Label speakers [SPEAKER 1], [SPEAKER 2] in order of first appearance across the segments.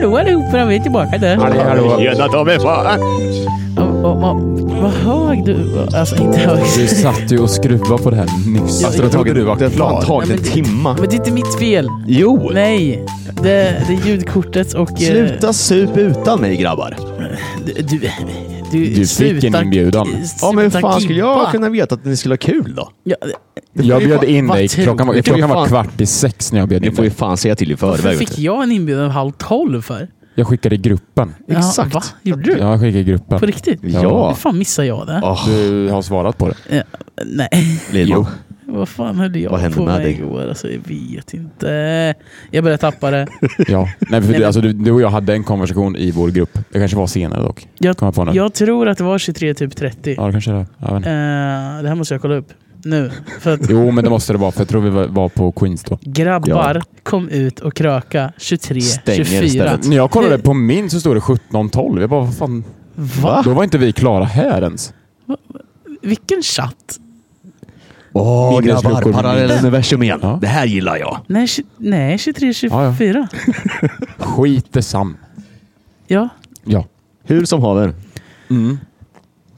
[SPEAKER 1] vi är tillbaka där.
[SPEAKER 2] Hallå, hallå. Tjena ta mig fan.
[SPEAKER 1] Och- och- och- Vad hög du var. Alltså inte hög.
[SPEAKER 3] Du satt ju och skruvade på det här nyss.
[SPEAKER 1] Ja,
[SPEAKER 2] Alltså
[SPEAKER 3] Alltså,
[SPEAKER 2] det har tagit,
[SPEAKER 3] jag trodde du var
[SPEAKER 2] det har
[SPEAKER 3] klar.
[SPEAKER 2] tagit
[SPEAKER 1] Nej,
[SPEAKER 2] en
[SPEAKER 1] men-
[SPEAKER 2] timma.
[SPEAKER 1] Men det är inte mitt fel.
[SPEAKER 2] Jo!
[SPEAKER 1] Nej. Det, det är ljudkortets och... eh,
[SPEAKER 2] Sluta sup utan mig grabbar.
[SPEAKER 1] Du, du, du,
[SPEAKER 3] Du fick
[SPEAKER 1] sluta-
[SPEAKER 3] en inbjudan.
[SPEAKER 2] Ja men hur fan skulle jag
[SPEAKER 1] gimpa.
[SPEAKER 2] kunna veta att ni skulle ha kul då?
[SPEAKER 1] Ja,
[SPEAKER 3] Jag bjöd in
[SPEAKER 1] Vad
[SPEAKER 3] dig.
[SPEAKER 1] tur.
[SPEAKER 3] Klockan var,
[SPEAKER 2] Det får ju
[SPEAKER 3] klockan var
[SPEAKER 2] fan-
[SPEAKER 3] kvart i sex när jag bjöd
[SPEAKER 2] Ni
[SPEAKER 3] in
[SPEAKER 2] får ju
[SPEAKER 3] dig.
[SPEAKER 2] fan säga till i
[SPEAKER 1] varför
[SPEAKER 2] förväg. vet
[SPEAKER 1] fick
[SPEAKER 2] du.
[SPEAKER 1] jag en inbjudan halv tolv för?
[SPEAKER 3] Jag skickade i gruppen.
[SPEAKER 2] Exakt.
[SPEAKER 1] Ja, va? Gjorde du?
[SPEAKER 3] Ja, jag skickade i gruppen.
[SPEAKER 1] På riktigt? Hur
[SPEAKER 2] Ja.
[SPEAKER 1] fan missade jag det?
[SPEAKER 2] Åh,
[SPEAKER 3] Du har svarat på det.
[SPEAKER 1] Nej,
[SPEAKER 2] Lilman.
[SPEAKER 1] vad fan höll jag
[SPEAKER 2] Vad hände
[SPEAKER 1] på
[SPEAKER 2] med
[SPEAKER 1] med
[SPEAKER 2] dig?
[SPEAKER 1] igår? Alltså, jag vet inte. Jag började tappa det.
[SPEAKER 3] Ja. Nej, för
[SPEAKER 1] men-
[SPEAKER 3] du, alltså, du, du och jag hade en konversation i vår grupp. Det kanske var senare dock.
[SPEAKER 1] Jag,
[SPEAKER 3] Kommer jag på nu.
[SPEAKER 1] jag tror att det var 23, typ 30.
[SPEAKER 3] Ja, det kanske det är. Jag vet inte.
[SPEAKER 1] Eh, det här måste jag kolla upp nu. För att
[SPEAKER 3] Jo, men det måste det vara. För jag tror vi var- var på Queens då.
[SPEAKER 1] grabbar,
[SPEAKER 2] Ja.
[SPEAKER 1] kom ut och kröka 23,
[SPEAKER 2] Stänger
[SPEAKER 1] 24.
[SPEAKER 2] istället.
[SPEAKER 3] När jag kollade på min så stod det 17.12. Jag bara, vad fan?
[SPEAKER 1] Va?
[SPEAKER 3] Då var inte vi klara här ens.
[SPEAKER 1] Vilken chatt?
[SPEAKER 2] Åh
[SPEAKER 3] Mina
[SPEAKER 2] grabbar,
[SPEAKER 3] skruckor,
[SPEAKER 2] parallella
[SPEAKER 3] mina-
[SPEAKER 2] universum igen.
[SPEAKER 3] Ja.
[SPEAKER 2] Det här gillar jag.
[SPEAKER 1] Nej, tju- nej 23, 24.
[SPEAKER 3] Ja, Skit det sam.
[SPEAKER 1] ja.
[SPEAKER 3] Ja.
[SPEAKER 2] Hur som haver.
[SPEAKER 3] Mm.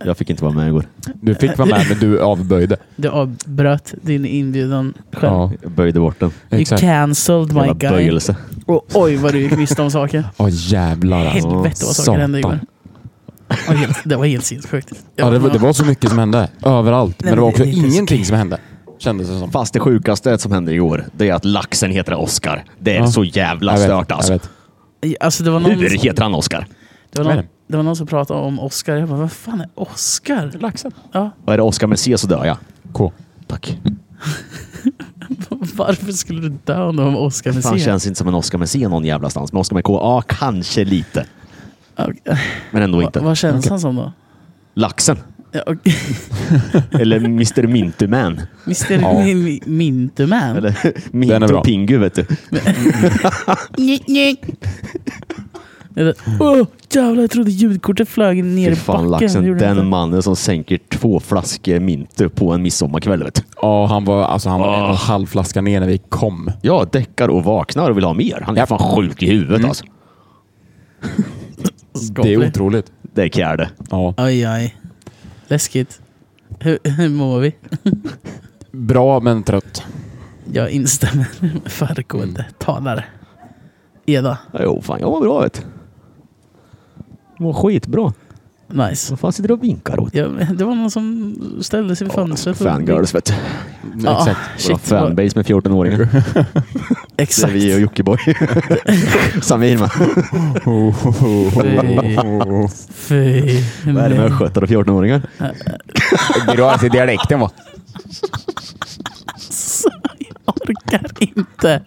[SPEAKER 2] Jag fick inte vara med igår.
[SPEAKER 3] Du fick vara med, men du avböjde.
[SPEAKER 1] Du avbröt din inbjudan själv.
[SPEAKER 3] Ja,
[SPEAKER 2] Jag böjde bort den.
[SPEAKER 1] you
[SPEAKER 3] exakt.
[SPEAKER 1] cancelled my
[SPEAKER 2] Jävla
[SPEAKER 1] guy.
[SPEAKER 2] böjelse.
[SPEAKER 1] Och oj vad du gick miste om saker.
[SPEAKER 3] Åh jävlar alltså.
[SPEAKER 1] Helvete vad saker
[SPEAKER 3] Satan.
[SPEAKER 1] hände igår. Det var helt- Det var helt sinnessjukt.
[SPEAKER 3] Ja, det, var- det var så mycket som hände. Överallt.
[SPEAKER 1] Nej,
[SPEAKER 3] Men det var
[SPEAKER 1] men
[SPEAKER 3] också
[SPEAKER 1] det är inte så
[SPEAKER 3] ingenting som hände. Kändes det som.
[SPEAKER 2] Fast det sjukaste som hände igår, det är att laxen heter Oscar. Det är
[SPEAKER 3] Ja.
[SPEAKER 2] så jävla
[SPEAKER 3] Jag vet,
[SPEAKER 2] stört alltså.
[SPEAKER 3] jag vet.
[SPEAKER 1] Alltså det var någon,
[SPEAKER 2] Hur heter han Oscar?
[SPEAKER 1] det var
[SPEAKER 3] Vad är
[SPEAKER 1] någon,
[SPEAKER 3] det?
[SPEAKER 1] det var någon som pratade om Oscar. Jag bara, vad fan är Oscar?
[SPEAKER 3] Laxen.
[SPEAKER 1] Ja,
[SPEAKER 2] Och är det Oscar med C så dör jag.
[SPEAKER 3] K.
[SPEAKER 2] Tack.
[SPEAKER 1] varför skulle du dö om det var Oscar med
[SPEAKER 2] Fan
[SPEAKER 1] C?
[SPEAKER 2] känns inte som en Oscar med C någon jävla stans. Men Oscar med K, ja kanske lite.
[SPEAKER 1] Okej.
[SPEAKER 2] Men ändå
[SPEAKER 1] Va-
[SPEAKER 2] inte.
[SPEAKER 1] Vad känns han som då?
[SPEAKER 2] Laxen.
[SPEAKER 1] Ja, okej.
[SPEAKER 2] Eller Mr Mintuman.
[SPEAKER 1] Mr.
[SPEAKER 3] Ja.
[SPEAKER 1] Mi- Mi- Mintuman?
[SPEAKER 2] Eller
[SPEAKER 3] Den är
[SPEAKER 2] Mintu
[SPEAKER 3] bra.
[SPEAKER 2] Pingu vet du.
[SPEAKER 1] Nj, nj. Eller, Åh, jävlar jag trodde ljudkortet flög ner
[SPEAKER 2] Fy
[SPEAKER 1] i
[SPEAKER 2] fan
[SPEAKER 1] backen. Det
[SPEAKER 2] laxen.
[SPEAKER 1] gjorde det inte.
[SPEAKER 2] Den mannen som sänker två flaskor Mintu på en midsommarkväll vet du.
[SPEAKER 3] Ja, han var, alltså, han var en och en
[SPEAKER 2] Åh.
[SPEAKER 3] halv flaska ner när vi kom.
[SPEAKER 2] Ja, däckar och vaknar och vill ha mer. Han är
[SPEAKER 3] Ja.
[SPEAKER 2] fan sjuk i huvudet
[SPEAKER 1] Mm.
[SPEAKER 2] alltså.
[SPEAKER 3] Det är
[SPEAKER 1] Skapligt.
[SPEAKER 3] otroligt.
[SPEAKER 2] Det är det.
[SPEAKER 3] Ja.
[SPEAKER 1] Aj, aj. Läskigt. Hur, hur mår vi?
[SPEAKER 3] Bra, men trött.
[SPEAKER 1] Jag instämmer med föregående
[SPEAKER 2] Mm.
[SPEAKER 1] talare. Eda.
[SPEAKER 2] Jo, fan jag mår bra vet du. Jag Mår skitbra.
[SPEAKER 1] Nice.
[SPEAKER 2] Vad fan sitter du och vinkar åt?
[SPEAKER 1] Ja, men det var någon som ställde sig vid fönstret. och-
[SPEAKER 2] Fangirls vet du.
[SPEAKER 1] Ja,
[SPEAKER 3] Exakt.
[SPEAKER 2] Vår
[SPEAKER 1] Shit, vad,
[SPEAKER 2] fanbase med 14-åringar. Det är
[SPEAKER 1] exakt.
[SPEAKER 2] vi och Jockiboi. Samir med.
[SPEAKER 1] Fy. Fy.
[SPEAKER 2] Vad är det med östgötar och 14-åringar?
[SPEAKER 3] Det rör sig i dialekten va?
[SPEAKER 1] Så jag orkar inte.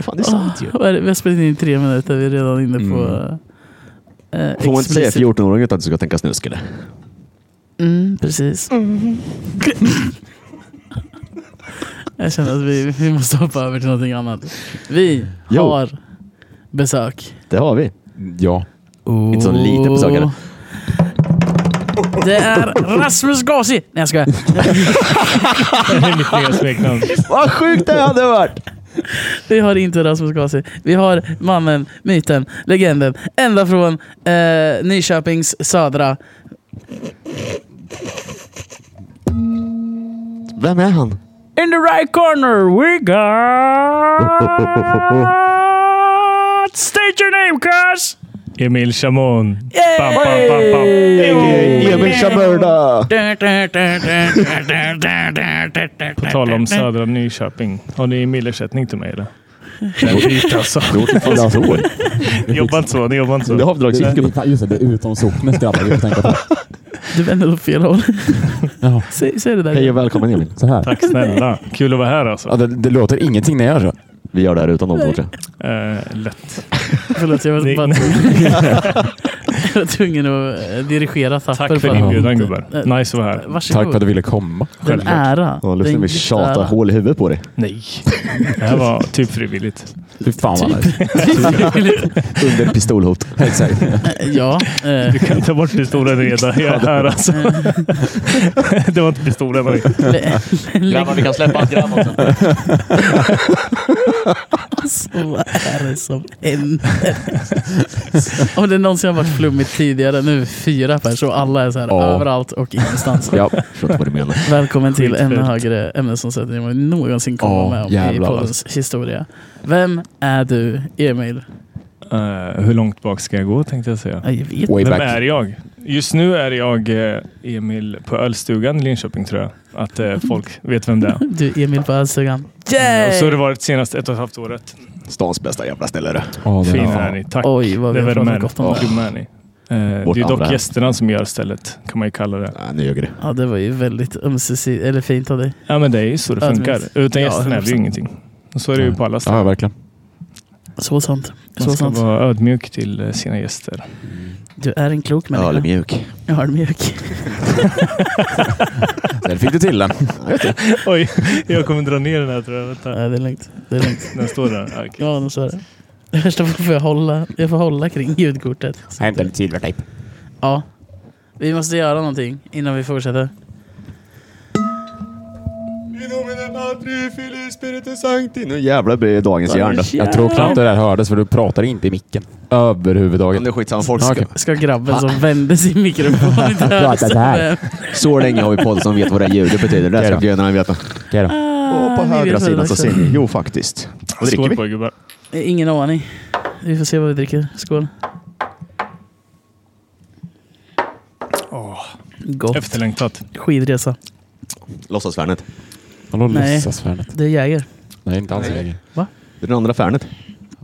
[SPEAKER 2] Fan, det är sant ju.
[SPEAKER 1] Ah, Vad är det? Vi har spelat in i tre minuter. Vi är redan inne på... eh,
[SPEAKER 2] Mm. Får man inte säga
[SPEAKER 1] explicit-
[SPEAKER 2] 14-åringar utan att du ska tänka snusk eller?
[SPEAKER 1] Mm, precis. Jag känner att vi, vi måste hoppa över till någonting annat. Vi
[SPEAKER 2] Jo.
[SPEAKER 1] har besök.
[SPEAKER 2] Det har vi.
[SPEAKER 3] Ja.
[SPEAKER 2] Inte så lite besök, eller?
[SPEAKER 1] Det är Rasmus Gasi! Nej jag skojar.
[SPEAKER 4] Det är mitt nya smeknamn.
[SPEAKER 2] Vad sjukt det hade varit!
[SPEAKER 1] Vi har inte Rasmus Gasi. Vi har mannen, myten, legenden. Ända från eh, Nyköpings södra.
[SPEAKER 2] Vem är han?
[SPEAKER 1] In the right corner we got... State your name cuz!
[SPEAKER 4] Emil Chamon.
[SPEAKER 1] Yay!
[SPEAKER 4] Bam, bam, bam, bam.
[SPEAKER 2] Emil Chamörda!
[SPEAKER 4] På tal om södra Nyköping. Har ni milersättning till mig eller? Det är dyrt alltså. Jobba inte så. Ni jobbar inte
[SPEAKER 2] Det är
[SPEAKER 4] så.
[SPEAKER 2] avdragsgillt gubben.
[SPEAKER 3] Just det, det är utom socknens grabbar vi får tänka på.
[SPEAKER 1] Du vänder åt fel håll.
[SPEAKER 3] Ja.
[SPEAKER 1] Säg, säg det där.
[SPEAKER 2] Hej och välkommen Emil.
[SPEAKER 3] Så här.
[SPEAKER 4] Tack snälla. Kul att vara här
[SPEAKER 3] Ja,
[SPEAKER 4] alltså.
[SPEAKER 3] det, det låter ingenting när jag gör så.
[SPEAKER 2] Vi gör det här utan dem två tror jag.
[SPEAKER 4] Eh, lätt.
[SPEAKER 1] Förlåt, jag var
[SPEAKER 4] Nej.
[SPEAKER 1] bara tvungen, jag var tvungen att eh, dirigera tapper.
[SPEAKER 4] Tack för
[SPEAKER 1] bara.
[SPEAKER 4] inbjudan
[SPEAKER 1] Eh,
[SPEAKER 4] gubbar. Nice att vara här.
[SPEAKER 1] Varsågod.
[SPEAKER 3] Tack för att du ville komma.
[SPEAKER 1] Det är en
[SPEAKER 4] Självklart.
[SPEAKER 1] ära.
[SPEAKER 2] Ja,
[SPEAKER 1] Det är
[SPEAKER 2] lyssna
[SPEAKER 1] en
[SPEAKER 2] vi tjatar
[SPEAKER 1] jätteära.
[SPEAKER 2] hål i huvudet på dig.
[SPEAKER 4] Nej. Det här var typ frivilligt.
[SPEAKER 3] Fy fan vad nice.
[SPEAKER 1] Typ.
[SPEAKER 3] Under pistolhot. Exakt.
[SPEAKER 1] ja. Eh,
[SPEAKER 4] Du kan ta bort pistolen redan. Jag är här alltså. det var inte pistolen. men-
[SPEAKER 1] le-
[SPEAKER 2] Grabbar, vi kan släppa allt grann också.
[SPEAKER 1] alltså, vad är det som händer? Om det någonsin har varit flummigt tidigare, nu är vi fyra personer och alla är så här
[SPEAKER 3] Ja.
[SPEAKER 1] överallt och ingenstans.
[SPEAKER 3] Ja.
[SPEAKER 2] Förstår inte vad du menar.
[SPEAKER 1] Välkommen till ännu
[SPEAKER 4] Skitfult.
[SPEAKER 1] högre ämnesomsättning än vad vi någonsin kommer
[SPEAKER 3] Ja,
[SPEAKER 1] med om
[SPEAKER 3] jävlar,
[SPEAKER 1] i poddens historia. Vem är du, Emil?
[SPEAKER 4] Eh, hur långt bak ska jag gå tänkte jag säga.
[SPEAKER 1] Ja, Jag vet
[SPEAKER 3] Way
[SPEAKER 4] Vem
[SPEAKER 3] back.
[SPEAKER 4] är jag? Just nu är jag eh, Emil på Ölstugan i Linköping tror jag. Att
[SPEAKER 1] Mm.
[SPEAKER 4] eh, folk vet vem det är.
[SPEAKER 1] Du, Emil på Ölstugan.
[SPEAKER 4] Och
[SPEAKER 1] Yay!
[SPEAKER 4] så har det varit senaste ett och ett halvt året.
[SPEAKER 2] Stans bästa jävla ställe du.
[SPEAKER 3] Ja, det är-
[SPEAKER 4] Fina är ni. Tack.
[SPEAKER 1] Oj, vad
[SPEAKER 4] det
[SPEAKER 1] vi har
[SPEAKER 4] är
[SPEAKER 1] pratat
[SPEAKER 4] värmen.
[SPEAKER 1] gott om
[SPEAKER 4] Och
[SPEAKER 1] det.
[SPEAKER 4] grymma är ni. Eh, det är
[SPEAKER 2] andra
[SPEAKER 4] dock
[SPEAKER 2] hem.
[SPEAKER 4] gästerna som gör stället, kan man ju kalla det.
[SPEAKER 2] Nej, nu ljög du.
[SPEAKER 1] Ja, det var ju väldigt ömsesidigt, eller fint av dig.
[SPEAKER 4] Ja, men det är ju så det funkar.
[SPEAKER 1] Ödmjukt.
[SPEAKER 4] Utan
[SPEAKER 1] Ja,
[SPEAKER 4] gästerna är det ju
[SPEAKER 1] 100%.
[SPEAKER 4] ingenting. Och så är det ju på alla ställen.
[SPEAKER 3] Ja, verkligen.
[SPEAKER 1] Så sant. Så
[SPEAKER 4] Man ska
[SPEAKER 1] sant.
[SPEAKER 4] vara ödmjuk till eh, sina gäster.
[SPEAKER 1] Du är en klok människa.
[SPEAKER 2] Ölmjuk.
[SPEAKER 1] Jag är mjuk.
[SPEAKER 3] Där fick du till den.
[SPEAKER 4] Oj, jag kommer dra ner den här tror jag. Vänta.
[SPEAKER 1] Ja, det är lugnt. Det är lugnt.
[SPEAKER 4] Den står där. Ja, okej.
[SPEAKER 1] Ja, nu så är det. Det värsta var får jag hålla. Jag får hålla kring ljudkortet. Så att-
[SPEAKER 3] lite silvertejp.
[SPEAKER 1] Ja. Vi måste göra någonting innan vi fortsätter.
[SPEAKER 2] Nu jävlar blir det dagens järn. du.
[SPEAKER 3] Jag tror knappt det där hördes för du pratar inte i micken.
[SPEAKER 2] Men
[SPEAKER 3] Överhuvudtaget.
[SPEAKER 2] Det är skitsamma. Folk ska...
[SPEAKER 3] Okej.
[SPEAKER 1] Ska grabben som vände sin mikrofon inte höra
[SPEAKER 3] Prata så här.
[SPEAKER 2] Så länge har vi podd som vet vad det ljudet betyder. Det
[SPEAKER 3] Okej
[SPEAKER 2] ska
[SPEAKER 3] då.
[SPEAKER 2] gudarna veta.
[SPEAKER 3] Okej då.
[SPEAKER 2] Och på
[SPEAKER 1] vi
[SPEAKER 2] högra
[SPEAKER 1] Ah, vet vad
[SPEAKER 2] sidan
[SPEAKER 1] det
[SPEAKER 2] så
[SPEAKER 1] är.
[SPEAKER 2] ser ni. Jo, faktiskt. Vad dricker
[SPEAKER 4] Skål
[SPEAKER 2] vi?
[SPEAKER 4] på er, gubbar.
[SPEAKER 1] Eh, Ingen aning. Vi får se vad vi dricker. Skål.
[SPEAKER 4] Åh,
[SPEAKER 1] Gott.
[SPEAKER 4] efterlängtat.
[SPEAKER 1] Skidresa.
[SPEAKER 2] Låtsasfärnet.
[SPEAKER 3] Hallå
[SPEAKER 1] Nej.
[SPEAKER 3] låtsasvärnet.
[SPEAKER 1] Det är Jäger.
[SPEAKER 3] Nej, inte alls längre.
[SPEAKER 2] Det är den andra färnet.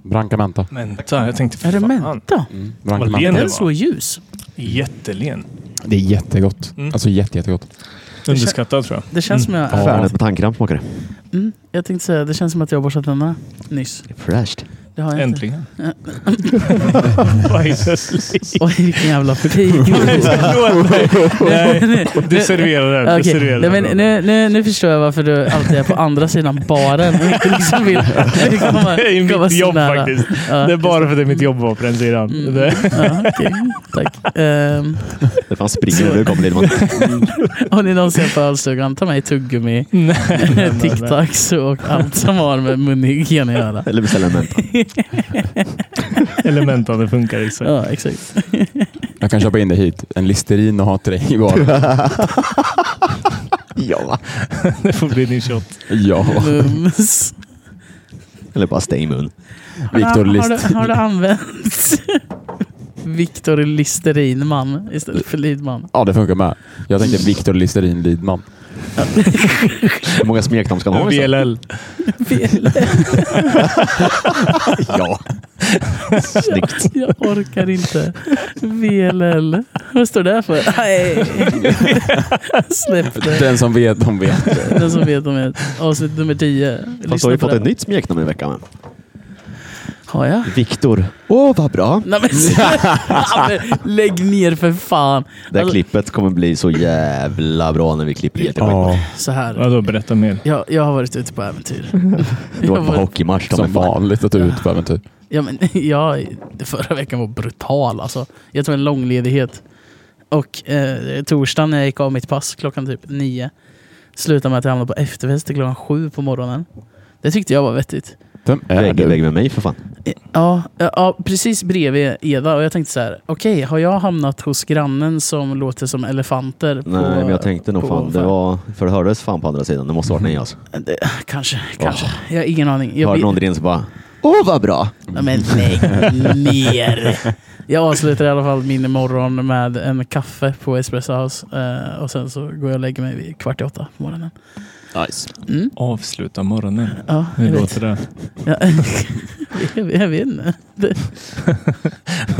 [SPEAKER 3] Branca Menta.
[SPEAKER 4] Menta. Jag tänkte,
[SPEAKER 1] Är det
[SPEAKER 4] fan,
[SPEAKER 1] Menta?
[SPEAKER 3] Mm.
[SPEAKER 4] Vad
[SPEAKER 3] Branca
[SPEAKER 4] len
[SPEAKER 1] Den
[SPEAKER 3] Menta.
[SPEAKER 1] är så ljus.
[SPEAKER 4] Jättelen.
[SPEAKER 3] Det är jättegott.
[SPEAKER 4] Mm.
[SPEAKER 3] Alltså jätte, jättegott.
[SPEAKER 4] Underskattad tror jag.
[SPEAKER 1] Det känns som jag...
[SPEAKER 2] Färnet med tandkräm smakar Mm. det.
[SPEAKER 1] Mm, jag tänkte säga, det känns som att jag har borstat tänderna nyss.
[SPEAKER 2] Fräscht.
[SPEAKER 1] Det har jag inte.
[SPEAKER 4] Äntligen. Vad är det?
[SPEAKER 1] Oj, vilken jävla pik.
[SPEAKER 4] Förlåt mig. Nej, Du serverar den. Du
[SPEAKER 1] Okej,
[SPEAKER 4] serverar
[SPEAKER 1] nej, men
[SPEAKER 4] den.
[SPEAKER 1] nu, nu, nu förstår jag varför du alltid är på andra sidan baren och inte liksom vill komma,
[SPEAKER 4] Det är
[SPEAKER 1] komma
[SPEAKER 4] mitt
[SPEAKER 1] så
[SPEAKER 4] jobb
[SPEAKER 1] nära.
[SPEAKER 4] faktiskt.
[SPEAKER 1] Ja,
[SPEAKER 4] Det är bara för att det är mitt jobb att vara på den sidan.
[SPEAKER 1] Mm.
[SPEAKER 4] Det-
[SPEAKER 1] ja, okej. Tack. Ehm,
[SPEAKER 2] Det fanns springer när du kom Lidman.
[SPEAKER 1] Har ni någonsin på ölstugan, ta med tuggummi,
[SPEAKER 4] Nej, nej, nej.
[SPEAKER 1] tic-tacs och allt som har med munhygien att göra.
[SPEAKER 2] Eller beställa en menta.
[SPEAKER 4] Elementen, det funkar exakt.
[SPEAKER 1] Ja, exakt.
[SPEAKER 3] Jag kan köpa in det hit. En Listerin och ha till dig i baren.
[SPEAKER 2] Ja.
[SPEAKER 4] Det får bli din shot.
[SPEAKER 3] Ja.
[SPEAKER 1] Mums.
[SPEAKER 2] Eller bara stay i mun.
[SPEAKER 1] Har-
[SPEAKER 3] Viktor List.
[SPEAKER 1] Har du, har du använt Viktor Listerinman istället för Lidman?
[SPEAKER 3] Ja, det funkar med. Jag tänkte Viktor Listerin Lidman.
[SPEAKER 2] Hur många smeknamn ska man ha? liksom?
[SPEAKER 4] VLL.
[SPEAKER 2] Ja. Snyggt.
[SPEAKER 1] Jag orkar inte. VLL. Vad står det för? Nej. Släpp det.
[SPEAKER 3] Den som vet, de vet.
[SPEAKER 1] Den som vet om det. Avsnitt nummer 10.
[SPEAKER 2] Fast
[SPEAKER 1] Lyssna
[SPEAKER 2] har vi
[SPEAKER 1] på
[SPEAKER 2] fått
[SPEAKER 1] det.
[SPEAKER 2] ett nytt smeknamn i veckan. men.
[SPEAKER 1] Har jag?
[SPEAKER 2] Viktor. Åh, vad bra.
[SPEAKER 1] Nej men, Nej, men lägg ner för fan.
[SPEAKER 2] Det här
[SPEAKER 1] Alltså-
[SPEAKER 2] klippet kommer bli så jävla bra när vi klipper det. Oh.
[SPEAKER 1] Så här.
[SPEAKER 4] Vadå, berätta mer.
[SPEAKER 1] Jag, jag har varit ute på äventyr.
[SPEAKER 2] Det
[SPEAKER 1] Jag
[SPEAKER 2] var på
[SPEAKER 1] var,
[SPEAKER 2] hockeymatch. ta mig
[SPEAKER 3] Som
[SPEAKER 2] fan.
[SPEAKER 3] vanligt att du är ute på äventyr.
[SPEAKER 1] ja, men, jag, förra veckan var brutal alltså. Jag tog en lång ledighet. Och eh, torsdagen när jag gick av mitt pass klockan typ nio slutade med att jag hamnade på efterfest till klockan sju på morgonen. Det tyckte jag var vettigt.
[SPEAKER 3] Vem är
[SPEAKER 2] Vägg i
[SPEAKER 3] du?
[SPEAKER 2] vägg med mig för fan.
[SPEAKER 1] Eh, Ja, eh, ja, precis bredvid Eva och jag tänkte så här, okej, har jag hamnat hos grannen som låter som elefanter? på-
[SPEAKER 2] Nej, men jag tänkte nog
[SPEAKER 1] på-
[SPEAKER 2] fan. Det var, för det hördes fan på andra sidan. Det måste varit ni alltså.
[SPEAKER 1] Det, kanske, kanske. Jag har ingen aning. Jag
[SPEAKER 2] Hörde
[SPEAKER 1] blir-
[SPEAKER 2] någon där inne så bara Åh vad bra!
[SPEAKER 1] Nej, men lägg ner. Jag avslutar i alla fall min morgon med en kaffe på Espresso House. eh, Och sen så går jag och lägger mig vid kvart i åtta på morgonen.
[SPEAKER 3] Nice.
[SPEAKER 1] Mm.
[SPEAKER 4] Avsluta morgonen.
[SPEAKER 1] Ja, jag
[SPEAKER 4] Hur
[SPEAKER 1] vet.
[SPEAKER 4] låter det?
[SPEAKER 1] Ja, jag, vet- jag vet inte. Det-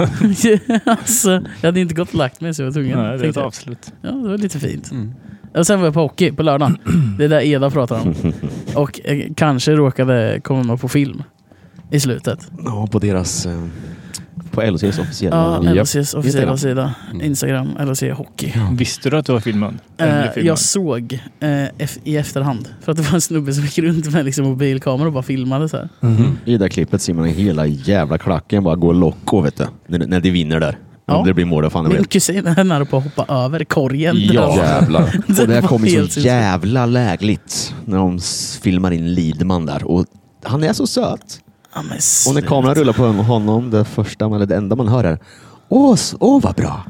[SPEAKER 1] alltså, jag hade inte gått och lagt mig så jag var tvungen.
[SPEAKER 4] Nej, det är ett
[SPEAKER 1] tänkte jag.
[SPEAKER 4] avslut.
[SPEAKER 1] Ja, det var lite fint.
[SPEAKER 3] Mm.
[SPEAKER 1] Och sen var jag på hockey på lördagen. Det är där Eda pratar om. Och eh, kanske råkade komma på film i slutet.
[SPEAKER 2] Ja, på deras... eh, På LHCs officiella...
[SPEAKER 1] Ja,
[SPEAKER 3] Japp.
[SPEAKER 1] LHCs officiella
[SPEAKER 3] Instagram.
[SPEAKER 1] sida.
[SPEAKER 3] Mm.
[SPEAKER 1] Instagram, LHC Hockey.
[SPEAKER 4] Visste du att du var filmad? Eller blev
[SPEAKER 1] Eh,
[SPEAKER 4] filmad?
[SPEAKER 1] jag såg eh, eff- i efterhand, för att det var en snubbe som gick runt med liksom, mobilkamera och bara filmade så här.
[SPEAKER 2] I det där klippet ser man hela jävla klacken bara gå loco vet du. När, när de vinner där.
[SPEAKER 1] Ja.
[SPEAKER 2] Om det blir mål, vad fan det
[SPEAKER 1] Min
[SPEAKER 2] blir.
[SPEAKER 1] kusin är nära på att hoppa över korgen.
[SPEAKER 2] Ja.
[SPEAKER 1] Där.
[SPEAKER 3] Jävlar.
[SPEAKER 2] Och det
[SPEAKER 1] var
[SPEAKER 2] här kom ju
[SPEAKER 1] helt
[SPEAKER 2] så
[SPEAKER 1] sinnessjukt.
[SPEAKER 2] jävla lägligt när de s- filmar in Lidman där. Och han är så söt.
[SPEAKER 1] Ja, "Ah, men
[SPEAKER 2] Och när
[SPEAKER 1] sluta.
[SPEAKER 2] kameran rullar på honom, det första, eller det enda man hör är Åh, s- åh vad bra!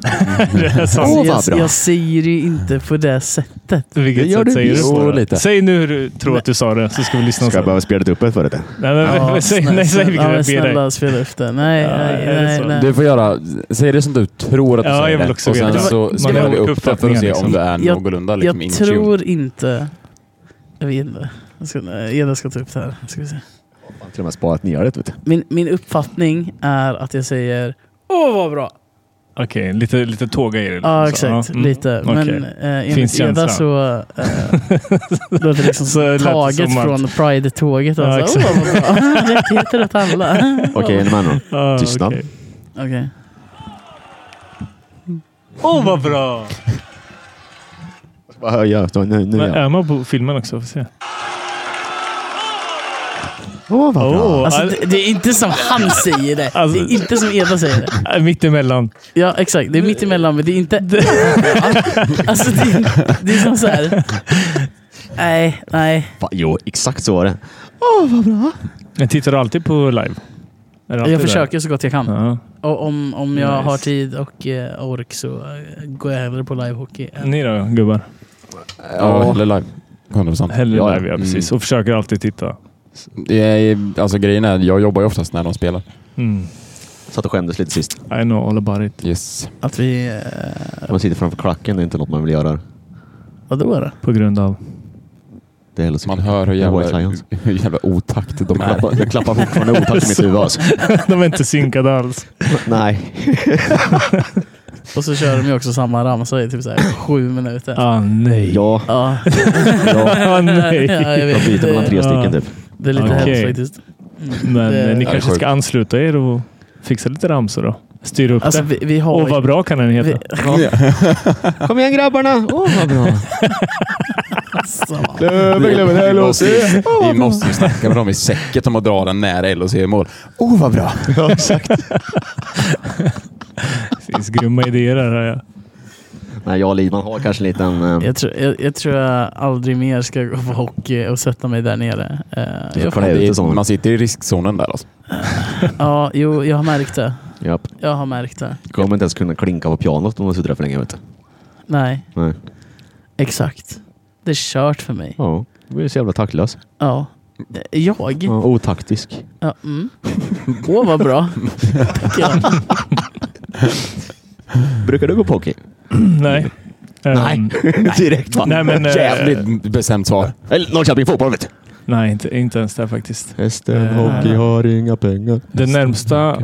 [SPEAKER 4] Det är sant.
[SPEAKER 2] Åh, vad
[SPEAKER 1] jag,
[SPEAKER 2] bra.
[SPEAKER 1] jag säger ju inte på det sättet.
[SPEAKER 4] Vilket
[SPEAKER 2] Det gör
[SPEAKER 4] sätt
[SPEAKER 2] du
[SPEAKER 4] säger du
[SPEAKER 2] visst.
[SPEAKER 4] på
[SPEAKER 3] Jo,
[SPEAKER 4] det?
[SPEAKER 3] lite.
[SPEAKER 4] Säg nu hur du tror att du sa det, så ska vi lyssna.
[SPEAKER 2] Ska jag
[SPEAKER 4] sen.
[SPEAKER 2] behöva spela upp det för det?
[SPEAKER 4] Nej, men,
[SPEAKER 1] Ja,
[SPEAKER 4] säg,
[SPEAKER 1] snälla-
[SPEAKER 4] nej, säg vilket
[SPEAKER 1] ja, men
[SPEAKER 4] jag ber dig.
[SPEAKER 1] Snälla spela upp det. Nej,
[SPEAKER 4] Ja,
[SPEAKER 1] nej,
[SPEAKER 4] är det
[SPEAKER 1] nej.
[SPEAKER 4] så?
[SPEAKER 1] nej.
[SPEAKER 3] Du får göra, säg det som du tror att du
[SPEAKER 4] Ja, jag
[SPEAKER 3] säger
[SPEAKER 4] vill
[SPEAKER 3] det.
[SPEAKER 4] också
[SPEAKER 3] Och sen
[SPEAKER 4] veta.
[SPEAKER 3] så
[SPEAKER 4] Man har
[SPEAKER 3] skriver vi
[SPEAKER 4] olika
[SPEAKER 3] upp det för att se
[SPEAKER 4] uppfattningar,
[SPEAKER 3] om det är
[SPEAKER 1] liksom.
[SPEAKER 3] någorlunda liksom in
[SPEAKER 1] Jag
[SPEAKER 3] tune.
[SPEAKER 1] tror inte... Jag vet inte. Jag ska, nej, Eda ska ta upp det här. Ska vi se.
[SPEAKER 2] Till och med sparat ner det. Vet du.
[SPEAKER 1] Min, min uppfattning är att jag säger Åh vad bra!
[SPEAKER 4] Okej, lite, lite tåga i det.
[SPEAKER 1] Ja
[SPEAKER 4] liksom, så.
[SPEAKER 1] exakt,
[SPEAKER 4] mm.
[SPEAKER 1] lite.
[SPEAKER 4] Okej.
[SPEAKER 1] Men eh, enligt
[SPEAKER 4] Finns
[SPEAKER 1] Eda
[SPEAKER 4] känslan.
[SPEAKER 1] så eh, låter det liksom
[SPEAKER 4] Så lät det
[SPEAKER 1] taget
[SPEAKER 4] som att-
[SPEAKER 1] från Pride-tåget.
[SPEAKER 4] Ja,
[SPEAKER 1] Alltså.
[SPEAKER 4] exakt.
[SPEAKER 1] Åh vad bra! Rättigheter åt alla.
[SPEAKER 2] Okej, är ni med nu?
[SPEAKER 4] Ah,
[SPEAKER 2] Tystnad.
[SPEAKER 4] okej.
[SPEAKER 1] Okej.
[SPEAKER 4] Åh, vad bra!
[SPEAKER 2] Vad hör jag? Nu, nu,
[SPEAKER 4] Men
[SPEAKER 2] ja.
[SPEAKER 4] är man på filmen också? Får se.
[SPEAKER 2] Åh, vad bra!
[SPEAKER 4] Åh,
[SPEAKER 1] Alltså,
[SPEAKER 4] all-
[SPEAKER 1] det, det är inte som han säger det.
[SPEAKER 4] Alltså-
[SPEAKER 1] det är inte som Eda säger det.
[SPEAKER 4] äh, Mittemellan.
[SPEAKER 1] Ja, exakt. Det är mitt emellan, men det är inte... alltså, det är, det är som så här... Nej, nej.
[SPEAKER 2] Va, jo, exakt så var det.
[SPEAKER 4] Men tittar du alltid på live? Är du alltid
[SPEAKER 1] Jag
[SPEAKER 4] där?
[SPEAKER 1] försöker så gott jag kan.
[SPEAKER 4] Ja.
[SPEAKER 1] Och om, om jag
[SPEAKER 4] Nice.
[SPEAKER 1] har tid och eh, ork så eh, går jag hellre på livehockey. än-
[SPEAKER 4] Ni då gubbar?
[SPEAKER 3] Ja, eller live. 100 procent.
[SPEAKER 4] Hellre
[SPEAKER 2] Ja, ja.
[SPEAKER 4] live, ja precis. Och försöker alltid titta.
[SPEAKER 3] Alltså grejen är, jag jobbar ju oftast när de spelar.
[SPEAKER 4] Mm.
[SPEAKER 2] Satt och skämdes lite sist.
[SPEAKER 4] I know all about it.
[SPEAKER 3] Yes.
[SPEAKER 1] Att vi... Eh,
[SPEAKER 2] Man sitter framför klacken, det är inte något man vill göra.
[SPEAKER 1] vadå då?
[SPEAKER 4] På grund av...
[SPEAKER 2] Det är heller så.
[SPEAKER 3] Man hör hur
[SPEAKER 2] White
[SPEAKER 3] jävla,
[SPEAKER 2] Lions.
[SPEAKER 3] hur jävla otakt de
[SPEAKER 2] Jag
[SPEAKER 3] är.
[SPEAKER 2] klappar, jag klappar fortfarande otakt i mitt huvud alltså.
[SPEAKER 4] De är inte synkade alls.
[SPEAKER 2] Nej.
[SPEAKER 1] Och så kör de ju också samma ramsa i typ så här sju minuter.
[SPEAKER 4] Ah nej.
[SPEAKER 2] Ja,
[SPEAKER 1] Ja,
[SPEAKER 2] ja.
[SPEAKER 4] Ah, nej.
[SPEAKER 1] ja jag
[SPEAKER 2] Jag
[SPEAKER 1] vet.
[SPEAKER 2] byter mellan
[SPEAKER 1] Det,
[SPEAKER 2] tre stycken typ.
[SPEAKER 1] det är lite
[SPEAKER 4] Okej.
[SPEAKER 1] hemskt faktiskt. Mm,
[SPEAKER 4] Men
[SPEAKER 1] det-
[SPEAKER 4] eh, ni
[SPEAKER 3] är
[SPEAKER 4] kanske
[SPEAKER 3] sjukt.
[SPEAKER 4] ska ansluta er och fixa lite ramsor då? Styra upp
[SPEAKER 1] Alltså,
[SPEAKER 4] det.
[SPEAKER 1] vi, vi har...
[SPEAKER 4] Åh, vad bra kan den heta.
[SPEAKER 1] vi,
[SPEAKER 2] Kom igen grabbarna! Oh. Åh vad bra!
[SPEAKER 1] alltså,
[SPEAKER 3] Vi måste ju- Vi måste ju snacka med dem i säcket om att dra den nära LHC i mål. Oh, vad bra!
[SPEAKER 2] Ja, exakt.
[SPEAKER 4] Det finns grymma idéer här. hör jag.
[SPEAKER 2] Nej, jag och Lidman har kanske en liten... eh,
[SPEAKER 1] Jag tror jag, jag tror jag aldrig mer ska gå på hockey och sätta mig där nere. Eh, jag,
[SPEAKER 2] Kolla
[SPEAKER 3] Det
[SPEAKER 2] ut i
[SPEAKER 3] är,
[SPEAKER 2] sån.
[SPEAKER 3] man sitter i riskzonen där alltså.
[SPEAKER 1] ja, jo, jag har märkt det.
[SPEAKER 2] Japp.
[SPEAKER 1] Jag har märkt det.
[SPEAKER 2] Kommer inte ens kunna klinka på pianot om man sitter där för länge vet du.
[SPEAKER 1] Nej,
[SPEAKER 2] Nej.
[SPEAKER 1] exakt. Det är kört för mig.
[SPEAKER 2] Ja, du blir så jävla taktlös.
[SPEAKER 1] Ja. Eh, Jag?
[SPEAKER 2] Ja, otaktisk.
[SPEAKER 1] Ja, mm. Åh, vad bra. Tackar.
[SPEAKER 2] Brukar du gå på hockey?
[SPEAKER 4] Nej.
[SPEAKER 2] Nej.
[SPEAKER 4] Ehm,
[SPEAKER 2] Direkt va?
[SPEAKER 4] nej, men... eh,
[SPEAKER 3] Jävligt bestämt svar.
[SPEAKER 2] Eller Norrköping fotboll vet du.
[SPEAKER 4] Nej, inte, inte ens där faktiskt.
[SPEAKER 2] Hästen
[SPEAKER 4] Eh. hockey
[SPEAKER 2] har inga pengar.
[SPEAKER 4] Det närmsta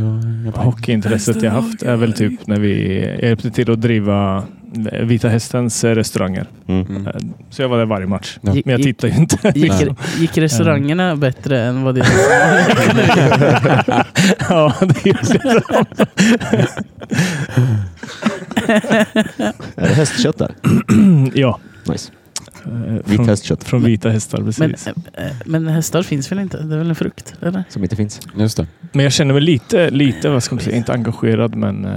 [SPEAKER 4] hockeyintresset jag haft är väl typ när vi hjälpte till att driva Vita Hästens eh, restauranger.
[SPEAKER 2] Mm.
[SPEAKER 4] Eh, Så jag var där varje match.
[SPEAKER 3] Ja.
[SPEAKER 4] Men jag
[SPEAKER 1] Gick,
[SPEAKER 4] tittar ju inte.
[SPEAKER 1] gick, gick restaurangerna bättre än vad det
[SPEAKER 4] ja, det är ju-
[SPEAKER 2] Är det hästkött där?
[SPEAKER 4] ja.
[SPEAKER 2] Nice.
[SPEAKER 4] Eh,
[SPEAKER 2] Vitt
[SPEAKER 4] Från,
[SPEAKER 2] hästkött.
[SPEAKER 4] från Vita Hästar,
[SPEAKER 1] men,
[SPEAKER 4] precis. Men,
[SPEAKER 1] eh, men hästar finns väl inte? Det är väl en frukt? Eller?
[SPEAKER 2] Som inte finns.
[SPEAKER 3] Mm, Just det.
[SPEAKER 4] jag känner mig lite, lite, vad ska man säga, inte engagerad men eh,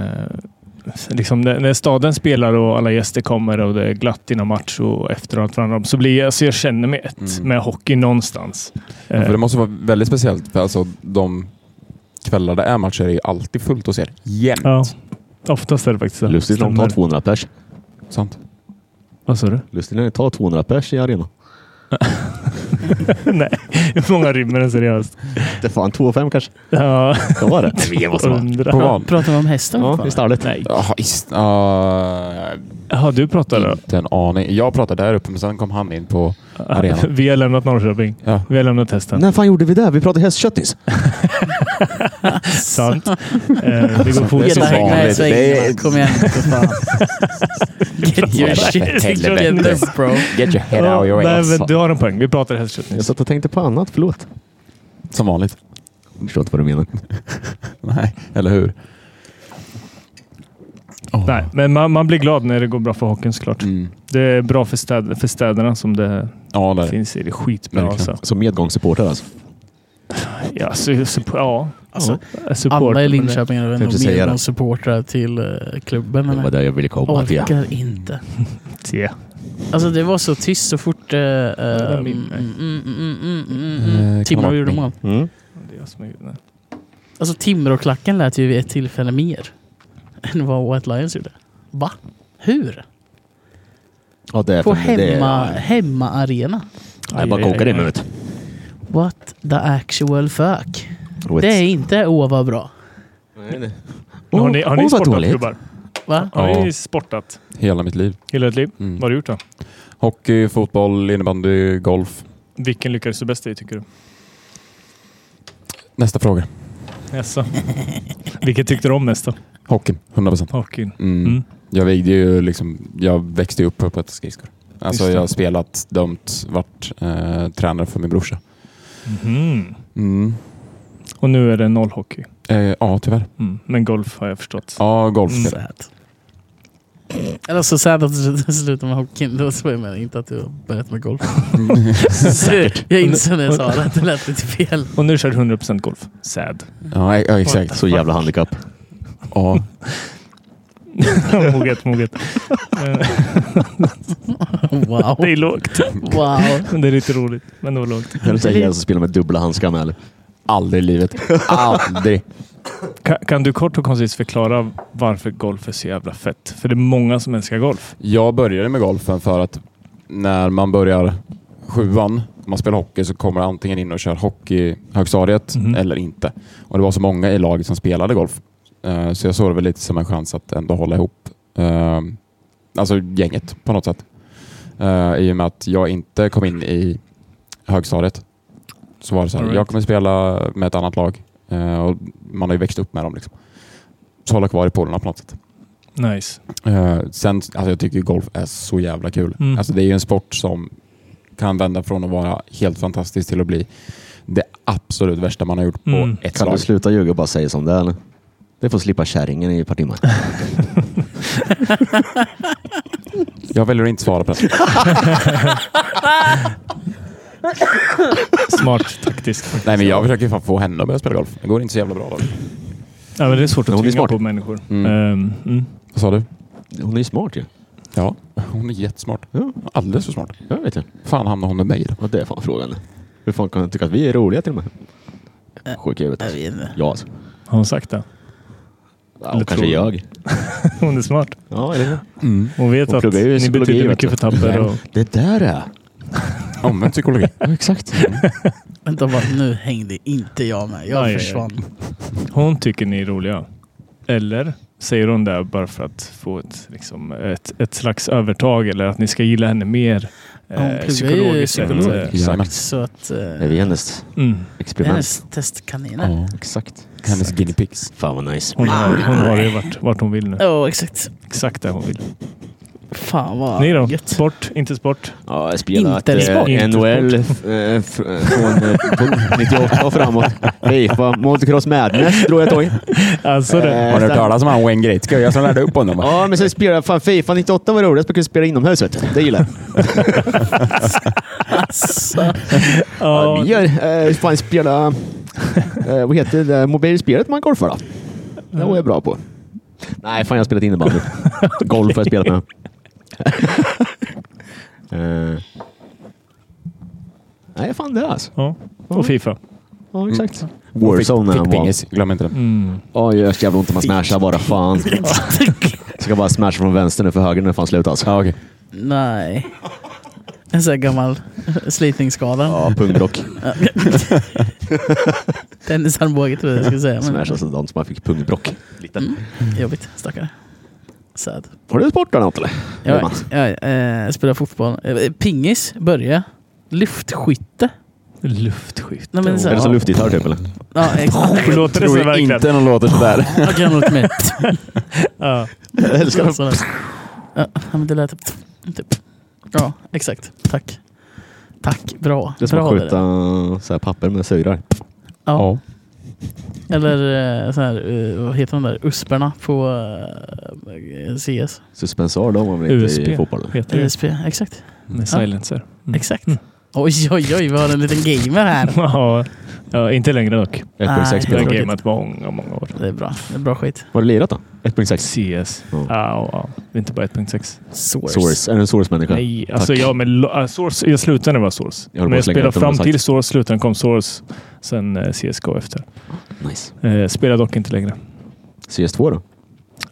[SPEAKER 4] Liksom när, när staden spelar och alla gäster kommer och det är glatt innan match och efter och allt vad det handlar om, så blir jag, alltså jag känner mig ett
[SPEAKER 3] Mm.
[SPEAKER 4] med hockey någonstans.
[SPEAKER 3] Ja,
[SPEAKER 4] Eh,
[SPEAKER 3] för det måste vara väldigt speciellt. För alltså, de kvällar det är matcher är ju alltid fullt hos er. Jämt.
[SPEAKER 4] Ja, oftast är det faktiskt så.
[SPEAKER 2] Lustigt när de tar
[SPEAKER 4] Stämmer.
[SPEAKER 2] 200 pers.
[SPEAKER 3] Sant.
[SPEAKER 4] Vad sa du?
[SPEAKER 2] Lustigt när de tar 200 pers i arenan.
[SPEAKER 4] Nej, hur många rymmer den seriöst?
[SPEAKER 2] Det är fan 2,5 kanske.
[SPEAKER 4] Ja,
[SPEAKER 2] Det var det. Det måste vara.
[SPEAKER 3] På
[SPEAKER 4] undrar.
[SPEAKER 3] vad?
[SPEAKER 1] Pratar vi om hästar?
[SPEAKER 2] Ja, i
[SPEAKER 1] fortfarande?
[SPEAKER 2] stallet.
[SPEAKER 4] Nej,
[SPEAKER 3] Jaha, is- ah,
[SPEAKER 4] har du pratat då?
[SPEAKER 3] inte en aning. Jag pratade där uppe, men sen kom han in på... Arenan.
[SPEAKER 4] Vi har lämnat Norrköping.
[SPEAKER 3] Ja.
[SPEAKER 4] Vi har lämnat testen.
[SPEAKER 2] När fan gjorde vi det? Vi pratade hästkött nyss.
[SPEAKER 4] Sant. Eh, vi går
[SPEAKER 3] Det är så
[SPEAKER 1] Hela
[SPEAKER 4] fort.
[SPEAKER 3] vanligt.
[SPEAKER 1] Nej, så
[SPEAKER 3] Det
[SPEAKER 1] är...
[SPEAKER 3] är-
[SPEAKER 1] Kom igen, för fan. Get your
[SPEAKER 3] Jävla
[SPEAKER 1] shit
[SPEAKER 3] helvete.
[SPEAKER 1] together bro.
[SPEAKER 3] Get your head out your
[SPEAKER 4] Nej,
[SPEAKER 3] ass.
[SPEAKER 4] men du har en poäng. Vi pratade hästkött
[SPEAKER 2] Jag
[SPEAKER 4] nyss.
[SPEAKER 2] satt och tänkte på annat. Förlåt.
[SPEAKER 3] Som vanligt.
[SPEAKER 2] Jag förstår inte vad du menar.
[SPEAKER 3] Nej, eller hur?
[SPEAKER 4] Nej, men man, man blir glad när det går bra för hockeyn såklart.
[SPEAKER 3] Mm.
[SPEAKER 4] Det är bra för, städ, för städerna som det
[SPEAKER 3] Ja, där.
[SPEAKER 4] finns i. Det är skitbra.
[SPEAKER 3] Verkligen.
[SPEAKER 4] Alltså.
[SPEAKER 2] Som medgångssupporter alltså.
[SPEAKER 4] Ja, su, su, ja.
[SPEAKER 1] Alltså,
[SPEAKER 4] ja, support,
[SPEAKER 1] Alla i
[SPEAKER 4] men det-
[SPEAKER 1] Linköping är
[SPEAKER 2] Tänkte säga det.
[SPEAKER 1] väl nog supportrar till eh, klubben.
[SPEAKER 2] Det var
[SPEAKER 1] Eller?
[SPEAKER 2] där jag ville komma till.
[SPEAKER 1] Orkar inte.
[SPEAKER 4] Ja.
[SPEAKER 1] Alltså det var så tyst så fort... eh, eh,
[SPEAKER 4] var min, nej.
[SPEAKER 1] mm, mm, mm, mm, mm, mm.
[SPEAKER 3] Eh,
[SPEAKER 1] Timrå
[SPEAKER 3] kamrat,
[SPEAKER 1] gjorde
[SPEAKER 3] nej.
[SPEAKER 1] mål.
[SPEAKER 2] Mm.
[SPEAKER 4] Det är jag som är- nej.
[SPEAKER 1] Alltså Timråklacken lät ju vid ett tillfälle mer än vad White Lions gjorde. Va? Hur?
[SPEAKER 2] Ja, det är
[SPEAKER 1] På
[SPEAKER 2] för- det är-
[SPEAKER 1] hemma, hemmaarena?
[SPEAKER 2] Jag bara
[SPEAKER 4] Aj, aj,
[SPEAKER 2] kokar i
[SPEAKER 4] aj.
[SPEAKER 2] munnen.
[SPEAKER 1] What the actual fuck?
[SPEAKER 2] Och
[SPEAKER 1] Det är
[SPEAKER 2] ett-
[SPEAKER 1] inte åh vad bra.
[SPEAKER 2] Åh,
[SPEAKER 4] har ni, har ni
[SPEAKER 2] åh, vad
[SPEAKER 4] sportat
[SPEAKER 2] dåligt.
[SPEAKER 4] gubbar?
[SPEAKER 1] Va?
[SPEAKER 4] Har ni
[SPEAKER 3] Ja.
[SPEAKER 4] sportat
[SPEAKER 3] Hela mitt liv.
[SPEAKER 4] hela ditt liv?
[SPEAKER 3] Mm.
[SPEAKER 4] Vad har du gjort då?
[SPEAKER 3] Hockey, fotboll, innebandy, golf.
[SPEAKER 4] Vilken lyckades du bäst i tycker du?
[SPEAKER 3] Nästa fråga.
[SPEAKER 4] Jaså? Vilken tyckte du om mest då?
[SPEAKER 3] Hockeyn, 100 procent.
[SPEAKER 4] Hockeyn?
[SPEAKER 3] Mm.
[SPEAKER 4] Mm.
[SPEAKER 3] Jag, vägde ju liksom, jag växte ju upp på ett skridskor. Alltså
[SPEAKER 4] Just det.
[SPEAKER 3] jag har spelat, dömt, varit eh, tränare för min brorsa.
[SPEAKER 4] Mhm.
[SPEAKER 3] Mm.
[SPEAKER 4] Och nu är det noll hockey.
[SPEAKER 3] Eh, ja, tyvärr.
[SPEAKER 4] Mm. Men golf har jag förstått.
[SPEAKER 3] Ja, golf.
[SPEAKER 4] Mm.
[SPEAKER 1] Sad. Eller så sad att du slutar med hockeyn. Då så jag menar inte att du har börjat med golf.
[SPEAKER 4] Mm.
[SPEAKER 1] Säkert. Jag insåg när jag sa det att det lät lite fel.
[SPEAKER 4] Och nu kör du 100% golf. Sad.
[SPEAKER 3] Ja, e- ja, exakt.
[SPEAKER 2] Så jävla handikapp.
[SPEAKER 3] Ja.
[SPEAKER 4] moget, moget. Eh,
[SPEAKER 1] Wow.
[SPEAKER 4] det är lågt.
[SPEAKER 1] Wow.
[SPEAKER 4] Det är lite roligt, men det var lågt.
[SPEAKER 2] Kan du säga en som spelar med dubbla handskar med? Eller?
[SPEAKER 3] Aldrig i livet. Aldrig.
[SPEAKER 4] Kan, kan du kort och koncist förklara varför golf är så jävla fett? För det är många som älskar golf.
[SPEAKER 3] Jag började med golfen för att när man börjar sjuan, om man spelar hockey, så kommer antingen in och kör hockey högstadiet
[SPEAKER 4] Mhm.
[SPEAKER 3] eller inte. Och det var så många i laget som spelade golf. Eh, Så jag såg det väl lite som en chans att ändå hålla ihop eh, alltså gänget på något sätt. Eh, I och med att jag inte kom in i högstadiet så var det så här,
[SPEAKER 4] All right.
[SPEAKER 3] jag kommer spela med ett annat lag. Eh, Och man har ju växt upp med dem. Liksom. Så hålla kvar i polerna på något sätt.
[SPEAKER 4] Nice.
[SPEAKER 3] Eh, sen, alltså jag tycker golf är så jävla kul.
[SPEAKER 4] Mm.
[SPEAKER 3] Alltså det är ju en sport som kan vända från att vara helt fantastisk till att bli det absolut värsta man har gjort på
[SPEAKER 4] Mm.
[SPEAKER 3] ett
[SPEAKER 2] Kan
[SPEAKER 3] slag.
[SPEAKER 2] du sluta ljuga och bara säga som det är? Eller? Det får slippa kärringen i ett par timmar.
[SPEAKER 3] Jag väljer att inte svara på det.
[SPEAKER 4] Smart taktiskt.
[SPEAKER 3] Nej, men jag försöker fan få henne att börja spela golf. Det går inte så jävla bra. Då.
[SPEAKER 4] Ja, men det är svårt att
[SPEAKER 2] Hon är
[SPEAKER 4] tvinga
[SPEAKER 2] smart.
[SPEAKER 4] på människor.
[SPEAKER 3] Mm.
[SPEAKER 4] Ehm, mm.
[SPEAKER 3] Vad sa du?
[SPEAKER 2] Hon är ju smart ju.
[SPEAKER 3] Ja, hon är jättesmart.
[SPEAKER 2] Ja.
[SPEAKER 3] Alldeles för smart.
[SPEAKER 2] Jag vet ju.
[SPEAKER 3] Fan hamnar hon med mig då?
[SPEAKER 2] Och det är fan frågan. Hur fan kan hon tycka att vi är roliga till och med? Sjuk i huvudet.
[SPEAKER 1] Jag
[SPEAKER 2] alltså.
[SPEAKER 1] vet inte.
[SPEAKER 2] Ja, alltså.
[SPEAKER 4] Har hon sagt det?
[SPEAKER 2] Ja,
[SPEAKER 4] Eller
[SPEAKER 2] och kanske
[SPEAKER 4] tror
[SPEAKER 2] jag.
[SPEAKER 4] Hon är smart.
[SPEAKER 2] Ja, eller hur?
[SPEAKER 4] Hon vet
[SPEAKER 2] Hon
[SPEAKER 4] att
[SPEAKER 2] pluggar ju
[SPEAKER 4] ni
[SPEAKER 2] psykologi,
[SPEAKER 4] betyder
[SPEAKER 2] vet
[SPEAKER 4] mycket
[SPEAKER 2] du.
[SPEAKER 4] för Tapper. Och...
[SPEAKER 2] Det där är... Mm.
[SPEAKER 3] Omvänd psykologi.
[SPEAKER 2] Ja, exakt.
[SPEAKER 1] Vänta bara, nu hängde inte jag med. Jag
[SPEAKER 4] Aj, aj, aj.
[SPEAKER 1] försvann.
[SPEAKER 4] Hon tycker ni är roliga. Eller säger hon det bara för att få ett, liksom, ett, ett slags övertag eller att ni ska gilla henne mer
[SPEAKER 1] hon
[SPEAKER 4] eh,
[SPEAKER 1] pluggar ju
[SPEAKER 4] psykologiskt sett?
[SPEAKER 1] psykolog.
[SPEAKER 4] Eh,
[SPEAKER 3] Jajamän.
[SPEAKER 1] Så att... eh,
[SPEAKER 2] Det är vi hennes
[SPEAKER 4] Mm.
[SPEAKER 1] det är
[SPEAKER 2] experiment.
[SPEAKER 1] hennes testkaninerna.
[SPEAKER 3] Ja.
[SPEAKER 2] Exakt.
[SPEAKER 3] Hennes guinea pigs.
[SPEAKER 2] Fan vad nice.
[SPEAKER 4] Hon har, hon har ju vart, vart hon vill nu.
[SPEAKER 1] Ja, exakt.
[SPEAKER 4] Exakt där hon vill.
[SPEAKER 1] Fan vad
[SPEAKER 4] Ni då?
[SPEAKER 1] gött.
[SPEAKER 4] Sport? Inte sport?
[SPEAKER 2] Ja, jag spelat
[SPEAKER 1] Intersport.
[SPEAKER 2] eh, NHL f- eh, f- eh, från eh, på 98 och framåt. Fifa, Motocross Madness drog jag ett tag.
[SPEAKER 4] Alltså det.
[SPEAKER 2] Eh,
[SPEAKER 3] Har du hört
[SPEAKER 2] sen-
[SPEAKER 3] talas om han Wayne Gretzky? Jag som lärde upp honom.
[SPEAKER 2] Ja, men sen spelade jag... Fan, Fifa 98 var roligast. Man kunde spela inomhus, vet du. Det gillar jag.
[SPEAKER 1] Alltså,
[SPEAKER 2] Ja,
[SPEAKER 4] Ja,
[SPEAKER 2] vi gör... Eh, fan, spela... Eh, vad heter det där mobilspelet man golfar då? Det var jag bra på. Nej, fan jag har spelat innebandy. Golf har jag spelat med. eh, nej, fan det alltså.
[SPEAKER 4] ja. Och Fifa.
[SPEAKER 2] Ja,
[SPEAKER 3] Mm.
[SPEAKER 2] exakt.
[SPEAKER 3] Warzone.
[SPEAKER 2] Warzone är han
[SPEAKER 3] Fickpingis. Glöm inte det.
[SPEAKER 4] Mm.
[SPEAKER 2] Oj, jag jävla ont om att smasha bara. Fan. Jag ska bara smasha från vänster nu för höger nu fan slut alltså.
[SPEAKER 3] Ja, okej.
[SPEAKER 1] Nej. En sån här gammal slitningsskada.
[SPEAKER 2] Ja, pungblock.
[SPEAKER 1] Tennisarmbåge trodde jag skulle säga. Men Mm.
[SPEAKER 2] Smasha sådant som man fick pungblock. Liten.
[SPEAKER 1] jobbigt, stackare. Sad.
[SPEAKER 2] Har du sportat något eller?
[SPEAKER 1] Jag, jag eh, spelar fotboll. Eh, Pingis, börja. Luftskytte.
[SPEAKER 4] Luftskytt.
[SPEAKER 1] Nej, men så-
[SPEAKER 2] Är det så
[SPEAKER 1] ja.
[SPEAKER 2] luftgitarr typ eller?
[SPEAKER 1] Ja, exakt.
[SPEAKER 4] Hur låter det så i
[SPEAKER 3] Tror
[SPEAKER 4] verkligheten?
[SPEAKER 3] inte någon låter sådär.
[SPEAKER 1] Jag kan låta mer.
[SPEAKER 4] Ja.
[SPEAKER 2] Jag älskar det.
[SPEAKER 1] Sådär. Ja, men det lät typ. Ja, exakt. Tack. Tack, bra.
[SPEAKER 2] Det är som
[SPEAKER 1] bra
[SPEAKER 2] att skjuta så här papper med syrar.
[SPEAKER 1] Ja. Eller eh, sån här, eh, vad heter de där, usperna på eh, CS?
[SPEAKER 2] Suspensar, de har väl inte
[SPEAKER 4] USP.
[SPEAKER 2] i fotbollen?
[SPEAKER 4] Heter det.
[SPEAKER 1] USP, exakt.
[SPEAKER 4] Med silencer. Mm.
[SPEAKER 1] Exakt. Oj, oj, oj, vi har en liten gamer här.
[SPEAKER 4] ja, ja, inte längre dock.
[SPEAKER 3] 1.6
[SPEAKER 4] Jag
[SPEAKER 1] Nej.
[SPEAKER 3] meter.
[SPEAKER 4] har
[SPEAKER 1] Tråkigt.
[SPEAKER 4] gamet många, många år.
[SPEAKER 1] Det är bra. Det är bra skit.
[SPEAKER 2] Var det lirat då? 1.6.
[SPEAKER 4] CS.
[SPEAKER 2] Ja.
[SPEAKER 4] Ja, ja. Det är inte bara 1.6.
[SPEAKER 1] Source.
[SPEAKER 2] Source. Är du en Source-människa?
[SPEAKER 4] Nej, alltså
[SPEAKER 2] Tack.
[SPEAKER 4] jag, med, lo- äh, source, jag slutade när det var Source.
[SPEAKER 2] Jag håller på
[SPEAKER 4] men jag
[SPEAKER 2] att slänga
[SPEAKER 4] spelade
[SPEAKER 2] ut den, men
[SPEAKER 4] fram
[SPEAKER 2] sagt.
[SPEAKER 4] till Source, slutade kom Source, sen eh, CSGO efter.
[SPEAKER 2] Nice.
[SPEAKER 4] Eh, spelar dock inte längre.
[SPEAKER 2] CS2 då?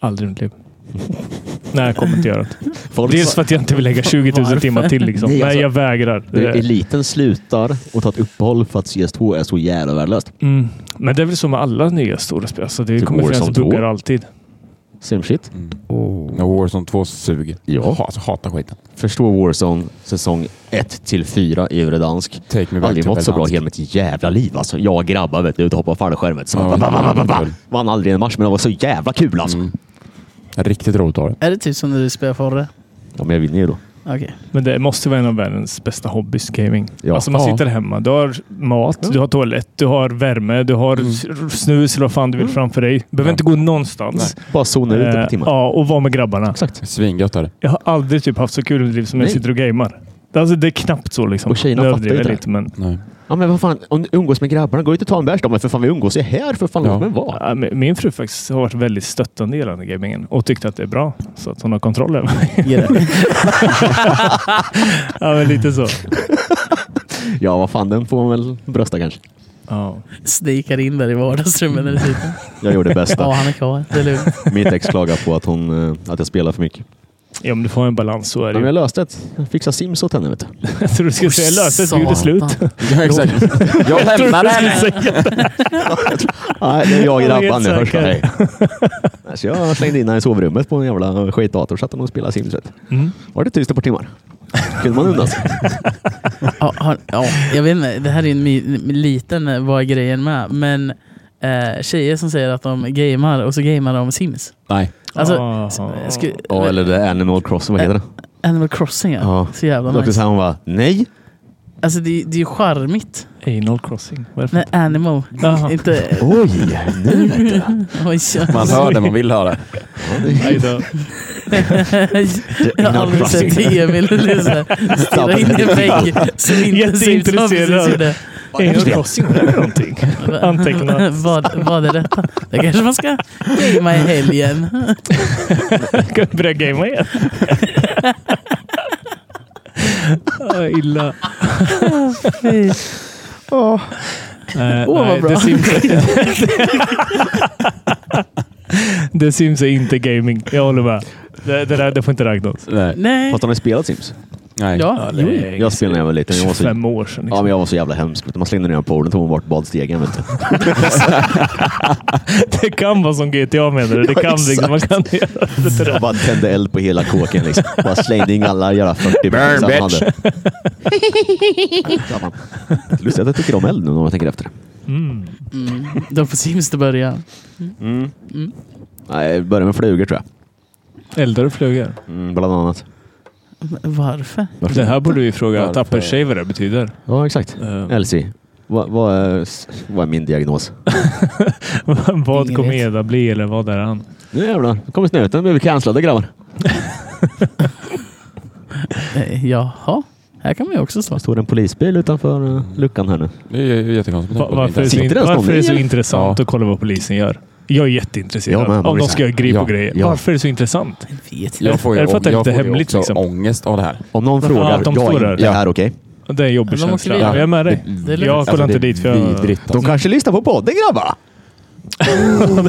[SPEAKER 4] Aldrig i mitt liv. Nej, jag kommer inte göra det.
[SPEAKER 2] Folk
[SPEAKER 4] Dels för att jag inte vill lägga 20 000 timmar till. Liksom.
[SPEAKER 2] Nej, alltså-
[SPEAKER 4] Nej, jag vägrar. Eh,
[SPEAKER 2] Du, eliten slutar och tar ett uppehåll för att CS2 är så jävla värdelöst.
[SPEAKER 4] Mm. Men det är väl så med alla nya stora spel. Alltså, det
[SPEAKER 2] Typ
[SPEAKER 4] kommer finnas
[SPEAKER 2] Warzone 2.
[SPEAKER 4] buggar alltid.
[SPEAKER 2] Same shit.
[SPEAKER 3] Mm.
[SPEAKER 1] Oh.
[SPEAKER 3] Ja, Warzone 2 suger.
[SPEAKER 2] Ja.
[SPEAKER 3] Jag hatar, hatar skiten.
[SPEAKER 2] Förstå Warzone säsong 1 till 4 i Vredansk.
[SPEAKER 3] Take me back
[SPEAKER 2] Aldrig
[SPEAKER 3] to
[SPEAKER 2] mått så bra
[SPEAKER 3] Verdansk.
[SPEAKER 2] i hela mitt jävla liv alltså. Jag grabbar vet du, ute och hoppar fallskärmet. Så
[SPEAKER 3] Ja,
[SPEAKER 2] ba, ba, ba, ba, ba.
[SPEAKER 3] kul.
[SPEAKER 2] Vann aldrig en match, men det var så jävla kul alltså.
[SPEAKER 3] Mm. Riktigt roligt har det.
[SPEAKER 1] Är det typ som när du spelar Forre?
[SPEAKER 2] Ja, men jag vinner ju då.
[SPEAKER 1] Okej.
[SPEAKER 4] Men det måste vara en av världens bästa hobbys, gaming.
[SPEAKER 2] Ja. Mm.
[SPEAKER 4] Alltså man
[SPEAKER 3] Ja.
[SPEAKER 4] sitter hemma, du har mat, du har toalett, du har värme, du har s- snus eller vad fan du
[SPEAKER 2] Mm.
[SPEAKER 4] vill framför dig. Du behöver
[SPEAKER 3] Ja.
[SPEAKER 4] inte gå någonstans.
[SPEAKER 2] Bara zona ut ett
[SPEAKER 4] Eh,
[SPEAKER 2] par timmar.
[SPEAKER 4] ja, och vara med grabbarna.
[SPEAKER 2] Exakt.
[SPEAKER 3] Svingött är det.
[SPEAKER 4] Jag har aldrig typ haft så kul i mitt liv som när jag
[SPEAKER 2] Nej.
[SPEAKER 4] sitter och gamer. Alltså, det är knappt så liksom.
[SPEAKER 2] Och tjejerna
[SPEAKER 4] Nu
[SPEAKER 2] fattar
[SPEAKER 4] överdriver
[SPEAKER 2] ju
[SPEAKER 4] jag
[SPEAKER 2] det.
[SPEAKER 4] lite, men,
[SPEAKER 3] Nej.
[SPEAKER 2] Ja, men vad fan, om du umgås med grabbarna, gå ut och ta en bärs då. Men för fan, vi umgås ju här. För fan,
[SPEAKER 3] Ja.
[SPEAKER 2] låt mig vara.
[SPEAKER 4] ja, men min fru faktiskt har varit väldigt stöttande gällande gamingen och tyckte att det är bra. Så att hon har kontroll över mig.
[SPEAKER 1] Ge det.
[SPEAKER 4] ja, men lite så.
[SPEAKER 2] Ja, vad fan, den får man väl brösta kanske.
[SPEAKER 4] Ja.
[SPEAKER 1] Sneakar in där i vardagsrummet när du sitter.
[SPEAKER 2] Jag gjorde det
[SPEAKER 1] Ja,
[SPEAKER 2] bästa.
[SPEAKER 1] han är kvar. Det är lugnt.
[SPEAKER 2] Mitt ex klagade på att, hon, eh, att jag spelar för mycket.
[SPEAKER 4] ja, men du får en balans. Så är
[SPEAKER 2] Ja,
[SPEAKER 4] det
[SPEAKER 2] men
[SPEAKER 4] ju.
[SPEAKER 2] jag löste det. Jag fixade Sims åt henne. Vet du.
[SPEAKER 4] Jag tror du skulle säga lösa ett gjorde slut.
[SPEAKER 1] Satan.
[SPEAKER 3] Ja, exakt. Jag lämnar henne!
[SPEAKER 2] Nej, det är jag och
[SPEAKER 4] Jag är
[SPEAKER 2] grabbarna nu. Hörs
[SPEAKER 4] helt
[SPEAKER 2] då, hej.
[SPEAKER 4] säker.
[SPEAKER 2] Nej, Så jag slängde in henne i sovrummet på en jävla skitdator så att hon spelade Sims. vet du.
[SPEAKER 4] Mm.
[SPEAKER 2] Var det tyst ett par timmar? Kunde man undan sig.
[SPEAKER 1] Ja, har, ja, jag vet inte, det här är ju en mi, liten eh, vad är grejen med. Men eh, tjejer som säger att de gamer och så gamer de Sims.
[SPEAKER 3] Nej.
[SPEAKER 1] Alltså,
[SPEAKER 4] Ah.
[SPEAKER 1] s- sku, eh,
[SPEAKER 2] Ja, eller det är Animal Crossing, vad heter det?
[SPEAKER 1] Animal Crossing ja.
[SPEAKER 2] Ja.
[SPEAKER 1] Så jävla
[SPEAKER 2] Och Då
[SPEAKER 1] nice.
[SPEAKER 2] sa hon bara, nej.
[SPEAKER 1] Alltså det, det är ju charmigt.
[SPEAKER 4] Anal crossing. Vad är det för-
[SPEAKER 1] Nej, Animal.
[SPEAKER 4] Jaha.
[SPEAKER 1] Inte...
[SPEAKER 2] Oj, nu vet du.
[SPEAKER 1] Oj,
[SPEAKER 3] Man hör det man vill höra.
[SPEAKER 4] Nej då.
[SPEAKER 1] jag har aldrig sett Emil lyssna. Stirra in i en vägg så intensivt som han precis
[SPEAKER 4] Jätteintresserad.
[SPEAKER 1] gjorde.
[SPEAKER 4] Anal crossing, vad är det för någonting? Anteckna.
[SPEAKER 1] Vad, vad är detta? Det kanske man ska gamea i helgen.
[SPEAKER 4] Ska vi börja gamea igen? Ah, illa.
[SPEAKER 1] Fy.
[SPEAKER 4] Eh,
[SPEAKER 1] Åh, vad
[SPEAKER 4] nej,
[SPEAKER 1] bra.
[SPEAKER 4] The Sims, är... The Sims är inte gaming. Jag håller med. Det, det där det får inte räknas.
[SPEAKER 3] Nej.
[SPEAKER 1] Nej.
[SPEAKER 2] Fast har ni spelat Sims?
[SPEAKER 3] Nej.
[SPEAKER 1] Ja,
[SPEAKER 4] det är
[SPEAKER 2] Jag spelade när jag var liten. Jag var så,
[SPEAKER 4] 25 år sedan.
[SPEAKER 2] ja,
[SPEAKER 4] Liksom.
[SPEAKER 2] men jag var så jävla hemsk. vet du. Man slängde ner den på poolen, tog bort badstegen. Vet du.
[SPEAKER 4] Det kan vara som GTA menar du. Det
[SPEAKER 2] Ja,
[SPEAKER 4] kan liksom, man kan göra det till
[SPEAKER 2] Jag
[SPEAKER 4] det.
[SPEAKER 2] bara tände eld på hela kåken. Liksom. Bara slängde in alla jävla 40
[SPEAKER 3] Burn,
[SPEAKER 2] som han
[SPEAKER 3] bitch.
[SPEAKER 2] hade. Ja, man. Lustigt att jag tycker om eld nu när jag tänker efter.
[SPEAKER 4] Mm.
[SPEAKER 1] Mm. De får Sims till början.
[SPEAKER 2] Mm. Nej, börja med flugor tror jag.
[SPEAKER 4] Eldar och flugor.
[SPEAKER 2] Mm, bland annat.
[SPEAKER 1] Varför?
[SPEAKER 4] Det här borde vi fråga
[SPEAKER 3] Varför?
[SPEAKER 4] Tapper vad det betyder. Eh,
[SPEAKER 2] Ja, exakt. Elsie, vad, vad, är, vad är min diagnos?
[SPEAKER 4] vad
[SPEAKER 1] Ingen
[SPEAKER 4] kommer
[SPEAKER 1] vet.
[SPEAKER 4] Eda bli eller vad är han?
[SPEAKER 2] Nu jävlar, nu kommer snuten. Nu är vi cancellade grabbar.
[SPEAKER 1] Eh, Jaha, här kan man ju också stå.
[SPEAKER 2] Det står en polisbil utanför eh, luckan här nu.
[SPEAKER 3] Det är ju jättekonstigt.
[SPEAKER 4] Va- varför är det så,
[SPEAKER 2] Sitter
[SPEAKER 4] in-
[SPEAKER 2] det ens någon
[SPEAKER 4] varför är det så
[SPEAKER 2] i, eller?
[SPEAKER 4] intressant
[SPEAKER 3] Ja.
[SPEAKER 4] att kolla vad polisen gör? Jag är jätteintresserad.
[SPEAKER 2] Ja, men,
[SPEAKER 4] om de
[SPEAKER 2] Maurice.
[SPEAKER 4] ska göra grip
[SPEAKER 3] Ja,
[SPEAKER 4] och grejer.
[SPEAKER 2] ja.
[SPEAKER 4] Varför är det så intressant?
[SPEAKER 1] Jag vet inte.
[SPEAKER 3] Jag får ju,
[SPEAKER 4] Är det för att det är
[SPEAKER 3] jag
[SPEAKER 4] lite
[SPEAKER 3] får ju
[SPEAKER 4] hemligt,
[SPEAKER 3] också
[SPEAKER 4] liksom?
[SPEAKER 3] ångångest av det här.
[SPEAKER 2] Om någon frågar,
[SPEAKER 4] att de
[SPEAKER 2] jag
[SPEAKER 4] står
[SPEAKER 2] är
[SPEAKER 4] där?
[SPEAKER 2] inte här, okej?
[SPEAKER 4] Det är en jobbig
[SPEAKER 1] Men de måste
[SPEAKER 4] känsla.
[SPEAKER 1] vi-
[SPEAKER 4] Jag är med dig.
[SPEAKER 1] Det är lugnt.
[SPEAKER 4] Jag kollar Alltså, inte dit för jag...
[SPEAKER 3] Alltså, vidrigt.
[SPEAKER 2] De kanske lyssnar på podden grabbar!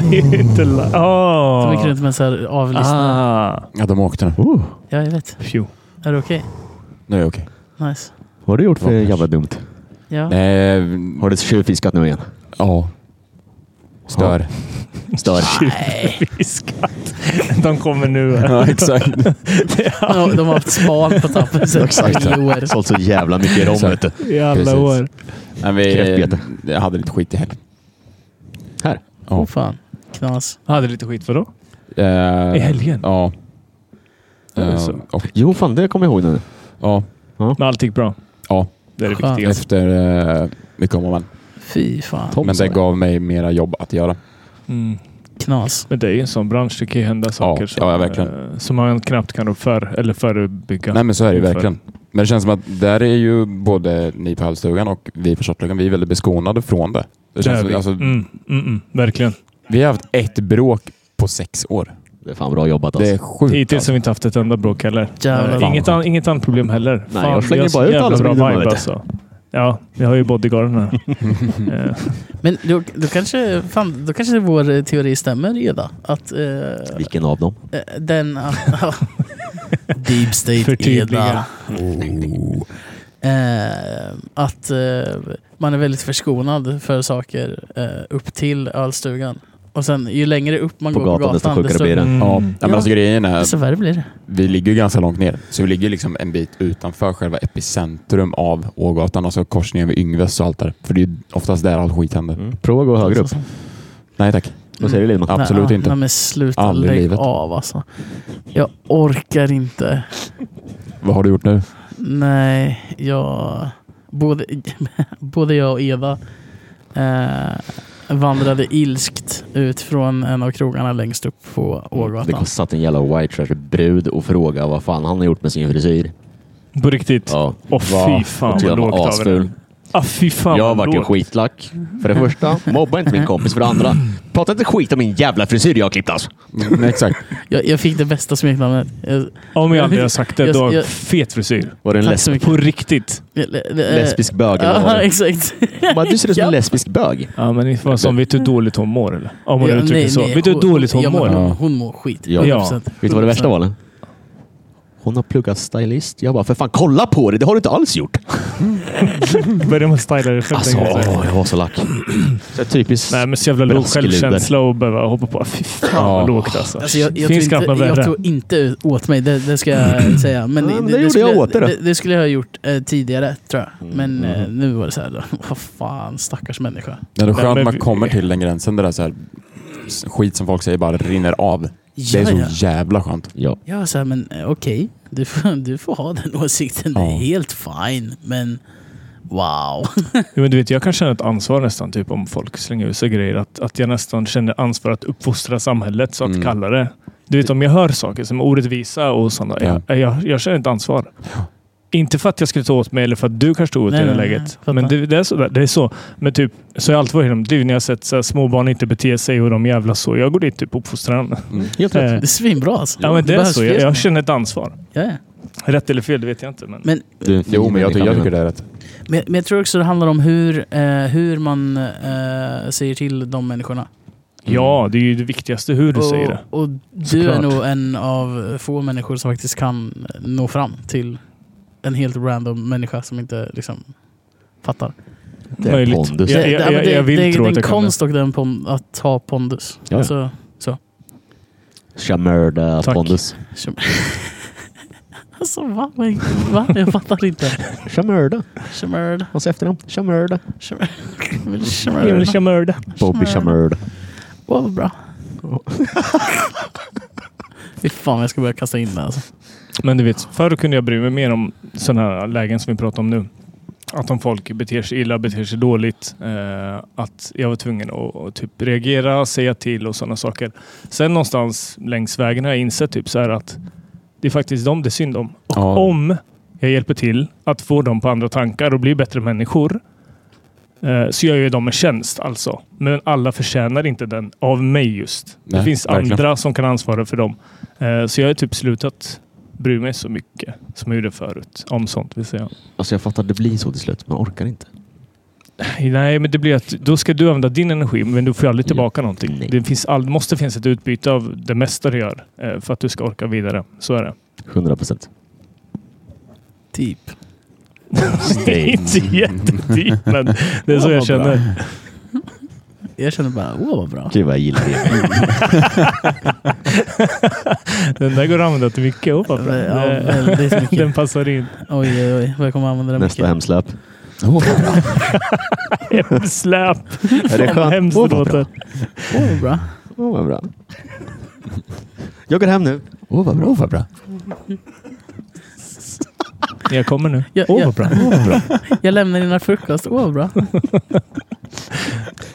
[SPEAKER 4] det är ju inte... la-
[SPEAKER 1] De gick
[SPEAKER 4] Ah.
[SPEAKER 1] runt med så här avlyssnare.
[SPEAKER 4] Ah.
[SPEAKER 3] Ja, de åkte nu.
[SPEAKER 2] Oh,
[SPEAKER 1] Ja, jag vet.
[SPEAKER 4] Phew.
[SPEAKER 1] Är det okej?
[SPEAKER 3] Nu är det okej.
[SPEAKER 1] Nice.
[SPEAKER 2] vad har du gjort för
[SPEAKER 3] Vackert.
[SPEAKER 2] jävla dumt?
[SPEAKER 1] Ja.
[SPEAKER 3] Nej,
[SPEAKER 2] Har du tjuvfiskat nu igen?
[SPEAKER 3] Eh, ja. Stör.
[SPEAKER 2] Stör.
[SPEAKER 4] Fiskat. De kommer nu. här.
[SPEAKER 3] Ja, exakt.
[SPEAKER 1] De, de har haft span på tappen sedan
[SPEAKER 2] Exakt.
[SPEAKER 1] tio år.
[SPEAKER 2] Sålt så jävla mycket rom vet du.
[SPEAKER 4] I alla
[SPEAKER 3] Precis.
[SPEAKER 4] år.
[SPEAKER 3] Men vi,
[SPEAKER 2] Kräftbete.
[SPEAKER 3] jag hade lite skit i helgen.
[SPEAKER 2] Här.
[SPEAKER 3] Ja.
[SPEAKER 1] Åh fan. Knas.
[SPEAKER 4] Hade lite skit för då?
[SPEAKER 3] Eh,
[SPEAKER 4] I helgen?
[SPEAKER 3] Ja.
[SPEAKER 4] Är det
[SPEAKER 3] Eh,
[SPEAKER 4] så?
[SPEAKER 3] och,
[SPEAKER 2] Jo fan, det kommer jag ihåg nu.
[SPEAKER 3] ja,
[SPEAKER 4] Men allt gick bra.
[SPEAKER 3] ja.
[SPEAKER 4] Det är det
[SPEAKER 1] Skönt.
[SPEAKER 4] viktigaste.
[SPEAKER 3] Efter eh, mycket om och men.
[SPEAKER 1] Fy fan.
[SPEAKER 2] Tom
[SPEAKER 3] Men
[SPEAKER 2] sa
[SPEAKER 3] det gav mig mera jobb att göra.
[SPEAKER 4] Mm.
[SPEAKER 1] Knas.
[SPEAKER 4] Men det är ju en sån bransch. Det kan ju hända saker som,
[SPEAKER 3] ja, verkligen.
[SPEAKER 4] eh, som man knappt kan för, eller förebygga.
[SPEAKER 3] Nej men så är det ju
[SPEAKER 4] Inför.
[SPEAKER 3] verkligen. Men det känns som att där är ju både ni på Halvstugan och vi på Shortlugan, vi är väldigt beskonade från det. det
[SPEAKER 4] Det
[SPEAKER 3] känns
[SPEAKER 4] är
[SPEAKER 3] som,
[SPEAKER 4] vi.
[SPEAKER 3] vi. Alltså,
[SPEAKER 4] Mm, mm, mm, verkligen.
[SPEAKER 3] vi har haft ett bråk på sex år.
[SPEAKER 2] Det är fan bra jobbat
[SPEAKER 3] Det är
[SPEAKER 2] alltså.
[SPEAKER 3] sjukt.
[SPEAKER 4] Hittills
[SPEAKER 3] alltså.
[SPEAKER 4] har vi inte haft ett enda bråk heller.
[SPEAKER 1] Jävlar.
[SPEAKER 4] Eh, inget, an, inget annat problem heller.
[SPEAKER 2] Nej, jag slänger
[SPEAKER 4] vi har
[SPEAKER 2] bara
[SPEAKER 4] så
[SPEAKER 2] ut alla
[SPEAKER 4] jävla
[SPEAKER 2] som
[SPEAKER 4] bra
[SPEAKER 2] är dumma,
[SPEAKER 4] vibe
[SPEAKER 2] vet du.
[SPEAKER 4] alltså. Ja, vi har ju bodyguarden här. Eh,
[SPEAKER 1] Men då, då, kanske, fan, då kanske vår eh, teori stämmer, Eda. Att eh,
[SPEAKER 2] Vilken av dem?
[SPEAKER 1] eh, den... deep State
[SPEAKER 4] Förtydliga.
[SPEAKER 1] Eda. Oh. Eh, att eh, man är väldigt förskonad för saker eh, upp till ölstugan. Och sen ju längre upp man
[SPEAKER 2] På
[SPEAKER 1] går
[SPEAKER 2] gatan,
[SPEAKER 1] på
[SPEAKER 2] desto
[SPEAKER 1] gatan,
[SPEAKER 2] sjukare
[SPEAKER 1] desto,
[SPEAKER 2] blir det.
[SPEAKER 3] Ja,
[SPEAKER 4] mm.
[SPEAKER 3] nej, men alltså grejen är,
[SPEAKER 1] desto värre blir det.
[SPEAKER 3] vi ligger ju ganska långt ner. Så vi ligger liksom en bit utanför själva epicentrum av Ågatan, alltså korsningen vid Yngves och allt där. För det är ju oftast där all skit händer.
[SPEAKER 2] Prova att gå Mm. högre upp.
[SPEAKER 1] Alltså.
[SPEAKER 3] Nej tack.
[SPEAKER 2] Vad säger du Lindman?
[SPEAKER 3] Ja. Absolut
[SPEAKER 1] nej,
[SPEAKER 3] inte.
[SPEAKER 1] Nej, men sluta.
[SPEAKER 3] Aldrig i
[SPEAKER 1] lägg
[SPEAKER 3] livet.
[SPEAKER 1] av alltså. Jag orkar inte.
[SPEAKER 3] Vad har du gjort nu?
[SPEAKER 1] Nej, jag... Både, både jag och Eva eh, vandrade ilskt ut från en av krogarna längst upp på
[SPEAKER 2] Mm, Det kom-
[SPEAKER 1] Ågatan.
[SPEAKER 2] satt en jävla white trash-brud och frågade vad fan han har gjort med sin frisyr.
[SPEAKER 4] På riktigt. Åh
[SPEAKER 2] Ja.
[SPEAKER 4] fy fan
[SPEAKER 2] Och
[SPEAKER 4] vad
[SPEAKER 2] jag
[SPEAKER 4] lågt
[SPEAKER 2] var
[SPEAKER 4] av
[SPEAKER 2] asful.
[SPEAKER 4] den. Ah, fy fan
[SPEAKER 2] jag
[SPEAKER 4] vad
[SPEAKER 2] vart ju
[SPEAKER 4] lågt.
[SPEAKER 2] skitlack. För det första. Mobba inte min kompis. För det andra. Prata inte skit om min jävla frisyr jag har klippt alltså.
[SPEAKER 3] Mm, exakt.
[SPEAKER 1] Jag, jag fick det bästa smeknamnet. Jag,
[SPEAKER 4] Om jag aldrig har sagt det,
[SPEAKER 1] Jag-
[SPEAKER 4] då har jag
[SPEAKER 1] jag-
[SPEAKER 4] fet frisyr.
[SPEAKER 2] Var det en
[SPEAKER 1] Tack
[SPEAKER 2] lesb
[SPEAKER 1] så mycket.
[SPEAKER 4] På riktigt.
[SPEAKER 1] jag, jag,
[SPEAKER 2] lesbisk bög eller vad var
[SPEAKER 1] eh, Ja,
[SPEAKER 2] det?
[SPEAKER 1] exakt.
[SPEAKER 2] Bara, Du ser ut som en
[SPEAKER 1] Ja.
[SPEAKER 2] lesbisk bög.
[SPEAKER 4] Ja, men inte vad som, Alltså, vet du hur dåligt hon mår eller? Om hon
[SPEAKER 1] Ja,
[SPEAKER 4] uttrycker
[SPEAKER 1] nej,
[SPEAKER 4] så.
[SPEAKER 1] nej,
[SPEAKER 4] vet du hur
[SPEAKER 1] hon-
[SPEAKER 4] dåligt hon
[SPEAKER 1] ja, men
[SPEAKER 4] mår?
[SPEAKER 1] Hon, hon mår skit.
[SPEAKER 2] Ja.
[SPEAKER 1] 100%.
[SPEAKER 2] Vet du vad det värsta var? eller? Hon har pluggat stylist. Jag bara, för fan kolla på det! Det har du inte alls gjort!
[SPEAKER 4] Börjar man styla det själv?
[SPEAKER 2] Alltså,
[SPEAKER 4] tänker jag säga.
[SPEAKER 2] åh, jag var så lack. Så typiskt.
[SPEAKER 4] Nej, men så jävla låg
[SPEAKER 2] Braskeluder.
[SPEAKER 4] självkänsla och behöva hoppa på. Fy fan vad lågt alltså.
[SPEAKER 1] Alltså jag, jag,
[SPEAKER 4] Finns
[SPEAKER 1] tog
[SPEAKER 4] knappt något
[SPEAKER 1] inte, jag
[SPEAKER 4] värre.
[SPEAKER 1] tog inte ut- åt mig, det, det ska jag säga. Men
[SPEAKER 2] Nej, men det gjorde
[SPEAKER 1] skulle,
[SPEAKER 2] jag åt dig då.
[SPEAKER 1] det. Det skulle jag ha gjort eh, tidigare, tror jag.
[SPEAKER 4] Mm,
[SPEAKER 1] Men eh, nu var det så här, vad fan, stackars människa.
[SPEAKER 3] Det är ändå
[SPEAKER 4] Nej,
[SPEAKER 3] skönt
[SPEAKER 4] men
[SPEAKER 3] att man
[SPEAKER 4] vi-
[SPEAKER 3] kommer till den gränsen där det är så här, s- skit som folk säger bara rinner av. Det är
[SPEAKER 1] Ja, ja.
[SPEAKER 3] så jävla skönt.
[SPEAKER 2] Ja.
[SPEAKER 1] Jag var så här, men eh, okej, du, får, du får ha den åsikten. Det
[SPEAKER 3] Ja.
[SPEAKER 1] är helt fine, men wow.
[SPEAKER 4] Jo, men du vet, jag kan känna ett ansvar nästan, typ om folk slänger ut sig grejer. Att, att jag nästan känner ansvar att uppfostra samhället, så att
[SPEAKER 3] Mm.
[SPEAKER 4] kalla det. Du vet, om jag hör saker som är orättvisa och sådana, jag, jag, jag känner ett ansvar. Inte för att jag skulle ta åt mig eller för att du kanske tog åt dig i
[SPEAKER 1] Nej,
[SPEAKER 4] det
[SPEAKER 1] nej, nej,
[SPEAKER 4] läget.
[SPEAKER 1] fattar.
[SPEAKER 4] men det, det, är så, där- det är så. Men typ, så har jag alltid varit i mitt liv när jag har sett så här, småbarn inte bete sig och de jävla så. Jag går dit typ uppfostran.
[SPEAKER 2] Helt
[SPEAKER 4] Eh,
[SPEAKER 2] rätt.
[SPEAKER 1] Det är svinbra alltså.
[SPEAKER 4] Ja, men det är
[SPEAKER 1] behövs
[SPEAKER 4] så. Jag,
[SPEAKER 1] fler
[SPEAKER 4] jag
[SPEAKER 1] såna.
[SPEAKER 4] känner ett ansvar.
[SPEAKER 1] Ja, ja.
[SPEAKER 4] Rätt eller fel, det vet jag inte. Men...
[SPEAKER 1] Men,
[SPEAKER 2] Du är en fin
[SPEAKER 3] Jo, men jag, tycker- jag
[SPEAKER 2] människa,
[SPEAKER 3] tycker det är rätt.
[SPEAKER 1] men, men jag tror också det handlar om hur, eh, hur man eh, säger till de människorna.
[SPEAKER 4] Ja, det är ju det viktigaste hur du
[SPEAKER 1] Mm.
[SPEAKER 4] säger det.
[SPEAKER 1] Och du
[SPEAKER 4] Såklart.
[SPEAKER 1] är nog en av få människor som faktiskt kan nå fram till en helt random människa som inte liksom fattar.
[SPEAKER 2] Det är
[SPEAKER 4] Möjligt.
[SPEAKER 2] pondus.
[SPEAKER 4] Jag,
[SPEAKER 1] det,
[SPEAKER 4] jag,
[SPEAKER 1] men
[SPEAKER 4] jag,
[SPEAKER 1] det-
[SPEAKER 4] jag vill
[SPEAKER 1] det, är-
[SPEAKER 4] tro
[SPEAKER 1] det
[SPEAKER 4] att
[SPEAKER 1] är en
[SPEAKER 4] jag kan det.
[SPEAKER 1] konst och den pon, att ha pondus.
[SPEAKER 2] Ja, ja.
[SPEAKER 1] Alltså,
[SPEAKER 2] Chamörda
[SPEAKER 4] Tack.
[SPEAKER 2] pondus.
[SPEAKER 1] som- alltså va? Men- va? Jag fattar inte.
[SPEAKER 2] Chamörda.
[SPEAKER 1] Shemurd.
[SPEAKER 2] Hans efternamn. Chamörda.
[SPEAKER 1] Shemurd.
[SPEAKER 4] mörda.
[SPEAKER 2] Bobby Chamörda.
[SPEAKER 1] Wow, vad bra. Fy fan jag ska börja kasta in det alltså.
[SPEAKER 4] Men du vet, förr kunde jag bry mig mer om sådana här lägen som vi pratar om nu. Att om folk beter sig illa, beter sig dåligt. Eh, att jag var tvungen att, att typ reagera, säga till och sådana saker. Sen någonstans längs vägen har jag insett typ så här att det är faktiskt dem det är synd om. Och
[SPEAKER 3] Ja.
[SPEAKER 4] om jag hjälper till att få dem på andra tankar och bli bättre människor eh, så gör jag ju dem en tjänst alltså. Men alla förtjänar inte den av mig just. det
[SPEAKER 3] Nej,
[SPEAKER 4] finns
[SPEAKER 3] verkligen.
[SPEAKER 4] andra som kan ansvara för dem. Eh, Så jag har typ slutat bry mig så mycket som jag gjorde förut. Om sånt vill säga.
[SPEAKER 2] Alltså jag fattar, det blir så till slut. Man orkar inte.
[SPEAKER 4] Nej, men det blir att då ska du använda din energi, men du får ju aldrig tillbaka någonting.
[SPEAKER 2] Nej.
[SPEAKER 4] Det finns all, måste finnas ett utbyte av det mesta du gör eh, för att du ska orka vidare. Så är det.
[SPEAKER 2] 100 procent.
[SPEAKER 1] Typ.
[SPEAKER 4] Inte jättedyrt, men det är så
[SPEAKER 1] Ja,
[SPEAKER 4] jag
[SPEAKER 1] vad bra.
[SPEAKER 4] känner.
[SPEAKER 1] Jag känner bara, wow vad bra.
[SPEAKER 2] Gud vad jag gillar det.
[SPEAKER 4] Den där går att använda till mycket. Oh, vad bra.
[SPEAKER 1] Ja,
[SPEAKER 4] Det-
[SPEAKER 1] väldigt mycket.
[SPEAKER 4] Den passar in.
[SPEAKER 1] Oj, oj, oj. Vad jag kommer använda den
[SPEAKER 2] Nästa
[SPEAKER 1] mycket.
[SPEAKER 2] hemsläp.
[SPEAKER 4] Släp!
[SPEAKER 2] Är det
[SPEAKER 4] Fan vad hemskt
[SPEAKER 2] skönt?
[SPEAKER 4] det
[SPEAKER 2] Åh, vad bra.
[SPEAKER 4] låter.
[SPEAKER 1] Åh, vad bra.
[SPEAKER 2] Åh, vad bra. Jag går hem nu. Åh, vad bra. vad bra.
[SPEAKER 4] Jag kommer nu.
[SPEAKER 1] Ja,
[SPEAKER 4] Åh,
[SPEAKER 1] ja.
[SPEAKER 4] vad bra. Äh,
[SPEAKER 1] Jag lämnar dina frukost. Åh, vad bra.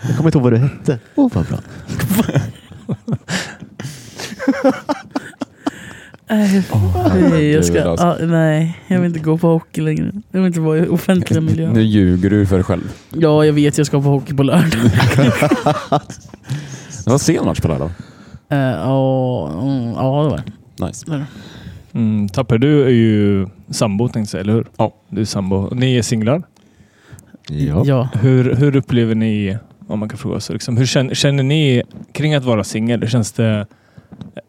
[SPEAKER 2] Jag kommer inte ihåg vad du hette. Åh, oh, vad bra.
[SPEAKER 1] Nej, Nej, jag ska,
[SPEAKER 3] herregud, alltså.
[SPEAKER 1] ja, nej, jag vill inte gå på hockey längre. Jag vill inte vara i offentliga
[SPEAKER 3] Nu
[SPEAKER 1] miljöer.
[SPEAKER 3] ljuger du för dig själv.
[SPEAKER 1] Ja, jag vet jag ska på hockey på lördag.
[SPEAKER 3] Det var sen match på lördag.
[SPEAKER 1] Eh, Ja, mm, ja, det var det.
[SPEAKER 3] Nice.
[SPEAKER 4] Mm, Tapper, du är ju sambo tänkte jag säga, eller hur?
[SPEAKER 3] Ja.
[SPEAKER 4] Du är sambo. Ni är singlar.
[SPEAKER 2] Ja.
[SPEAKER 1] Ja.
[SPEAKER 4] Hur, hur upplever ni, om man kan fråga så, liksom, hur känner, känner ni kring att vara singel? Känns det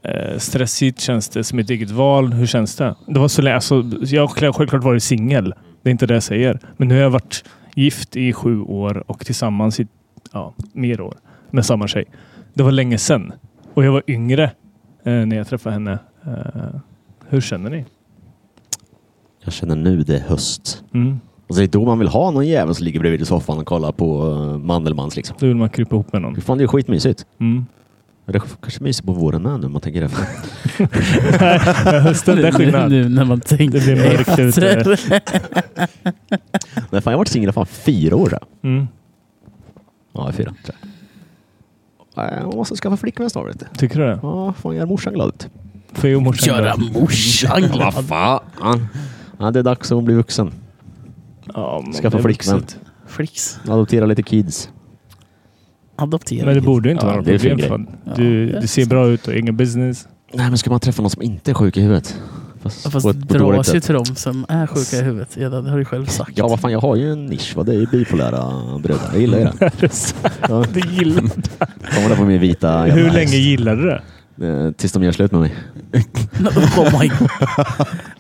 [SPEAKER 4] eh, stressigt? Känns det som ett eget val? Hur känns det? det var så, lä- alltså, jag har självklart varit singel. Det är inte det jag säger. Men nu har jag varit gift i sju år och tillsammans i ja, mer år med samma tjej. Det var länge sedan. Och jag var yngre eh, när jag träffade henne. Eh, hur känner ni?
[SPEAKER 2] Jag känner nu det är höst.
[SPEAKER 4] Mm.
[SPEAKER 2] Och det är då man vill ha någon jävel som ligger bredvid i soffan och kollar på uh, Mandelmans liksom.
[SPEAKER 4] Då vill man krypa ihop med någon.
[SPEAKER 2] Fy fan, det är skitmysigt.
[SPEAKER 4] Mm.
[SPEAKER 2] Men Det är kanske mysigt på våren med nu om man tänker efter.
[SPEAKER 4] Nej, hösten, det är skillnad.
[SPEAKER 1] Nu, nu när man tänker
[SPEAKER 4] Det blir mörkt ute.
[SPEAKER 2] Nej, fan, jag har varit singel i fan fyra år. tror jag.
[SPEAKER 4] Mm.
[SPEAKER 2] Ja, fyra. tror jag. Nej, Jag måste skaffa flickvän snart vet du.
[SPEAKER 4] Tycker du det?
[SPEAKER 2] Ja, fan gör morsan glad ut.
[SPEAKER 4] Får jag morsan
[SPEAKER 1] Göra
[SPEAKER 4] glad?
[SPEAKER 1] morsan glad.
[SPEAKER 2] fan. Ja, det är dags att hon blir vuxen.
[SPEAKER 4] Ja, men
[SPEAKER 2] Skaffa
[SPEAKER 4] det är
[SPEAKER 2] flickvän.
[SPEAKER 4] vuxet.
[SPEAKER 1] Eh, Flix.
[SPEAKER 2] Adoptera lite kids.
[SPEAKER 1] Adoptera.
[SPEAKER 4] Men det borde ju inte
[SPEAKER 2] Ja,
[SPEAKER 4] vara något
[SPEAKER 2] det är en fin
[SPEAKER 4] problem.
[SPEAKER 2] grej.
[SPEAKER 4] fan. Du,
[SPEAKER 1] Ja.
[SPEAKER 4] du ser bra ut och ingen business.
[SPEAKER 2] Nej, men ska man träffa någon som inte är sjuk i huvudet?
[SPEAKER 1] Ja, Fast dras ju till de som är sjuka i huvudet. Ja, det har du själv sagt.
[SPEAKER 2] Ja, vad fan, jag har ju en nisch. Va? Det är ju bipolära brudar. Jag gillar ju det. Ja.
[SPEAKER 4] det gillar
[SPEAKER 2] Kommer där på min vita jävla
[SPEAKER 4] Hur
[SPEAKER 2] häst.
[SPEAKER 4] länge gillade du det?
[SPEAKER 2] Eh, Tills de gör slut med mig.
[SPEAKER 1] Oh my god.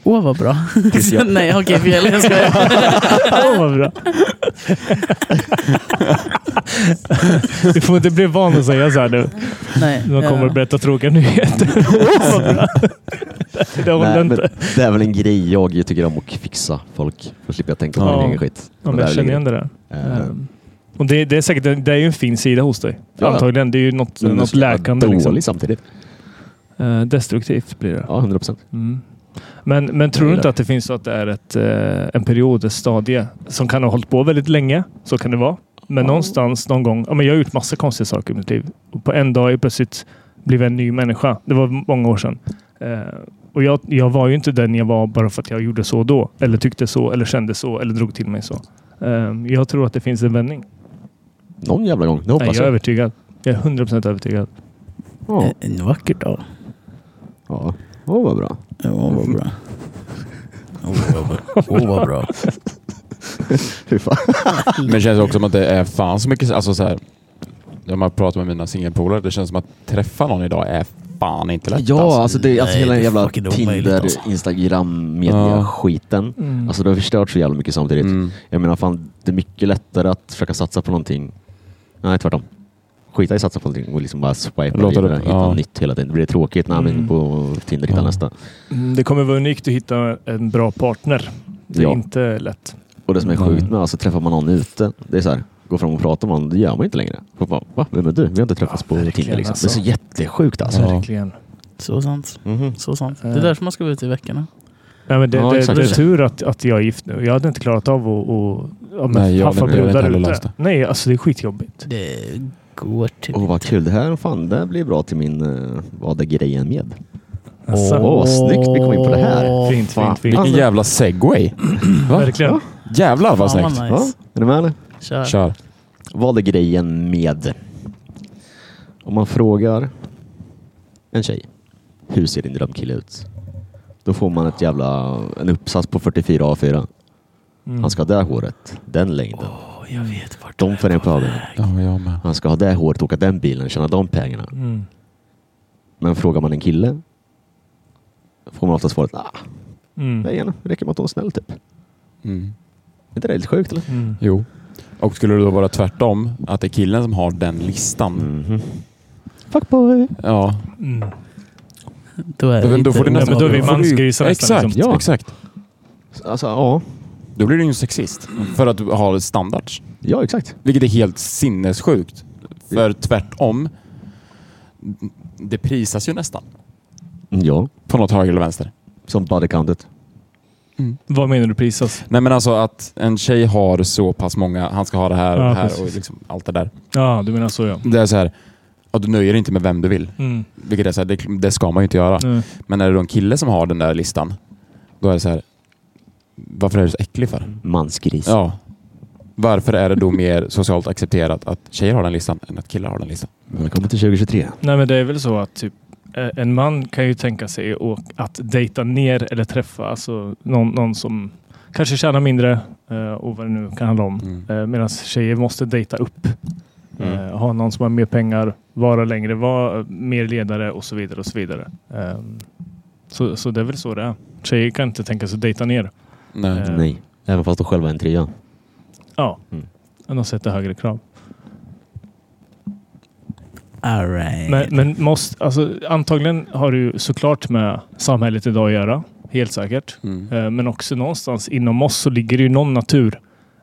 [SPEAKER 1] Åh vad bra.
[SPEAKER 2] Tills jag-
[SPEAKER 1] Nej okej fel, jag skojar.
[SPEAKER 4] Åh, vad bra. du får inte bli van att säga så här nu.
[SPEAKER 1] Nej,
[SPEAKER 4] De kommer
[SPEAKER 1] eh,
[SPEAKER 4] att berätta tråkiga nyheter. Åh, vad bra. det håller
[SPEAKER 2] Nej, men
[SPEAKER 4] inte.
[SPEAKER 2] det är väl en grej jag tycker om att fixa folk. Då slipper jag tänka på
[SPEAKER 4] Ja.
[SPEAKER 2] min egen skit.
[SPEAKER 4] Ja,
[SPEAKER 2] Och
[SPEAKER 4] men
[SPEAKER 2] där
[SPEAKER 4] jag känner
[SPEAKER 2] ligger
[SPEAKER 4] igen det där.
[SPEAKER 2] det. Eh,
[SPEAKER 4] Ehm, Och det, det är säkert det är ju en fin sida hos dig.
[SPEAKER 2] Ja.
[SPEAKER 4] Antagligen. Det är ju något,
[SPEAKER 2] men den
[SPEAKER 4] något
[SPEAKER 2] ska vara
[SPEAKER 4] läkande.
[SPEAKER 2] Dålig
[SPEAKER 4] Liksom.
[SPEAKER 2] samtidigt.
[SPEAKER 4] Eh, Destruktivt blir det.
[SPEAKER 2] Ja, 100 procent.
[SPEAKER 4] Mm. Men, men tror du inte att det finns så att det är ett, eh, en period, ett stadie som kan ha hållit på väldigt länge? Så kan det vara. Men någonstans, någon gång. Ja, men jag har gjort massa konstiga saker i mitt liv. Och på en dag har jag plötsligt blivit en ny människa. Det var många år sedan. Eh, och jag, jag var ju inte den jag var bara för att jag gjorde så då. Eller tyckte så, eller kände så, eller drog till mig så. Eh, jag tror att det finns en vändning.
[SPEAKER 2] Någon jävla gång. Det
[SPEAKER 4] Nej,
[SPEAKER 2] hoppas
[SPEAKER 4] jag är
[SPEAKER 2] jag.
[SPEAKER 4] övertygad. Jag är 100% övertygad.
[SPEAKER 2] Ja.
[SPEAKER 1] En vacker dag.
[SPEAKER 2] Ja. Åh, vad bra.
[SPEAKER 1] Åh vad bra. Åh vad bra. vad bra.
[SPEAKER 2] Fy fan.
[SPEAKER 3] Men det känns också som att det är fan så mycket... Alltså så här, om jag pratar med mina singelpolare, det känns som att träffa någon idag är fan inte lätt.
[SPEAKER 2] Ja,
[SPEAKER 3] alltså.
[SPEAKER 2] alltså, det, alltså
[SPEAKER 1] Nej,
[SPEAKER 2] hela
[SPEAKER 1] det är
[SPEAKER 2] jävla
[SPEAKER 1] fucking omöjligt,
[SPEAKER 2] Tinder,
[SPEAKER 1] alltså.
[SPEAKER 2] Instagram, media-skiten. Alltså det har förstört så jävla mycket samtidigt.
[SPEAKER 3] Mm.
[SPEAKER 2] Jag menar fan, det är mycket lättare att försöka satsa på någonting. Nej, tvärtom. Skita i satsa på någonting och liksom bara swipa
[SPEAKER 3] Låter
[SPEAKER 2] vidare.
[SPEAKER 3] det-
[SPEAKER 2] Hitta
[SPEAKER 3] ja.
[SPEAKER 2] nytt hela tiden. Det blir tråkigt när man är inne på Tinder hittar
[SPEAKER 3] Ja.
[SPEAKER 2] nästa.
[SPEAKER 4] Mm, Det kommer vara unikt att hitta en bra partner. Det är
[SPEAKER 2] Ja.
[SPEAKER 4] inte lätt.
[SPEAKER 2] Och det som är
[SPEAKER 3] Nej.
[SPEAKER 2] sjukt med, alltså träffar man någon ute, det är så här, gå fram och prata med någon, det gör man inte längre. Och Bara, Va? Vem är du? Vi har inte träffats
[SPEAKER 4] Ja,
[SPEAKER 2] på
[SPEAKER 4] verkligen,
[SPEAKER 2] Tinder liksom.
[SPEAKER 4] alltså.
[SPEAKER 2] Det är så jättesjukt alltså.
[SPEAKER 3] Ja.
[SPEAKER 4] Verkligen.
[SPEAKER 1] Så sant.
[SPEAKER 2] Mhm.
[SPEAKER 4] Mm-hmm.
[SPEAKER 1] Så sant. Det är därför man ska vara ute i veckorna.
[SPEAKER 4] Nej, men det,
[SPEAKER 2] Ja,
[SPEAKER 4] det,
[SPEAKER 2] exakt.
[SPEAKER 4] det är tur att, att jag är gift nu. Jag hade inte klarat av att, att ja, men
[SPEAKER 3] Nej, jag
[SPEAKER 4] haffa
[SPEAKER 3] hade inte- jag hade inte
[SPEAKER 4] brudar
[SPEAKER 3] heller
[SPEAKER 4] ute.
[SPEAKER 3] löst det.
[SPEAKER 4] Nej, alltså det är skitjobbigt.
[SPEAKER 1] Det går till...
[SPEAKER 2] Åh vad kul, det här fan, det här blir bra till min eh, Vad är grejen med?
[SPEAKER 4] Alltså,
[SPEAKER 2] Åh, vad snyggt vi kom in på det här.
[SPEAKER 1] Åh,
[SPEAKER 4] fint,
[SPEAKER 2] fan.
[SPEAKER 4] fint, fint.
[SPEAKER 3] Vilken jävla segway! Va?
[SPEAKER 4] Alltså- Verkligen.
[SPEAKER 3] Jävlar vad
[SPEAKER 1] fan,
[SPEAKER 3] snyggt!
[SPEAKER 1] Nice.
[SPEAKER 2] Ja, är ni med eller?
[SPEAKER 1] Kör.
[SPEAKER 3] Kör.
[SPEAKER 2] Vad är grejen med? Om man frågar en tjej, hur ser din drömkille ut? Då får man ett jävla, en uppsats på 44 A4.
[SPEAKER 4] Mm.
[SPEAKER 2] Han ska ha det håret, den längden,
[SPEAKER 1] Åh, jag vet vart
[SPEAKER 2] de färgen på ögonen.
[SPEAKER 3] Ja, jag med.
[SPEAKER 2] Han ska ha det håret, åka den bilen, tjäna de pengarna.
[SPEAKER 4] Mm.
[SPEAKER 2] Men frågar man en kille får man ofta svaret, ah,
[SPEAKER 4] Mm.
[SPEAKER 2] det är en- det räcker med att hon är snäll typ. Är
[SPEAKER 3] Mm.
[SPEAKER 2] inte det lite sjukt eller?
[SPEAKER 4] Mm.
[SPEAKER 3] Jo. Och skulle det då vara tvärtom, att det är killen som har den listan.
[SPEAKER 4] Mm-hmm.
[SPEAKER 2] Mhm. Fuckboy!
[SPEAKER 3] Ja,
[SPEAKER 4] Mm.
[SPEAKER 1] Då, är
[SPEAKER 3] då,
[SPEAKER 1] det
[SPEAKER 3] då får
[SPEAKER 1] inte
[SPEAKER 3] du nästan...
[SPEAKER 4] men då är vi
[SPEAKER 3] får du-
[SPEAKER 4] mansgrisar nästan,
[SPEAKER 3] Exakt,
[SPEAKER 4] liksom.
[SPEAKER 2] Ja.
[SPEAKER 3] exakt.
[SPEAKER 2] Alltså ja,
[SPEAKER 3] Då blir du ju en sexist.
[SPEAKER 4] Mm.
[SPEAKER 3] För att du har standards.
[SPEAKER 2] ja exakt.
[SPEAKER 3] Vilket är helt sinnessjukt. För tvärtom, det prisas ju nästan.
[SPEAKER 2] Ja,
[SPEAKER 3] På något höger eller vänster.
[SPEAKER 2] som bodycountet.
[SPEAKER 4] Vad menar du prisas?
[SPEAKER 3] Nej men alltså att en tjej har så pass många, han ska ha det här och
[SPEAKER 4] Ja,
[SPEAKER 3] det här och
[SPEAKER 4] precis.
[SPEAKER 3] liksom allt det där.
[SPEAKER 4] Ja, du menar så ja.
[SPEAKER 3] Det är så här, ja, du nöjer dig inte med vem du vill.
[SPEAKER 4] Mm.
[SPEAKER 3] Vilket är så här, det, det ska man ju inte göra.
[SPEAKER 4] Mm.
[SPEAKER 3] Men är det då en kille som har den där listan, då är det så här, varför är du så äcklig för?
[SPEAKER 4] Mm.
[SPEAKER 2] Mansgris.
[SPEAKER 3] Ja. Varför är det då mer socialt accepterat att tjejer har den listan än att killar har den listan?
[SPEAKER 2] Välkommen till 2023.
[SPEAKER 4] Nej, men det är väl så att typ, eh, en man kan ju tänka sig å- att dejta ner eller träffa alltså, någon, någon som kanske tjänar mindre eh, och vad det nu kan handla om.
[SPEAKER 3] Mm.
[SPEAKER 4] Eh, Medan tjejer måste dejta upp.
[SPEAKER 3] Mm.
[SPEAKER 4] Eh, ha någon som har mer pengar, vara längre, vara mer ledare och så vidare. och Så vidare. Eh, så, så det är väl så det är. Tjejer kan inte tänka sig att dejta ner.
[SPEAKER 3] Nej.
[SPEAKER 4] Eh,
[SPEAKER 2] Mm. Nej. Även fast de själva är en trea.
[SPEAKER 4] Ja,
[SPEAKER 2] Mm.
[SPEAKER 4] de sätter högre krav.
[SPEAKER 1] All right.
[SPEAKER 4] Men, men måste, alltså, antagligen har det ju såklart med samhället idag att göra. Helt säkert.
[SPEAKER 3] Mm.
[SPEAKER 4] Eh, Men också någonstans inom oss så ligger det ju någon natur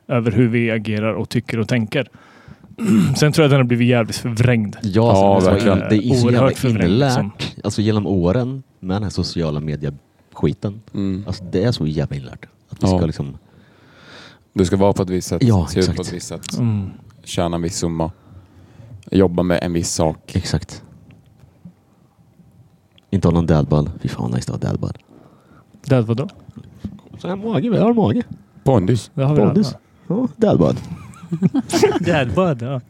[SPEAKER 4] över hur vi agerar och tycker och tänker. Sen tror jag att den har blivit jävligt förvrängd. Eh,
[SPEAKER 2] Ja,
[SPEAKER 3] Ja,
[SPEAKER 2] alltså, det, är så
[SPEAKER 3] verkligen.
[SPEAKER 2] jävla- det är så
[SPEAKER 4] Oerhört
[SPEAKER 2] jävla
[SPEAKER 4] förvrängt,
[SPEAKER 2] inlärt.
[SPEAKER 4] liksom.
[SPEAKER 2] Alltså genom åren med den här sociala media-skiten.
[SPEAKER 3] Mm.
[SPEAKER 2] Alltså det är så jävla inlärt. Att vi
[SPEAKER 3] Ja.
[SPEAKER 2] ska liksom...
[SPEAKER 3] Du ska vara på ett visst sätt,
[SPEAKER 2] Ja,
[SPEAKER 3] se ut på
[SPEAKER 2] exakt.
[SPEAKER 3] ett visst sätt,
[SPEAKER 4] Mm.
[SPEAKER 3] tjäna en viss summa, jobba med en viss sak.
[SPEAKER 2] Exakt. Inte ha någon dadbud. Fy fan vad nice att ha dadbud.
[SPEAKER 4] Det vadå?
[SPEAKER 2] Så här mage, vi har mage.
[SPEAKER 3] Bondys.
[SPEAKER 4] Det har vi
[SPEAKER 2] Bondus.
[SPEAKER 4] alla.
[SPEAKER 2] Ja, dadbud.
[SPEAKER 4] Dad bod, ja.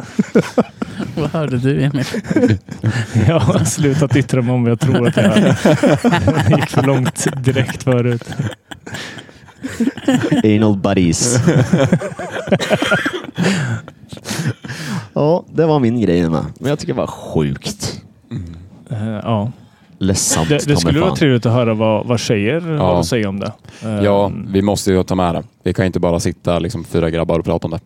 [SPEAKER 1] Vad hörde du Emil?
[SPEAKER 4] Jag har slutat yttra mig om vad jag tror att jag är. gick för långt direkt förut.
[SPEAKER 2] Anal buddies. ja, det var min grej med. Men jag tycker det var sjukt.
[SPEAKER 3] Mm.
[SPEAKER 4] Eh, ja.
[SPEAKER 2] Ledsamt
[SPEAKER 4] Det,
[SPEAKER 2] ta
[SPEAKER 4] det
[SPEAKER 2] mig
[SPEAKER 4] skulle vara
[SPEAKER 2] fan.
[SPEAKER 4] trevligt att höra vad, vad tjejer har att säga om det. Eh,
[SPEAKER 3] Ja, vi måste ju ta med det. Vi kan ju inte bara sitta liksom, fyra grabbar och prata om det.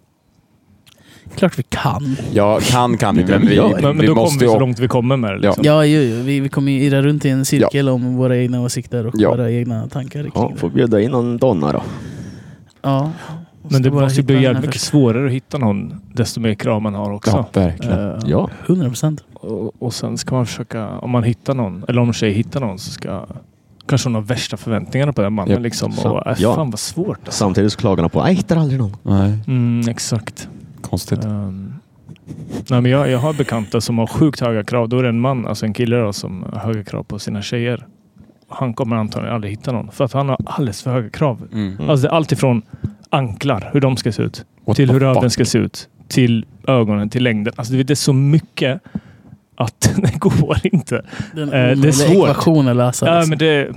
[SPEAKER 1] Klart vi kan.
[SPEAKER 3] Ja, kan kan vi inte, men vi,
[SPEAKER 1] Ja,
[SPEAKER 4] men, men
[SPEAKER 3] vi
[SPEAKER 4] då kommer
[SPEAKER 3] måste
[SPEAKER 4] vi
[SPEAKER 3] ju...
[SPEAKER 4] så långt vi kommer med det.
[SPEAKER 3] Ja.
[SPEAKER 4] Liksom.
[SPEAKER 1] Ja, ju, ju. Vi, vi kommer ju irra runt i en cirkel om våra egna åsikter och
[SPEAKER 3] Ja.
[SPEAKER 1] våra egna tankar. kring
[SPEAKER 2] Ja,
[SPEAKER 1] det.
[SPEAKER 2] får bjuda in någon donna då.
[SPEAKER 1] ja.
[SPEAKER 4] Men det
[SPEAKER 1] bara
[SPEAKER 4] måste ju bli
[SPEAKER 1] hitta
[SPEAKER 4] jävligt
[SPEAKER 1] den
[SPEAKER 4] mycket svårare att hitta någon desto mer krav man har också.
[SPEAKER 3] Ja, verkligen.
[SPEAKER 4] Eh,
[SPEAKER 2] Ja.
[SPEAKER 1] här- 100 procent.
[SPEAKER 4] Och, och sen ska man försöka, om man hittar någon, eller om en tjej hittar någon, så ska kanske hon har värsta förväntningarna på den mannen.
[SPEAKER 3] Ja.
[SPEAKER 4] Liksom,
[SPEAKER 2] Så-
[SPEAKER 4] och, äh,
[SPEAKER 2] ja.
[SPEAKER 4] Fan vad svårt. Alltså.
[SPEAKER 2] Samtidigt så klagar de på jag hittar aldrig någon.
[SPEAKER 3] Nej,
[SPEAKER 4] Mm, exakt.
[SPEAKER 3] konstigt.
[SPEAKER 4] Ehm, nej, men jag, jag har bekanta som har sjukt höga krav. Då är det en man, alltså en kille då, som har höga krav på sina tjejer. Han kommer antagligen aldrig hitta någon för att han har alldeles för höga krav.
[SPEAKER 3] Mm.
[SPEAKER 4] Alltså det är allt ifrån anklar, hur de ska se ut,
[SPEAKER 3] What
[SPEAKER 4] till
[SPEAKER 3] the
[SPEAKER 4] hur röven
[SPEAKER 3] fuck?
[SPEAKER 4] ska se ut, till ögonen, till längden. Alltså du vet, det är så mycket att det går inte.
[SPEAKER 1] Den
[SPEAKER 4] Eh, det är
[SPEAKER 1] omöjliga
[SPEAKER 4] svårt.
[SPEAKER 1] ekvationen att lösa.
[SPEAKER 4] Ja,
[SPEAKER 1] liksom.
[SPEAKER 4] men det,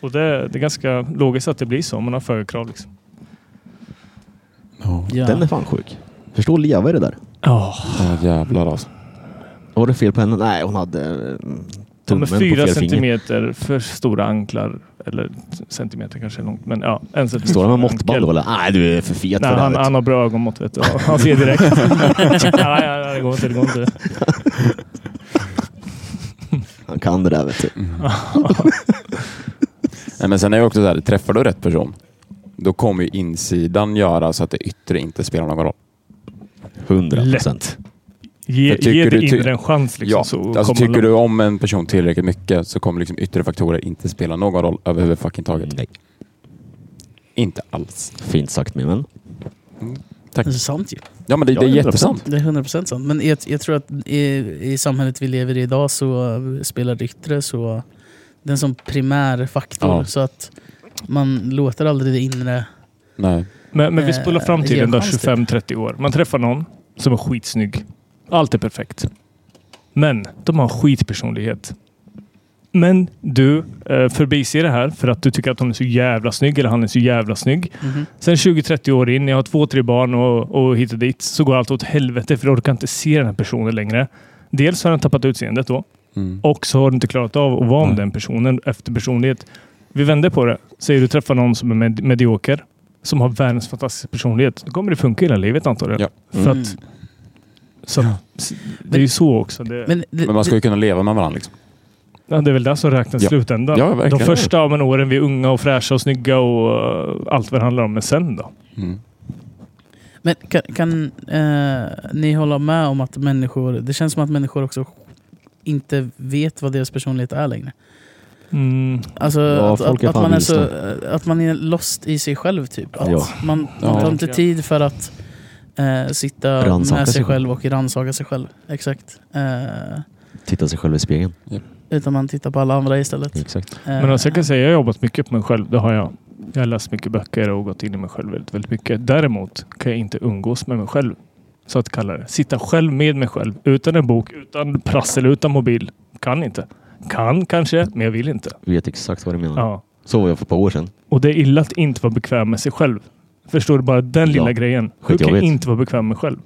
[SPEAKER 4] och det, det är ganska logiskt att det blir så om man har för höga krav. Liksom.
[SPEAKER 3] Ja,
[SPEAKER 1] ja.
[SPEAKER 2] Den är fan sjuk. Förstå Leva i det där.
[SPEAKER 3] ja, jävlar alltså.
[SPEAKER 2] Var det fel på henne? Nej, hon hade eh,
[SPEAKER 4] De är
[SPEAKER 2] tummen
[SPEAKER 4] fyra
[SPEAKER 2] på fel finger.
[SPEAKER 4] centimeter för stora anklar. Eller t- centimeter kanske är långt, men ja. En centimeter
[SPEAKER 2] Står han med
[SPEAKER 4] för
[SPEAKER 2] måttband då
[SPEAKER 4] ankel.
[SPEAKER 2] eller? Nej, du är för fet
[SPEAKER 4] Nej,
[SPEAKER 2] för det
[SPEAKER 4] han,
[SPEAKER 2] här,
[SPEAKER 4] han
[SPEAKER 2] vet
[SPEAKER 4] har bra ögonmått vet du. Han ser direkt. nej, nej, nej, det går inte. Det går inte.
[SPEAKER 2] du. han kan det där vet du.
[SPEAKER 3] Nej, men sen är det också så här, träffar du rätt person, då kommer ju insidan göra så att det yttre inte spelar någon roll.
[SPEAKER 2] Hundra
[SPEAKER 4] Lätt.
[SPEAKER 2] procent.
[SPEAKER 4] Ge,
[SPEAKER 3] För tycker
[SPEAKER 4] ge det
[SPEAKER 3] du- ty-
[SPEAKER 4] inre en chans liksom. så
[SPEAKER 3] ja, alltså
[SPEAKER 4] kommer
[SPEAKER 3] tycker
[SPEAKER 4] alla-
[SPEAKER 3] du om en person tillräckligt mycket så kommer liksom yttre faktorer inte spela någon roll
[SPEAKER 4] Mm.
[SPEAKER 3] överhuvudtaget.
[SPEAKER 2] Nej.
[SPEAKER 3] Inte alls.
[SPEAKER 2] Fint sagt min vän.
[SPEAKER 3] Tack.
[SPEAKER 1] Det är sant ju.
[SPEAKER 3] Ja, men det,
[SPEAKER 2] Ja,
[SPEAKER 3] det är
[SPEAKER 2] 100%.
[SPEAKER 3] jättesant.
[SPEAKER 1] Det är 100% sant. Men jag, jag tror att i, i samhället vi lever i idag så eh, spelar det yttre så den som primär faktor.
[SPEAKER 3] Ja.
[SPEAKER 1] Så att man låter aldrig det inre...
[SPEAKER 3] Nej.
[SPEAKER 4] Men, men vi
[SPEAKER 1] Eh,
[SPEAKER 4] spolar
[SPEAKER 1] ge
[SPEAKER 4] fram
[SPEAKER 1] en
[SPEAKER 4] tiden då
[SPEAKER 1] chans, typ.
[SPEAKER 4] 25-30 år. Man träffar någon som är skitsnygg. Allt är perfekt. Men de har skitpersonlighet. Men du eh, förbiser det här för att du tycker att hon är så jävla snygg eller han är så jävla snygg. Sen 20-30 år in, jag har två, tre barn och, och hit och dit, så går allt åt helvete för du orkar inte se den här personen längre. Dels har den tappat utseendet då.
[SPEAKER 3] Mm.
[SPEAKER 4] Och så har du inte klarat av att vara med
[SPEAKER 3] Nej.
[SPEAKER 4] den personen efter personlighet. Vi vänder på det. Säger du träffar någon som är med- medioker, som har världens fantastiska personlighet, då kommer det funka i hela livet antagligen.
[SPEAKER 3] Ja.
[SPEAKER 4] För
[SPEAKER 1] Mm.
[SPEAKER 4] att, så, att- Det är ju så också. Det,
[SPEAKER 1] Men, det,
[SPEAKER 3] Men man ska ju kunna leva med varandra. Liksom.
[SPEAKER 4] ja, det är väl det som räknas i
[SPEAKER 3] Ja.
[SPEAKER 4] slutändan.
[SPEAKER 3] Ja, verkligen.
[SPEAKER 4] De första av en åren, vi är unga och fräscha och snygga och eh, allt vad det handlar om. Men sen då?
[SPEAKER 3] Mm.
[SPEAKER 1] men kan, kan eh, ni hålla med om att människor... Det känns som att människor också inte vet vad deras personlighet är längre.
[SPEAKER 4] Mm.
[SPEAKER 1] Alltså
[SPEAKER 2] Ja,
[SPEAKER 1] att,
[SPEAKER 2] folk
[SPEAKER 1] att,
[SPEAKER 2] är
[SPEAKER 1] att,
[SPEAKER 2] fan
[SPEAKER 1] man är så,
[SPEAKER 2] vilsna.
[SPEAKER 1] att man är lost i sig själv typ. Att
[SPEAKER 2] Ja.
[SPEAKER 1] Man, man
[SPEAKER 3] Ja.
[SPEAKER 1] tar inte tid för att eh, sitta
[SPEAKER 2] Rannsaka
[SPEAKER 1] med sig
[SPEAKER 2] sig själv.
[SPEAKER 1] själv och rannsaka sig själv. Exakt. Eh,
[SPEAKER 2] Titta sig själv i spegeln.
[SPEAKER 1] utan man tittar på alla andra istället.
[SPEAKER 2] Exakt.
[SPEAKER 1] Eh,
[SPEAKER 4] Men alltså jag kan säga jag har jobbat mycket på mig själv. Det har jag. Jag har läst mycket böcker och gått in i mig själv väldigt, väldigt mycket. Däremot kan jag inte umgås med mig själv. Så att kalla det. Sitta själv med mig själv. Utan en bok, utan prassel, utan mobil. Kan inte. Kan kanske, men jag vill inte.
[SPEAKER 2] Vet exakt vad du menar.
[SPEAKER 4] Ja.
[SPEAKER 2] Så var jag för ett par år sedan.
[SPEAKER 4] Och det är illa att inte vara bekväm med sig själv. Förstår du? Bara den lilla
[SPEAKER 2] Ja.
[SPEAKER 4] grejen. Du kan
[SPEAKER 2] Skitjobbigt.
[SPEAKER 4] inte vara bekväm med själv.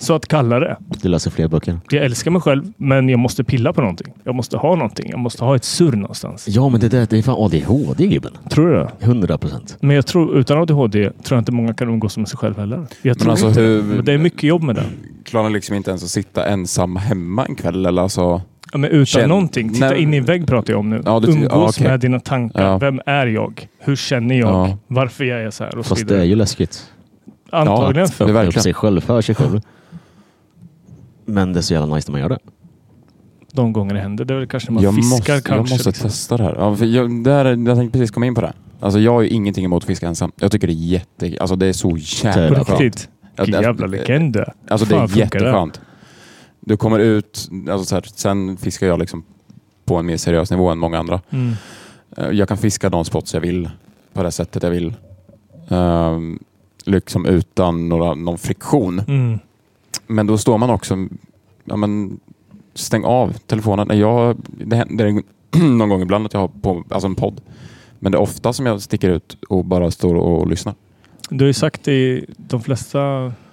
[SPEAKER 4] Så att kalla det.
[SPEAKER 2] Du läser fler böcker.
[SPEAKER 4] Jag älskar mig själv, men jag måste pilla på någonting. Jag måste ha någonting. Jag måste ha ett surr någonstans.
[SPEAKER 2] Ja, men det där det är fan ADHD gubben.
[SPEAKER 4] Tror du det?
[SPEAKER 2] 100 procent.
[SPEAKER 4] Men jag tror, utan ADHD tror jag inte många kan umgås med sig själv heller. Jag tror
[SPEAKER 3] alltså,
[SPEAKER 4] inte
[SPEAKER 3] hur-
[SPEAKER 4] det. Men det är mycket jobb med det.
[SPEAKER 3] Klarar liksom inte ens att sitta ensam hemma en kväll eller alltså...
[SPEAKER 4] Ja, men utan
[SPEAKER 3] Känn-
[SPEAKER 4] någonting. Titta
[SPEAKER 3] Nej.
[SPEAKER 4] in i en vägg pratar jag om nu.
[SPEAKER 3] Ja, du-
[SPEAKER 4] umgås
[SPEAKER 3] ja, okej.
[SPEAKER 4] med dina tankar.
[SPEAKER 3] Ja.
[SPEAKER 4] Vem är jag? Hur känner jag?
[SPEAKER 3] Ja.
[SPEAKER 4] Varför är jag så här? Och så
[SPEAKER 2] Fast det är
[SPEAKER 4] vidare.
[SPEAKER 2] ju läskigt.
[SPEAKER 4] Antagligen.
[SPEAKER 3] Ja, det är
[SPEAKER 2] Öppna upp
[SPEAKER 3] verkligen.
[SPEAKER 2] sig själv, för sig själv. Men det är så jävla nice när man gör det.
[SPEAKER 4] De gånger det händer. Det är väl kanske när man
[SPEAKER 3] Jag
[SPEAKER 4] fiskar
[SPEAKER 3] måste,
[SPEAKER 4] kanske.
[SPEAKER 3] jag måste
[SPEAKER 4] liksom.
[SPEAKER 3] testa det här. Ja, för jag, där, jag tänkte precis komma in på det. Alltså jag har ju ingenting emot att fiska ensam. Jag tycker det är jätte... Alltså det är så
[SPEAKER 2] På
[SPEAKER 3] jävla
[SPEAKER 4] På
[SPEAKER 3] skönt.
[SPEAKER 4] riktigt.
[SPEAKER 3] Ja, det-
[SPEAKER 4] Vilken jävla legend du är.
[SPEAKER 3] Alltså det
[SPEAKER 4] Fan,
[SPEAKER 3] är
[SPEAKER 4] funkar det?
[SPEAKER 3] jätteskönt. Du kommer ut, alltså så här, sen fiskar jag liksom på en mer seriös nivå än många andra.
[SPEAKER 4] Mm.
[SPEAKER 3] Eh, Jag kan fiska de spots jag vill på det sättet jag vill. Ehm, liksom utan några, någon friktion.
[SPEAKER 4] Mm.
[SPEAKER 3] Men då står man också... Ja, men, stäng av telefonen. Nej, Jag, det händer en- någon gång ibland att jag har på, alltså en podd. Men det är ofta som jag sticker ut och bara står och lyssnar.
[SPEAKER 4] Du har ju sagt i de flesta,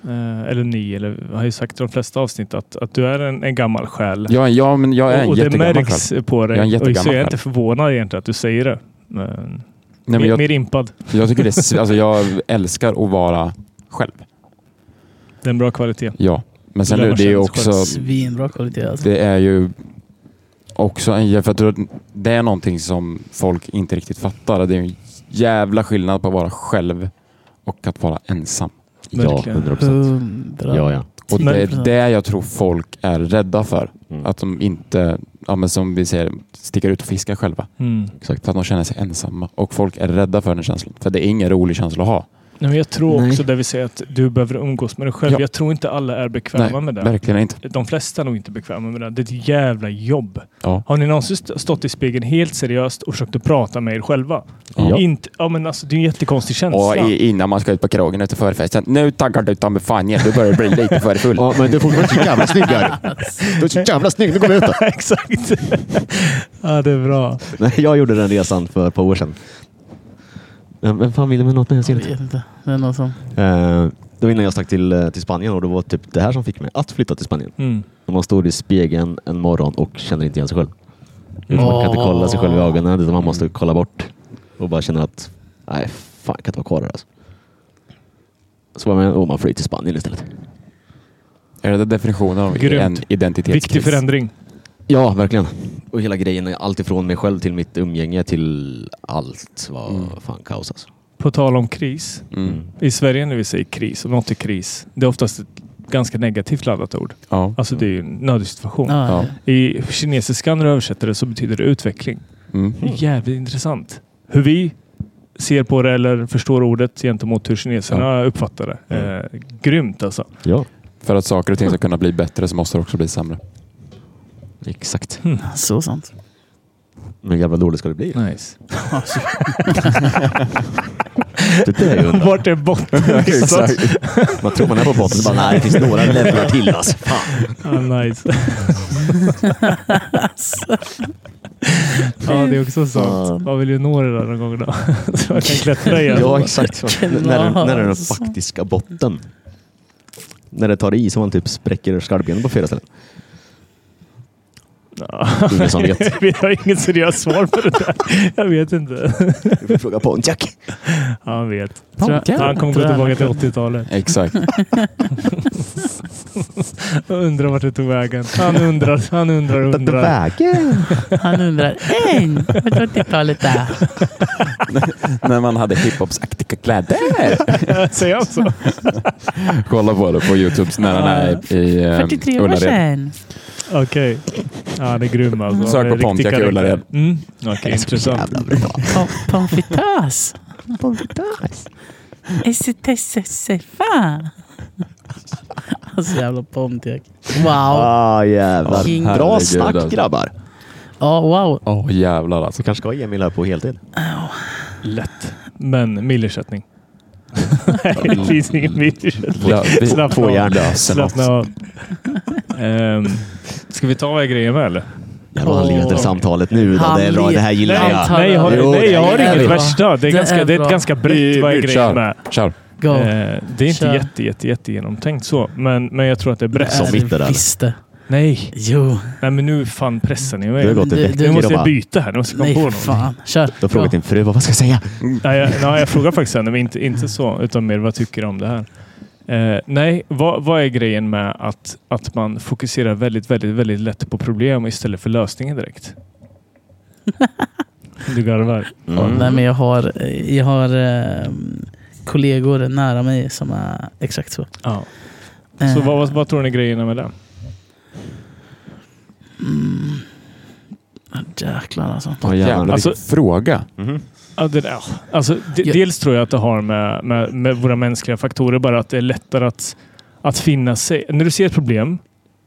[SPEAKER 4] eh, eller ni, eller har ju sagt i de flesta avsnitt att, att du är en, en gammal själ.
[SPEAKER 3] Ja, ja, men jag är
[SPEAKER 4] och,
[SPEAKER 3] en
[SPEAKER 4] och det
[SPEAKER 3] jättegammal själv.
[SPEAKER 4] märks på
[SPEAKER 3] Jag
[SPEAKER 4] dig.
[SPEAKER 3] är en
[SPEAKER 4] och
[SPEAKER 3] jättegammal
[SPEAKER 4] så jag är
[SPEAKER 3] själ.
[SPEAKER 4] inte förvånad egentligen att du säger det. Men,
[SPEAKER 3] Nej, men
[SPEAKER 4] mer,
[SPEAKER 3] jag,
[SPEAKER 4] mer impad.
[SPEAKER 3] jag, tycker det är, sv- alltså, jag älskar att vara själv.
[SPEAKER 4] Det är en bra kvalitet.
[SPEAKER 3] Ja, men sen
[SPEAKER 4] Det lär
[SPEAKER 3] det,
[SPEAKER 4] man
[SPEAKER 3] det är ju
[SPEAKER 4] känna
[SPEAKER 3] också...
[SPEAKER 4] sig själv.
[SPEAKER 1] Svinbra kvalitet alltså.
[SPEAKER 3] Det är ju också en... jä- För att du- det är någonting som folk inte riktigt fattar. Det är en jävla skillnad på att vara själv och att vara ensam.
[SPEAKER 2] Ja,
[SPEAKER 4] Verkligen.
[SPEAKER 2] 100 procent.
[SPEAKER 1] Hundra.
[SPEAKER 2] Ja, ja.
[SPEAKER 3] Och det är
[SPEAKER 1] 10%.
[SPEAKER 3] det jag tror folk är rädda för.
[SPEAKER 2] Mm.
[SPEAKER 3] Att de inte, ja, men som vi säger, sticker ut och fiskar själva.
[SPEAKER 4] Mm.
[SPEAKER 3] För att de känner sig ensamma. Och folk är rädda för den känslan. För det är ingen rolig känsla att ha.
[SPEAKER 4] Nej, men jag tror
[SPEAKER 2] Nej.
[SPEAKER 4] också där vi säger att du behöver umgås med dig själv.
[SPEAKER 3] Ja.
[SPEAKER 4] Jag tror inte alla är bekväma
[SPEAKER 3] Nej,
[SPEAKER 4] med det.
[SPEAKER 3] Verkligen inte.
[SPEAKER 4] De flesta är nog inte bekväma med det. Det är ett jävla jobb.
[SPEAKER 3] Ja.
[SPEAKER 4] Har ni någonsin st- stått i spegeln helt seriöst och försökt att prata med er själva?
[SPEAKER 2] Ja.
[SPEAKER 4] Inte, ja, men alltså, det är en jättekonstig känsla.
[SPEAKER 3] Och i, innan man ska ut på krogen efter förfesten. Nu taggar du ta mig fan igen. Du börjar bli lite för full.
[SPEAKER 2] Ja, men du är fortfarande så jävla snygg här. Du är så jävla snygg. Nu går vi ut då.
[SPEAKER 4] Exakt. ja, det är bra.
[SPEAKER 2] Nej, jag gjorde den resan för ett par år sedan. Ja, Vem fan ville mig något när jag ser
[SPEAKER 1] Jag
[SPEAKER 2] det?
[SPEAKER 1] vet inte. Det är någon som...
[SPEAKER 2] Eh, Det var innan jag stack till, eh, till Spanien och det var typ det här som fick mig att flytta till Spanien.
[SPEAKER 4] Mm.
[SPEAKER 2] När man står i spegeln en morgon och känner inte igen sig själv. Man kan inte
[SPEAKER 1] Åh.
[SPEAKER 2] kolla sig själv i ögonen utan man måste kolla bort och bara känna att nej, fan jag kan inte vara kvar här alltså. Så var man, oh, man flyr till Spanien istället.
[SPEAKER 3] Är det definitionen av
[SPEAKER 4] Grymt.
[SPEAKER 3] en identitetskris?
[SPEAKER 4] Viktig förändring.
[SPEAKER 2] Ja, verkligen. Och hela grejen, är allt ifrån mig själv till mitt umgänge till allt var fan kaos alltså.
[SPEAKER 4] På tal om kris.
[SPEAKER 3] Mm.
[SPEAKER 4] I Sverige när vi säger kris, om något är kris, det är oftast ett ganska negativt laddat ord.
[SPEAKER 3] Ja.
[SPEAKER 4] Alltså det är ju en nödsituation.
[SPEAKER 1] Ja,
[SPEAKER 3] Ja.
[SPEAKER 4] I kinesiska när du översätter det så betyder det utveckling.
[SPEAKER 3] Mm.
[SPEAKER 4] Det är jävligt intressant. Hur vi ser på det eller förstår ordet gentemot hur kineserna uppfattar det. Eh, grymt alltså.
[SPEAKER 2] Ja,
[SPEAKER 3] För att saker och ting ska kunna bli bättre så måste det också bli sämre.
[SPEAKER 2] exakt.
[SPEAKER 1] så sant.
[SPEAKER 2] Men jävla dåligt ska det bli.
[SPEAKER 4] Nice.
[SPEAKER 2] Det där är ju undra.
[SPEAKER 4] Vart är botten? Liksom. Exakt.
[SPEAKER 2] Man tror man är på botten bara nej, det finns några levlar till alltså. Fan.
[SPEAKER 4] ah, nice. ja, det är också sant. Man vill ju nå det där någon gång då. Så man kan klättra igen.
[SPEAKER 2] Ja, exakt. N- när, den, när den
[SPEAKER 1] Alltså.
[SPEAKER 2] faktiska botten. När det tar i så man typ spräcker skallbenen på fyra ställen. Ingen som vet.
[SPEAKER 4] Vi har inget seriöst svar på det där. Jag vet inte.
[SPEAKER 2] Du får fråga Pontiac.
[SPEAKER 4] Han vet.
[SPEAKER 1] Pontiac.
[SPEAKER 4] Han kommer gå tillbaka till 80-talet.
[SPEAKER 3] Exakt.
[SPEAKER 4] Jag undrar vart det tog vägen. Han undrar, han undrar, undrar.
[SPEAKER 2] Vägen.
[SPEAKER 1] Han undrar, en, vad tror du talet är?
[SPEAKER 3] När man hade hiphopsaktiga kläder.
[SPEAKER 4] Säger jag så?
[SPEAKER 3] Kolla på det på Youtube när han är i eh,
[SPEAKER 1] 43 år
[SPEAKER 3] Ullared.
[SPEAKER 1] sedan.
[SPEAKER 4] Okej. Ja, det är grym alltså.
[SPEAKER 3] Sök på
[SPEAKER 4] Det är riktigt
[SPEAKER 3] Pontiac i
[SPEAKER 4] karaktär.
[SPEAKER 3] Ullared.
[SPEAKER 4] Mm. Okej,
[SPEAKER 2] Det är så
[SPEAKER 4] intressant.
[SPEAKER 2] Alltså, jävla bra.
[SPEAKER 1] Po- Pommes frites.
[SPEAKER 2] Pommes
[SPEAKER 1] Esse-tesse-se-fa. Alltså jävla Pontiac. Wow.
[SPEAKER 2] Ah, jävlar.
[SPEAKER 1] King.
[SPEAKER 2] Bra
[SPEAKER 3] Herregud,
[SPEAKER 2] snack
[SPEAKER 3] alltså.
[SPEAKER 2] grabbar.
[SPEAKER 1] Ja, wow.
[SPEAKER 3] Åh jävlar alltså.
[SPEAKER 2] Så kanske ska Emil här på heltid.
[SPEAKER 4] Lätt. Men milersättning. Nej, det finns ingen milersättning.
[SPEAKER 3] Ja, vi-
[SPEAKER 4] Slappna
[SPEAKER 2] Två
[SPEAKER 4] av.
[SPEAKER 2] järn.
[SPEAKER 4] Slappna av. Ehm, ska vi ta vad grejer med eller?
[SPEAKER 2] Jävlar vad han
[SPEAKER 1] Åh.
[SPEAKER 2] leder samtalet nu då.
[SPEAKER 1] Han
[SPEAKER 2] Det, är bra.
[SPEAKER 1] led-
[SPEAKER 2] det här gillar
[SPEAKER 4] Nej,
[SPEAKER 2] jag.
[SPEAKER 1] tar-
[SPEAKER 4] nej, jag har,
[SPEAKER 2] Jo,
[SPEAKER 4] nej, jag
[SPEAKER 2] det
[SPEAKER 4] har
[SPEAKER 2] är
[SPEAKER 4] inget
[SPEAKER 2] bra.
[SPEAKER 4] värsta. Det
[SPEAKER 1] Det
[SPEAKER 4] är, ganska,
[SPEAKER 1] är
[SPEAKER 4] det är ett
[SPEAKER 1] bra.
[SPEAKER 4] ganska brett vad är grejer
[SPEAKER 3] Kör.
[SPEAKER 4] med.
[SPEAKER 3] Kör.
[SPEAKER 1] Go.
[SPEAKER 4] Eh, det är inte
[SPEAKER 1] Kör. Äh,
[SPEAKER 4] jätte, jätte, jätte genomtänkt så, men, men jag tror att det är brett.
[SPEAKER 2] som
[SPEAKER 1] Nej,
[SPEAKER 2] bitter, eller?
[SPEAKER 1] Visst det.
[SPEAKER 4] Nej,
[SPEAKER 1] Jo.
[SPEAKER 4] nej men nu fan pressar ni
[SPEAKER 2] Du har
[SPEAKER 4] mig.
[SPEAKER 2] gått
[SPEAKER 1] Du-
[SPEAKER 2] i
[SPEAKER 1] du-
[SPEAKER 2] veckor
[SPEAKER 4] Nu
[SPEAKER 2] och
[SPEAKER 4] måste jag
[SPEAKER 2] bara... Du
[SPEAKER 4] byta här. Nu måste jag komma på
[SPEAKER 1] Nej,
[SPEAKER 4] någonting.
[SPEAKER 1] fan. Kör.
[SPEAKER 2] har frågat din fru vad man ska säga.
[SPEAKER 4] Nej, jag, nej, jag frågar faktiskt henne, men inte, inte så, utan mer vad tycker du om det här? Eh, nej, vad, vad är grejen med att, att man fokuserar väldigt, väldigt, väldigt lätt på problem istället för lösningen direkt? Du garvar.
[SPEAKER 1] Mm. Nej, men jag har, jag har eh, kollegor nära mig som är exakt så.
[SPEAKER 4] Ja. Så
[SPEAKER 1] Eh.
[SPEAKER 4] vad, vad, vad tror ni är grejerna med det?
[SPEAKER 1] Mm. Ja, ah, Jäklar alltså.
[SPEAKER 2] Åh, jävlar.
[SPEAKER 3] Jävlar
[SPEAKER 4] Alltså-
[SPEAKER 3] vilken fråga.
[SPEAKER 2] Mhm.
[SPEAKER 4] Ja, det, ja. Alltså, de,
[SPEAKER 1] Jag-
[SPEAKER 4] Dels tror jag att det har med, med, med våra mänskliga faktorer bara att det är lättare att, att finna sig. När du ser ett problem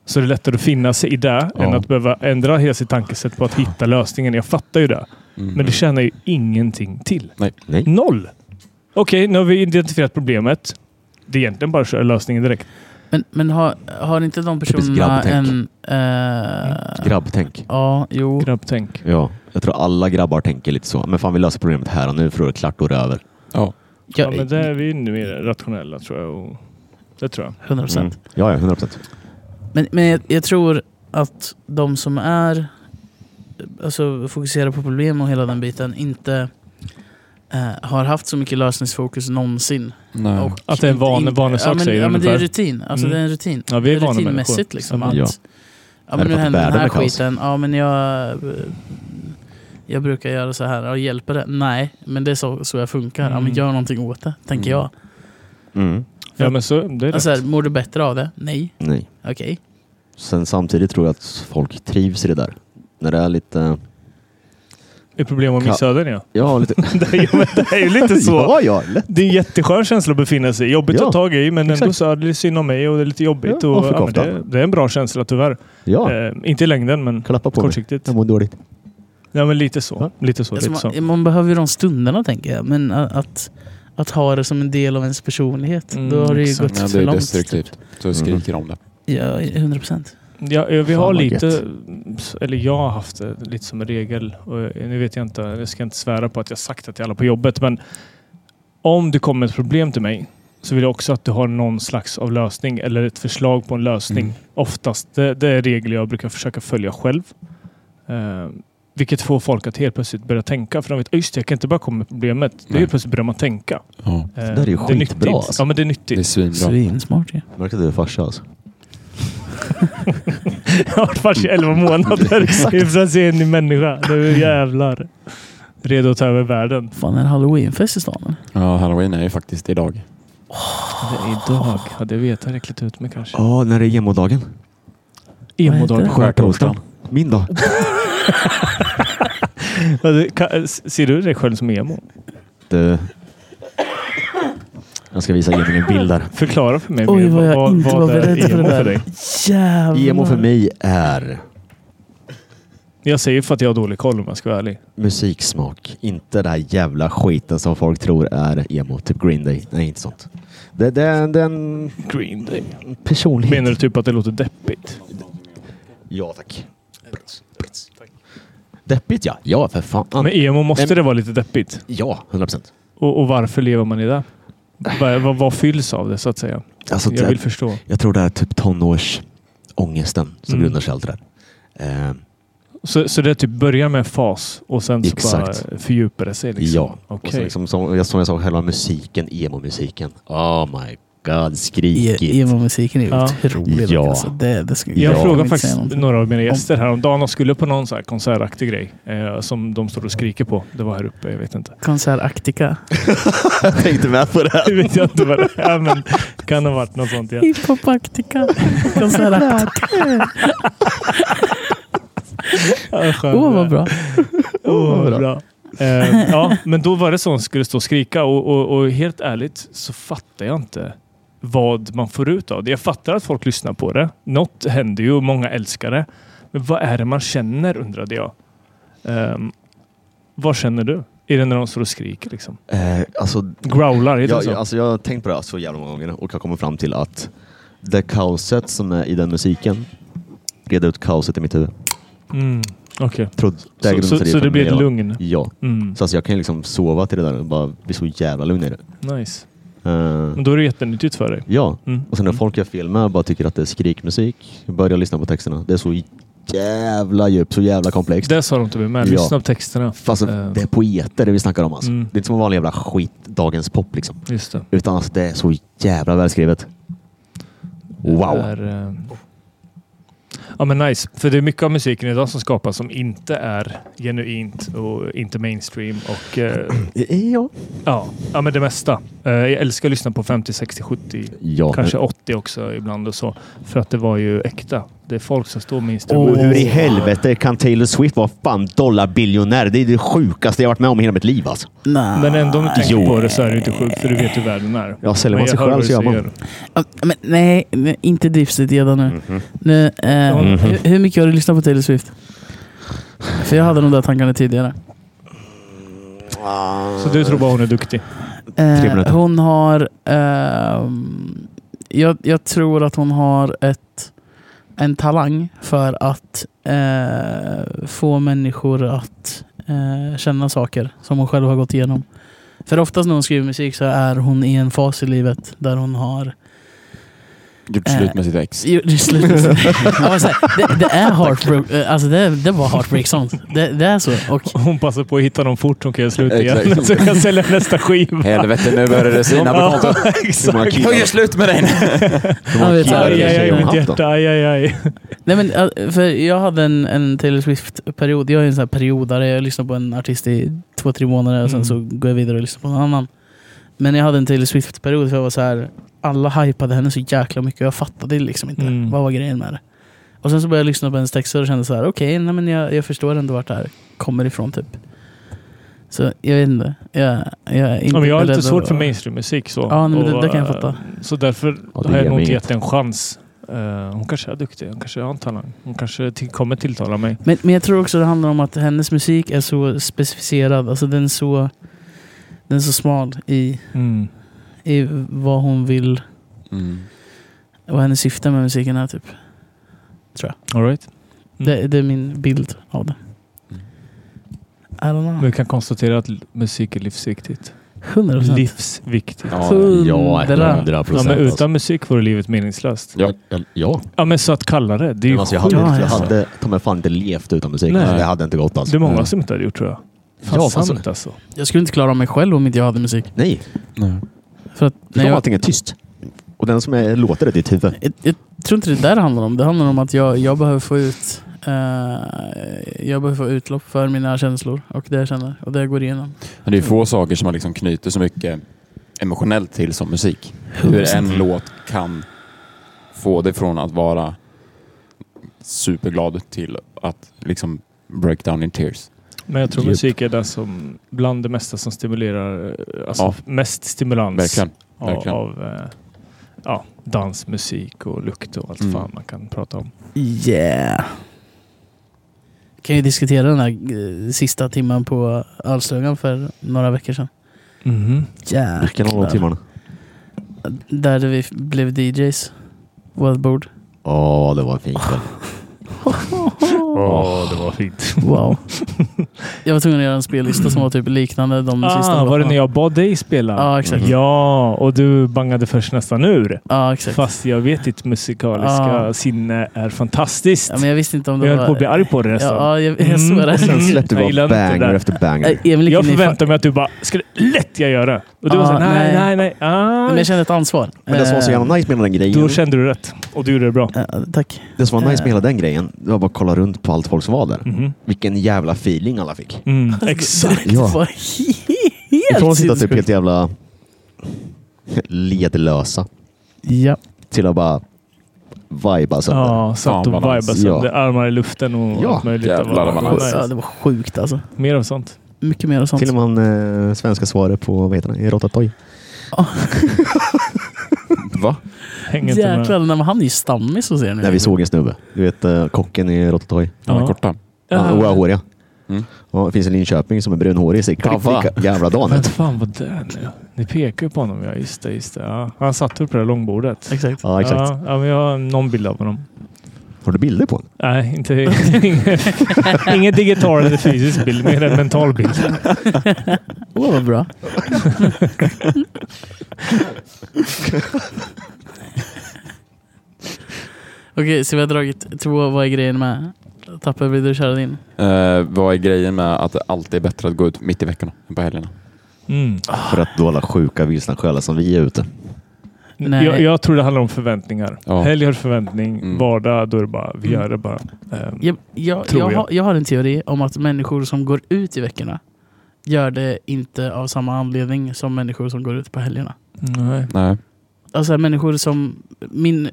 [SPEAKER 4] så är det lättare att finna sig i det
[SPEAKER 3] Ja.
[SPEAKER 4] än att behöva ändra hela sitt tankesätt på att hitta lösningen. Jag fattar ju det.
[SPEAKER 3] Mm.
[SPEAKER 4] Men det tjänar ju ingenting till.
[SPEAKER 3] Nej.
[SPEAKER 2] Nej.
[SPEAKER 4] Noll! Okej, nu har vi identifierat problemet. Det är egentligen bara att köra lösningen direkt.
[SPEAKER 1] Men, men har, har inte de
[SPEAKER 2] Typiskt
[SPEAKER 1] personerna en...
[SPEAKER 2] grabbtänk.
[SPEAKER 1] eh,
[SPEAKER 2] Grabbtänk.
[SPEAKER 1] Ja, jo.
[SPEAKER 4] Grabbtänk.
[SPEAKER 2] Ja, jag tror alla grabbar tänker lite så. Men fan vi löser problemet här och nu för då är det klart och det är över.
[SPEAKER 3] Ja.
[SPEAKER 4] Ja,
[SPEAKER 1] Ja,
[SPEAKER 4] men där är vi inne mer rationella tror jag. Och det tror jag.
[SPEAKER 1] 100 procent.
[SPEAKER 2] Mm. Ja, ja, 100 procent.
[SPEAKER 1] Men, men jag, jag tror att de som är alltså, fokuserar på problem och hela den biten inte eh, har haft så mycket lösningsfokus någonsin.
[SPEAKER 3] Nej.
[SPEAKER 1] Och
[SPEAKER 4] Att det är en
[SPEAKER 1] inte-
[SPEAKER 4] van-
[SPEAKER 1] inte-
[SPEAKER 4] vanesak,
[SPEAKER 1] ja, men,
[SPEAKER 4] säger du
[SPEAKER 1] ja, men det är
[SPEAKER 4] ungefär.
[SPEAKER 1] rutin. Alltså,
[SPEAKER 4] Mm.
[SPEAKER 1] Det är en rutin.
[SPEAKER 4] Ja, vi är vana
[SPEAKER 1] rutinmässigt
[SPEAKER 4] människor.
[SPEAKER 1] liksom.
[SPEAKER 4] Ja.
[SPEAKER 1] Att,
[SPEAKER 2] Ja.
[SPEAKER 1] ja.
[SPEAKER 2] Är
[SPEAKER 1] men
[SPEAKER 2] det
[SPEAKER 1] nu
[SPEAKER 2] för att
[SPEAKER 1] händer den
[SPEAKER 2] världen
[SPEAKER 1] här
[SPEAKER 2] är kaos?
[SPEAKER 1] skiten. Ja, men jag, eh, jag brukar göra så här. Ja, hjälper det? Nej, men det är så, så jag funkar. Ja, men
[SPEAKER 4] Mm.
[SPEAKER 1] gör någonting åt det, tänker
[SPEAKER 3] Mm.
[SPEAKER 1] jag.
[SPEAKER 2] Mm.
[SPEAKER 4] Ja, men så, det är
[SPEAKER 1] Alltså,
[SPEAKER 4] rätt.
[SPEAKER 1] här, mår du bättre av det? Nej.
[SPEAKER 2] Nej.
[SPEAKER 1] Okej.
[SPEAKER 2] Sen samtidigt tror jag att folk trivs i det där. När det är lite...
[SPEAKER 4] Är problem att
[SPEAKER 2] Ka-
[SPEAKER 4] missa den ja.
[SPEAKER 2] Ja, lite...
[SPEAKER 4] Det är, men det är ju lite så.
[SPEAKER 2] ja, ja, lätt.
[SPEAKER 4] Det är en jätteskön känsla att befinna sig i. Jobbigt
[SPEAKER 2] Ja,
[SPEAKER 4] att ta tag i, men ändå
[SPEAKER 2] exakt.
[SPEAKER 4] så är det synd om mig och det är lite jobbigt.
[SPEAKER 2] Ja,
[SPEAKER 4] och,
[SPEAKER 2] varför
[SPEAKER 4] ja, men det,
[SPEAKER 2] koftan?
[SPEAKER 4] det är en bra känsla tyvärr.
[SPEAKER 2] Ja,
[SPEAKER 4] Eh, inte i längden, men
[SPEAKER 2] klappa på mig.
[SPEAKER 4] kortsiktigt.
[SPEAKER 2] Jag mår dåligt.
[SPEAKER 4] Ja, men lite så.
[SPEAKER 2] Ja.
[SPEAKER 4] Lite så,
[SPEAKER 1] Alltså
[SPEAKER 4] lite så.
[SPEAKER 1] man, man behöver ju de stunderna tänker jag. Men a- att, att ha det som en del av ens personlighet.
[SPEAKER 4] Mm,
[SPEAKER 1] då har det ju
[SPEAKER 4] exakt.
[SPEAKER 1] gått
[SPEAKER 3] Nej, det
[SPEAKER 1] för
[SPEAKER 3] är
[SPEAKER 1] långt.
[SPEAKER 3] destruktivt. Så jag skriker om det.
[SPEAKER 1] Ja, 100 procent.
[SPEAKER 4] Ja, eh, vi
[SPEAKER 2] Fan,
[SPEAKER 4] har
[SPEAKER 2] vad
[SPEAKER 4] lite,
[SPEAKER 2] gött.
[SPEAKER 4] eller jag har haft det lite som en regel. Och eh, nu vet jag inte, jag ska inte svära på att jag sagt det till alla på jobbet, men om du kommer med ett problem till mig så vill jag också att du har någon slags av lösning eller ett förslag på en lösning.
[SPEAKER 3] Mm.
[SPEAKER 4] Oftast. Det, det är regler jag brukar försöka följa själv. Eh, vilket får folk att helt plötsligt börja tänka. För de vet, "Ah, just det, jag kan inte bara komma med problemet. Det är
[SPEAKER 3] Nej.
[SPEAKER 4] helt plötsligt börjar man tänka. Eh,
[SPEAKER 3] Ja.
[SPEAKER 4] det
[SPEAKER 2] där är ju skitbra,
[SPEAKER 4] nyttigt.
[SPEAKER 2] alltså.
[SPEAKER 4] Ja, men det är
[SPEAKER 3] Det
[SPEAKER 4] nyttigt.
[SPEAKER 3] är svinbra.
[SPEAKER 1] Svinsmart ju.
[SPEAKER 2] Märkte att du är farsa alltså.
[SPEAKER 4] Jag har varit fars i 11 månader. Helt plötsligt är jag en ny människa. Nu jävlar. Redo att ta över världen.
[SPEAKER 1] Fan är det halloweenfest i stan eller?
[SPEAKER 3] Ja, halloween är ju faktiskt idag.
[SPEAKER 4] Det är idag. Ja, det vet jag. Det klätt ut mig kanske.
[SPEAKER 2] Ja, när det är emodagen.
[SPEAKER 1] Vad
[SPEAKER 4] Emodag.
[SPEAKER 1] heter
[SPEAKER 3] Skärtorsdagen.
[SPEAKER 2] Min dag.
[SPEAKER 4] Ja, det- ka- eh, Ser du dig själv som emo?
[SPEAKER 2] Du. eh, Jag ska visa Emil en bild där.
[SPEAKER 4] Förklara för mig.
[SPEAKER 1] Oj
[SPEAKER 4] mer.
[SPEAKER 1] vad jag inte var
[SPEAKER 4] är
[SPEAKER 1] beredd på det
[SPEAKER 4] emo
[SPEAKER 1] där.
[SPEAKER 4] för dig?
[SPEAKER 1] Jävlar.
[SPEAKER 2] Emo för mig är
[SPEAKER 4] Jag säger för att jag har dålig koll om jag ska vara ärlig.
[SPEAKER 2] musiksmak. Inte den här jävla skiten som folk tror är emo. Typ Green Day. Nej, inte sånt. Det, det, det är en
[SPEAKER 4] Green Day.
[SPEAKER 2] personlighet.
[SPEAKER 4] Menar du typ att det låter deppigt?
[SPEAKER 2] Ja, tack. Deppigt ja. Ja, för fan.
[SPEAKER 4] Men emo måste
[SPEAKER 2] Men-
[SPEAKER 4] det vara lite deppigt.
[SPEAKER 2] Ja, 100 procent.
[SPEAKER 4] Och, och varför lever man i det? Vad, vad, vad fylls av det så att säga?
[SPEAKER 2] Alltså,
[SPEAKER 4] Jag
[SPEAKER 2] jag,
[SPEAKER 4] vill förstå.
[SPEAKER 2] jag tror det är typ tonårsångesten som
[SPEAKER 4] Mm.
[SPEAKER 2] grundar sig i allt det där. Eh,
[SPEAKER 4] Så, så det typ börjar med en fas och sen så
[SPEAKER 2] Exakt.
[SPEAKER 4] bara fördjupar det sig? Liksom.
[SPEAKER 2] Ja. Och så
[SPEAKER 4] Okej.
[SPEAKER 2] liksom, som, jag- som jag sa, själva musiken, emo-musiken. Oh my god, skrikigt.
[SPEAKER 1] E- Emo-musiken är ju
[SPEAKER 4] Ja.
[SPEAKER 1] otrolig.
[SPEAKER 2] Ja.
[SPEAKER 1] Ja. Alltså, det, det ska,
[SPEAKER 4] Jag
[SPEAKER 1] kan
[SPEAKER 4] frågade
[SPEAKER 1] inte
[SPEAKER 4] faktiskt
[SPEAKER 1] säga någonting.
[SPEAKER 4] några av mina gäster häromdagen. De skulle på någon så här konsertaktig grej eh, som de står och skriker på. Det var här uppe, jag vet inte.
[SPEAKER 1] Konsert Actica.
[SPEAKER 2] jag tänkte med på det. här.
[SPEAKER 4] Det vet jag inte vad det är, men kan ha varit något sånt. Ja.
[SPEAKER 1] Hiphop Actica. Konsert Actica. Åh, vad bra.
[SPEAKER 4] Åh,
[SPEAKER 1] Vad bra.
[SPEAKER 4] Oh, bra. Eh, ja, men då var det sån skulle stå och skrika och, och, och helt ärligt så fattar jag inte vad man får ut av det. Jag fattar att folk lyssnar på det. Något händer ju och många älskar det. Men vad är det man känner undrade jag. Ehm, vad känner du? Är det när de står och skriker liksom?
[SPEAKER 2] Eh, alltså,
[SPEAKER 4] Growlar, heter det
[SPEAKER 2] jag,
[SPEAKER 4] så?
[SPEAKER 2] jag, alltså, jag har tänkt på det här så jävla många gånger och jag kommer fram till att det kaoset som är i den musiken reda ut kaoset i mitt huvud.
[SPEAKER 4] Mm, okej.
[SPEAKER 2] Tror- är
[SPEAKER 4] Så, så,
[SPEAKER 2] grundserier
[SPEAKER 4] så
[SPEAKER 2] för
[SPEAKER 4] det blir
[SPEAKER 2] mig
[SPEAKER 4] ett
[SPEAKER 2] då.
[SPEAKER 4] lugn?
[SPEAKER 2] Ja.
[SPEAKER 4] Mm,
[SPEAKER 2] Så alltså, jag kan ju liksom sova till det där och bara bli så jävla lugn i det.
[SPEAKER 4] nice.
[SPEAKER 2] Eh,
[SPEAKER 4] Men då är det jättenyttigt för dig.
[SPEAKER 2] ja,
[SPEAKER 4] Mm.
[SPEAKER 2] och sen när folk jag filmar och bara tycker att det är skrikmusik, börjar lyssna på texterna. Det är så jävla djupt, så jävla komplext.
[SPEAKER 4] Det sa de till mig med.
[SPEAKER 2] Ja.
[SPEAKER 4] Lyssna på texterna.
[SPEAKER 2] Alltså,
[SPEAKER 4] Eh.
[SPEAKER 2] det är poeter det vi snackar om alltså.
[SPEAKER 4] Mm.
[SPEAKER 2] Det är inte som vanlig jävla skit, dagens pop liksom.
[SPEAKER 4] Just det.
[SPEAKER 2] Utan alltså, det är så jävla välskrivet.
[SPEAKER 4] Det
[SPEAKER 2] Wow!
[SPEAKER 4] är, eh, ja men nice. För det är mycket av musiken idag som skapas som inte är genuint och inte mainstream. Och, eh,
[SPEAKER 2] Ja.
[SPEAKER 4] ja, ja, men det mesta. Eh, jag älskar att lyssna på 50, 60, 70,
[SPEAKER 2] ja.
[SPEAKER 4] kanske 80 också ibland och så. För att det var ju äkta. Det är folk som står med
[SPEAKER 2] Och
[SPEAKER 4] instrument.
[SPEAKER 2] hur i helvete kan Taylor Swift vara fan dollarbiljonär? Det är det sjukaste jag varit med om i hela mitt liv alltså.
[SPEAKER 1] Nej.
[SPEAKER 4] Oh. Men ändå om du tänker
[SPEAKER 2] Jo.
[SPEAKER 4] på det så är det ju inte sjukt för du vet hur världen är.
[SPEAKER 2] Ja, säljer
[SPEAKER 4] Men
[SPEAKER 2] man
[SPEAKER 4] jag
[SPEAKER 2] sig
[SPEAKER 4] hör
[SPEAKER 2] själv
[SPEAKER 4] vad
[SPEAKER 2] så
[SPEAKER 4] du
[SPEAKER 2] gör man.
[SPEAKER 4] säger. Mm.
[SPEAKER 1] Ja, Men, nej, nej, inte driftsigt redan nu.
[SPEAKER 2] Mm-hmm.
[SPEAKER 1] nu eh,
[SPEAKER 4] Mhm.
[SPEAKER 1] hur, hur mycket har du lyssnat på Taylor Swift? För jag hade de där tankarna tidigare.
[SPEAKER 4] Så du tror bara hon är duktig?
[SPEAKER 2] Tre minuter.
[SPEAKER 1] Eh, hon har... ehm, jag, jag tror att hon har ett, en talang för att eh, få människor att eh, känna saker som hon själv har gått igenom. För oftast när hon skriver musik så är hon i en fas i livet där hon har
[SPEAKER 3] Gjort
[SPEAKER 1] Eh.
[SPEAKER 3] slut med sitt ex.
[SPEAKER 1] Jo, det, är slut. Ja, men så här, det, det är heartbreak, eh, alltså det, det var heartbreak sånt. Det, det är så. Och,
[SPEAKER 4] Hon passar på att hitta någon fort som kan göra slut igen.
[SPEAKER 3] Exakt.
[SPEAKER 4] så jag kan sälja nästa skiva.
[SPEAKER 3] Helvete, nu börjar det sina på kontot.
[SPEAKER 4] Ja, exakt.
[SPEAKER 3] Jag gör slut med dig nu.
[SPEAKER 2] Hur många
[SPEAKER 1] Ja, vet du,
[SPEAKER 2] killar
[SPEAKER 1] aj,
[SPEAKER 2] är
[SPEAKER 4] Aj,
[SPEAKER 2] det i
[SPEAKER 1] aj, aj,
[SPEAKER 4] aj,
[SPEAKER 2] tjejer hon
[SPEAKER 4] aj, mitt
[SPEAKER 2] haft då?
[SPEAKER 4] hjärta. Aj, aj, aj.
[SPEAKER 1] nej men, eh, för jag hade en, en Taylor Swift-period. Jag är en sån här period där jag lyssnar på en artist i två, tre månader och sen
[SPEAKER 4] Mm.
[SPEAKER 1] så går jag vidare och lyssnar på någon annan. Men jag hade en Taylor Swift-period för jag var så här, alla hypade henne så jäkla mycket och jag fattade liksom inte.
[SPEAKER 4] Mm.
[SPEAKER 1] Vad var grejen med det? Och sen så började jag lyssna på hennes texter och kände så här, okej, nej men jag, jag förstår ändå vart det här kommer ifrån typ. Så jag vet inte. Jag, jag är inte
[SPEAKER 4] Ja, men jag har lite
[SPEAKER 1] beredd
[SPEAKER 4] svårt
[SPEAKER 1] att-
[SPEAKER 4] för mainstreammusik. Så.
[SPEAKER 1] Ja, nej, men det,
[SPEAKER 4] Och,
[SPEAKER 1] det kan jag
[SPEAKER 4] eh,
[SPEAKER 1] fatta.
[SPEAKER 4] Så därför
[SPEAKER 2] Ja, det
[SPEAKER 4] har jag
[SPEAKER 2] ger
[SPEAKER 4] nog
[SPEAKER 2] mig
[SPEAKER 4] inte
[SPEAKER 2] inget.
[SPEAKER 4] gett en chans. Eh, hon kanske är duktig. Hon kanske har en talang. Hon kanske till, kommer tilltala mig.
[SPEAKER 1] Men, men jag tror också det handlar om att hennes musik är så specificerad. Alltså den är så, den är så smal i,
[SPEAKER 4] Mm.
[SPEAKER 1] i vad hon vill,
[SPEAKER 3] Mm.
[SPEAKER 1] vad hennes syfte med musiken är. Typ.
[SPEAKER 4] All right.
[SPEAKER 1] Det, det är min bild av det. I don't
[SPEAKER 4] Men
[SPEAKER 1] know.
[SPEAKER 4] vi kan konstatera att l- musik är livsviktigt.
[SPEAKER 1] 100 procent.
[SPEAKER 4] Livsviktigt.
[SPEAKER 3] Ja,
[SPEAKER 2] Ja, 100
[SPEAKER 4] Ja, men
[SPEAKER 2] procent. alltså.
[SPEAKER 4] utan musik vore livet meningslöst.
[SPEAKER 3] Ja.
[SPEAKER 2] Ja.
[SPEAKER 4] Ja, men så att kalla det. Det är
[SPEAKER 2] Men
[SPEAKER 4] ju
[SPEAKER 2] alltså, jag
[SPEAKER 4] sjukt.
[SPEAKER 2] hade,
[SPEAKER 1] Ja,
[SPEAKER 2] jag
[SPEAKER 1] ja.
[SPEAKER 2] hade ta mig fan inte levt utan musik.
[SPEAKER 4] Nej.
[SPEAKER 2] Alltså, det hade inte gått alltså.
[SPEAKER 4] Det är många som inte hade gjort tror jag. Fan,
[SPEAKER 2] Ja,
[SPEAKER 4] ja,
[SPEAKER 2] fan,
[SPEAKER 4] sant alltså.
[SPEAKER 1] Jag skulle inte klara mig själv om inte jag hade musik.
[SPEAKER 2] Nej,
[SPEAKER 3] Nej.
[SPEAKER 1] För att,
[SPEAKER 2] för
[SPEAKER 1] nej, jag,
[SPEAKER 2] allting är tyst. Och den som är, låter är ditt huvud.
[SPEAKER 1] jag, jag tror inte det där det handlar om. Det handlar om att jag, jag behöver få ut eh, jag behöver få utlopp för mina känslor och det jag känner och det jag går igenom.
[SPEAKER 3] Men det är få saker som man liksom knyter så mycket emotionellt till som musik. Hur en låt kan få dig från att vara superglad till att liksom break down in tears.
[SPEAKER 4] Men jag tror
[SPEAKER 3] Djup.
[SPEAKER 4] musik är det som bland det mesta som stimulerar, eh, alltså
[SPEAKER 3] Ja.
[SPEAKER 4] mest stimulans
[SPEAKER 3] Verkligen.
[SPEAKER 4] av,
[SPEAKER 3] verkligen.
[SPEAKER 4] av eh, ja, dans, musik och lukt och allt
[SPEAKER 3] Mm.
[SPEAKER 4] fan man kan prata om.
[SPEAKER 1] Yeah. Kan ju diskutera den här eh, sista timmen på Ölstugan för några veckor sedan.
[SPEAKER 4] Mhm.
[SPEAKER 2] Vilken av de timmarna?
[SPEAKER 1] Där vi f- blev DJs. Vårt bord.
[SPEAKER 2] Åh, det var en fin kväll.
[SPEAKER 4] Åh, det var fint.
[SPEAKER 1] Wow. jag var tvungen att göra en spellista som var typ liknande de sista
[SPEAKER 4] Ah, var det när jag bad dig spela?
[SPEAKER 1] Ja, exakt.
[SPEAKER 4] Mm. Ja, och du bangade först nästan ur.
[SPEAKER 1] Ja, exakt.
[SPEAKER 4] Fast jag vet ditt musikaliska
[SPEAKER 1] Ja.
[SPEAKER 4] sinne är fantastiskt.
[SPEAKER 1] Ja, men jag visste inte om det
[SPEAKER 4] jag höll
[SPEAKER 1] var...
[SPEAKER 4] på att bli arg på dig nästan.
[SPEAKER 1] Ja, jag, jag såg
[SPEAKER 4] Mm.
[SPEAKER 1] det.
[SPEAKER 2] Sen släppte
[SPEAKER 4] Jag
[SPEAKER 2] vi
[SPEAKER 4] gillar
[SPEAKER 2] bara
[SPEAKER 4] inte det där.
[SPEAKER 2] banger efter banger.
[SPEAKER 1] Eh, Emil gick
[SPEAKER 4] Jag
[SPEAKER 1] in i fa-
[SPEAKER 4] förväntade mig att du bara, skulle lätt jag göra. Och du
[SPEAKER 1] Ah,
[SPEAKER 4] var såhär,
[SPEAKER 1] nej.
[SPEAKER 4] nej, nej, nej.
[SPEAKER 1] Men
[SPEAKER 4] Ah,
[SPEAKER 1] jag kände ett ansvar.
[SPEAKER 2] Men det som var så
[SPEAKER 1] Eh,
[SPEAKER 2] jävla nice med hela den
[SPEAKER 4] då
[SPEAKER 2] grejen,
[SPEAKER 4] kände du rätt. Och du gjorde det bra.
[SPEAKER 1] eh, Tack.
[SPEAKER 2] det som var nice med hela den grejen, det var bara att kolla runt på allt folk som var där.
[SPEAKER 4] Mhm.
[SPEAKER 2] Vilken jävla feeling alla fick.
[SPEAKER 4] Mm,
[SPEAKER 1] Alltså,
[SPEAKER 4] exakt.
[SPEAKER 1] Det
[SPEAKER 2] Ja.
[SPEAKER 1] var helt
[SPEAKER 2] Från att sitta typ
[SPEAKER 1] sinnessjukt.
[SPEAKER 2] helt jävla ledlösa
[SPEAKER 1] Ja.
[SPEAKER 2] till att bara alltså. vibea sönder.
[SPEAKER 4] Ja, satt
[SPEAKER 3] Fan,
[SPEAKER 4] och vibade
[SPEAKER 3] balans.
[SPEAKER 4] sönder. Armar i luften och
[SPEAKER 2] Ja,
[SPEAKER 4] allt möjligt.
[SPEAKER 3] jävlar
[SPEAKER 4] Det var-
[SPEAKER 3] vad
[SPEAKER 4] det var
[SPEAKER 3] nice.
[SPEAKER 4] nice.
[SPEAKER 1] Ja, det var sjukt alltså.
[SPEAKER 4] Mer av sånt.
[SPEAKER 1] Mycket mer och sånt.
[SPEAKER 2] Till och med han eh, svenska svaret på, vad heter han, Rotatoj.
[SPEAKER 3] Va?
[SPEAKER 4] Hänger inte med.
[SPEAKER 1] Jäklar, när man, han är ju stammis hos er nu.
[SPEAKER 2] När vi såg en snubbe. Du vet eh, kocken i Rotatoj.
[SPEAKER 3] Den är
[SPEAKER 4] Ja.
[SPEAKER 3] korta.
[SPEAKER 2] Ja.
[SPEAKER 4] Ja.
[SPEAKER 2] Oahåriga.
[SPEAKER 3] Mm.
[SPEAKER 2] Ja, det finns en Linköping som är brunhårig. Sig.
[SPEAKER 3] Pava.
[SPEAKER 2] Jävla
[SPEAKER 4] Men
[SPEAKER 2] danet.
[SPEAKER 4] fan vad det är nu? Ni pekar ju på honom. Ja, just det. Just det. Ja. Han satt upp på det där långbordet.
[SPEAKER 1] Exakt.
[SPEAKER 2] Ja, exakt.
[SPEAKER 4] Ja, ja, men jag har någon bild av honom.
[SPEAKER 2] Har du bilder på honom?
[SPEAKER 4] Nej, inte, ingen, ingen digital eller fysisk bild, mer en mental bild.
[SPEAKER 1] Åh, vad bra. Okej, så vi har dragit två. Vad är grejen med Tapper? Vill du köra din?
[SPEAKER 3] Eh, vad är grejen med att det alltid är bättre att gå ut mitt i veckorna än på helgerna?
[SPEAKER 4] Mm.
[SPEAKER 1] Ah.
[SPEAKER 2] För att då alla sjuka vilsna själar som vi är ute.
[SPEAKER 1] Nej.
[SPEAKER 4] Jag, jag tror det handlar om förväntningar.
[SPEAKER 3] Ja.
[SPEAKER 4] Helg har förväntning,
[SPEAKER 3] Mm.
[SPEAKER 4] vardag då är det bara, vi
[SPEAKER 1] Mm.
[SPEAKER 4] gör det bara. Ehm,
[SPEAKER 1] Jag, jag,
[SPEAKER 4] Tror
[SPEAKER 1] jag.
[SPEAKER 4] jag.
[SPEAKER 1] har, jag har en teori om att människor som går ut i veckorna gör det inte av samma anledning som människor som går ut på helgerna.
[SPEAKER 4] Nej.
[SPEAKER 3] Nej.
[SPEAKER 1] Alltså människor som... Min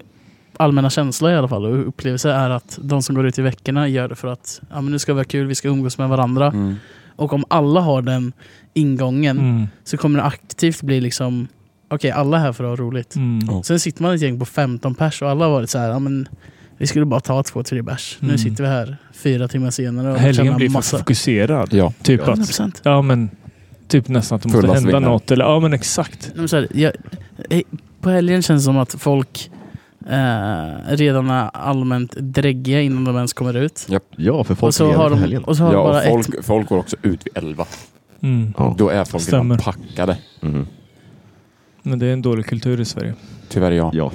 [SPEAKER 1] allmänna känsla i alla fall och upplevelse är att de som går ut i veckorna gör det för att ja, men nu ska det vara kul, vi ska umgås med varandra.
[SPEAKER 3] Mm.
[SPEAKER 1] Och om alla har den ingången
[SPEAKER 4] Mm.
[SPEAKER 1] så kommer det aktivt bli liksom okej, alla är här för att ha roligt.
[SPEAKER 4] Mm.
[SPEAKER 3] Ja.
[SPEAKER 1] Sen sitter man i ett gäng på 15 pers och alla har varit så här, ja men vi skulle bara ta två, tre bärs. Nu
[SPEAKER 4] Mm.
[SPEAKER 1] sitter vi här fyra timmar senare och
[SPEAKER 4] Helgen blir
[SPEAKER 1] tjänar
[SPEAKER 4] för
[SPEAKER 1] massa.
[SPEAKER 4] fokuserad.
[SPEAKER 3] Ja.
[SPEAKER 4] Typ
[SPEAKER 2] Ja.
[SPEAKER 4] att,
[SPEAKER 1] 100%.
[SPEAKER 4] ja men, typ nästan att det måste
[SPEAKER 3] Fullast
[SPEAKER 4] hända
[SPEAKER 3] vinnare.
[SPEAKER 4] något. Eller, ja men exakt.
[SPEAKER 1] Nej, men Så här, jag, eh, på helgen känns det som att folk eh, redan är allmänt dräggiga innan de ens kommer ut.
[SPEAKER 2] Ja, för folk
[SPEAKER 1] Och så,
[SPEAKER 2] lever
[SPEAKER 1] har
[SPEAKER 2] för
[SPEAKER 1] de,
[SPEAKER 2] helgen.
[SPEAKER 1] och så har de
[SPEAKER 3] Ja,
[SPEAKER 1] bara
[SPEAKER 3] och
[SPEAKER 1] ett...
[SPEAKER 3] folk, folk går också ut vid elva.
[SPEAKER 4] Mm.
[SPEAKER 2] Ja.
[SPEAKER 3] Då är folk
[SPEAKER 4] Stämmer.
[SPEAKER 3] redan packade.
[SPEAKER 2] Mhm.
[SPEAKER 4] Men det är en dålig kultur i Sverige.
[SPEAKER 3] Tyvärr ja.
[SPEAKER 2] ja.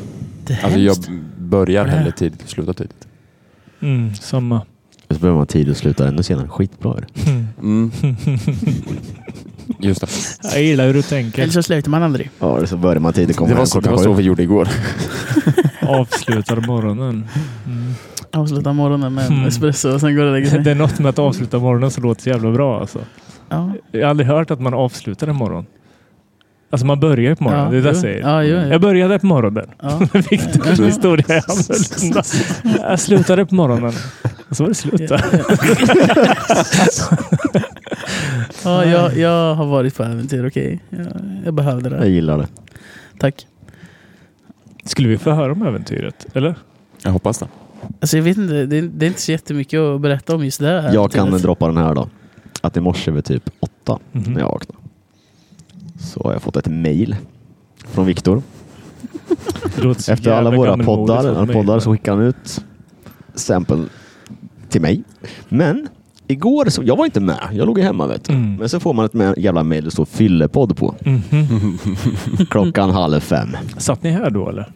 [SPEAKER 1] Det är
[SPEAKER 3] Alltså jag
[SPEAKER 1] hemskt.
[SPEAKER 3] börjar hellre tidigt och slutar tidigt.
[SPEAKER 4] Mm, samma.
[SPEAKER 2] Och så behöver man tid att sluta ännu senare. Skitbra är det.
[SPEAKER 4] Mm.
[SPEAKER 3] Mm. Just det.
[SPEAKER 4] Jag gillar hur du
[SPEAKER 1] Eller
[SPEAKER 4] tänker.
[SPEAKER 1] så slutar man aldrig.
[SPEAKER 2] Ja, eller så börjar man tidigt komma
[SPEAKER 3] Det var,
[SPEAKER 2] hem
[SPEAKER 3] så, det
[SPEAKER 2] klockan
[SPEAKER 3] var så
[SPEAKER 2] sju.
[SPEAKER 3] vi gjorde igår.
[SPEAKER 4] Avslutar morgonen. Mm.
[SPEAKER 1] Avsluta morgonen med en
[SPEAKER 4] Mm.
[SPEAKER 1] espresso och sen går det och lägger sig.
[SPEAKER 4] Det är något med att avsluta morgonen som låter så jävla bra alltså.
[SPEAKER 1] Ja.
[SPEAKER 4] Jag har aldrig hört att man avslutar en morgon. Alltså man börjar på morgonen,
[SPEAKER 1] Ja,
[SPEAKER 4] det är det jag
[SPEAKER 1] jo.
[SPEAKER 4] säger.
[SPEAKER 1] Ja, jo, jo.
[SPEAKER 4] Jag började på morgonen.
[SPEAKER 1] Ja.
[SPEAKER 4] Viktigt
[SPEAKER 1] Mhm.
[SPEAKER 4] historia är annorlunda. Jag slutade på morgonen. Och så var det slut där.
[SPEAKER 1] ja, jag, jag har varit på äventyr, okej. Jag, jag behövde
[SPEAKER 2] Jag
[SPEAKER 1] det.
[SPEAKER 2] gillar det.
[SPEAKER 1] Tack.
[SPEAKER 4] Skulle vi få höra om äventyret? Eller?
[SPEAKER 3] Jag hoppas det.
[SPEAKER 1] Alltså, jag vet inte, det, är- det är inte så jättemycket att berätta om just det här.
[SPEAKER 2] Jag kan
[SPEAKER 1] äventyret.
[SPEAKER 2] droppa den här då. Att i morse vid typ åtta
[SPEAKER 4] Mhm.
[SPEAKER 2] när jag vaknade så har jag fått ett mail från Viktor.
[SPEAKER 4] Det låter så
[SPEAKER 2] Efter alla
[SPEAKER 4] jävla
[SPEAKER 2] våra
[SPEAKER 4] gammelmodigt
[SPEAKER 2] poddar,
[SPEAKER 4] av
[SPEAKER 2] alla
[SPEAKER 4] mig.
[SPEAKER 2] poddar så skickar han ut sample till mig. Men igår, så, jag var inte med. Jag låg ju hemma vet du.
[SPEAKER 4] Mm.
[SPEAKER 2] Men så får man ett ma- jävla mail det står fyllepodd på.
[SPEAKER 4] Mhm.
[SPEAKER 2] Klockan halv fem.
[SPEAKER 4] Satt ni här då eller?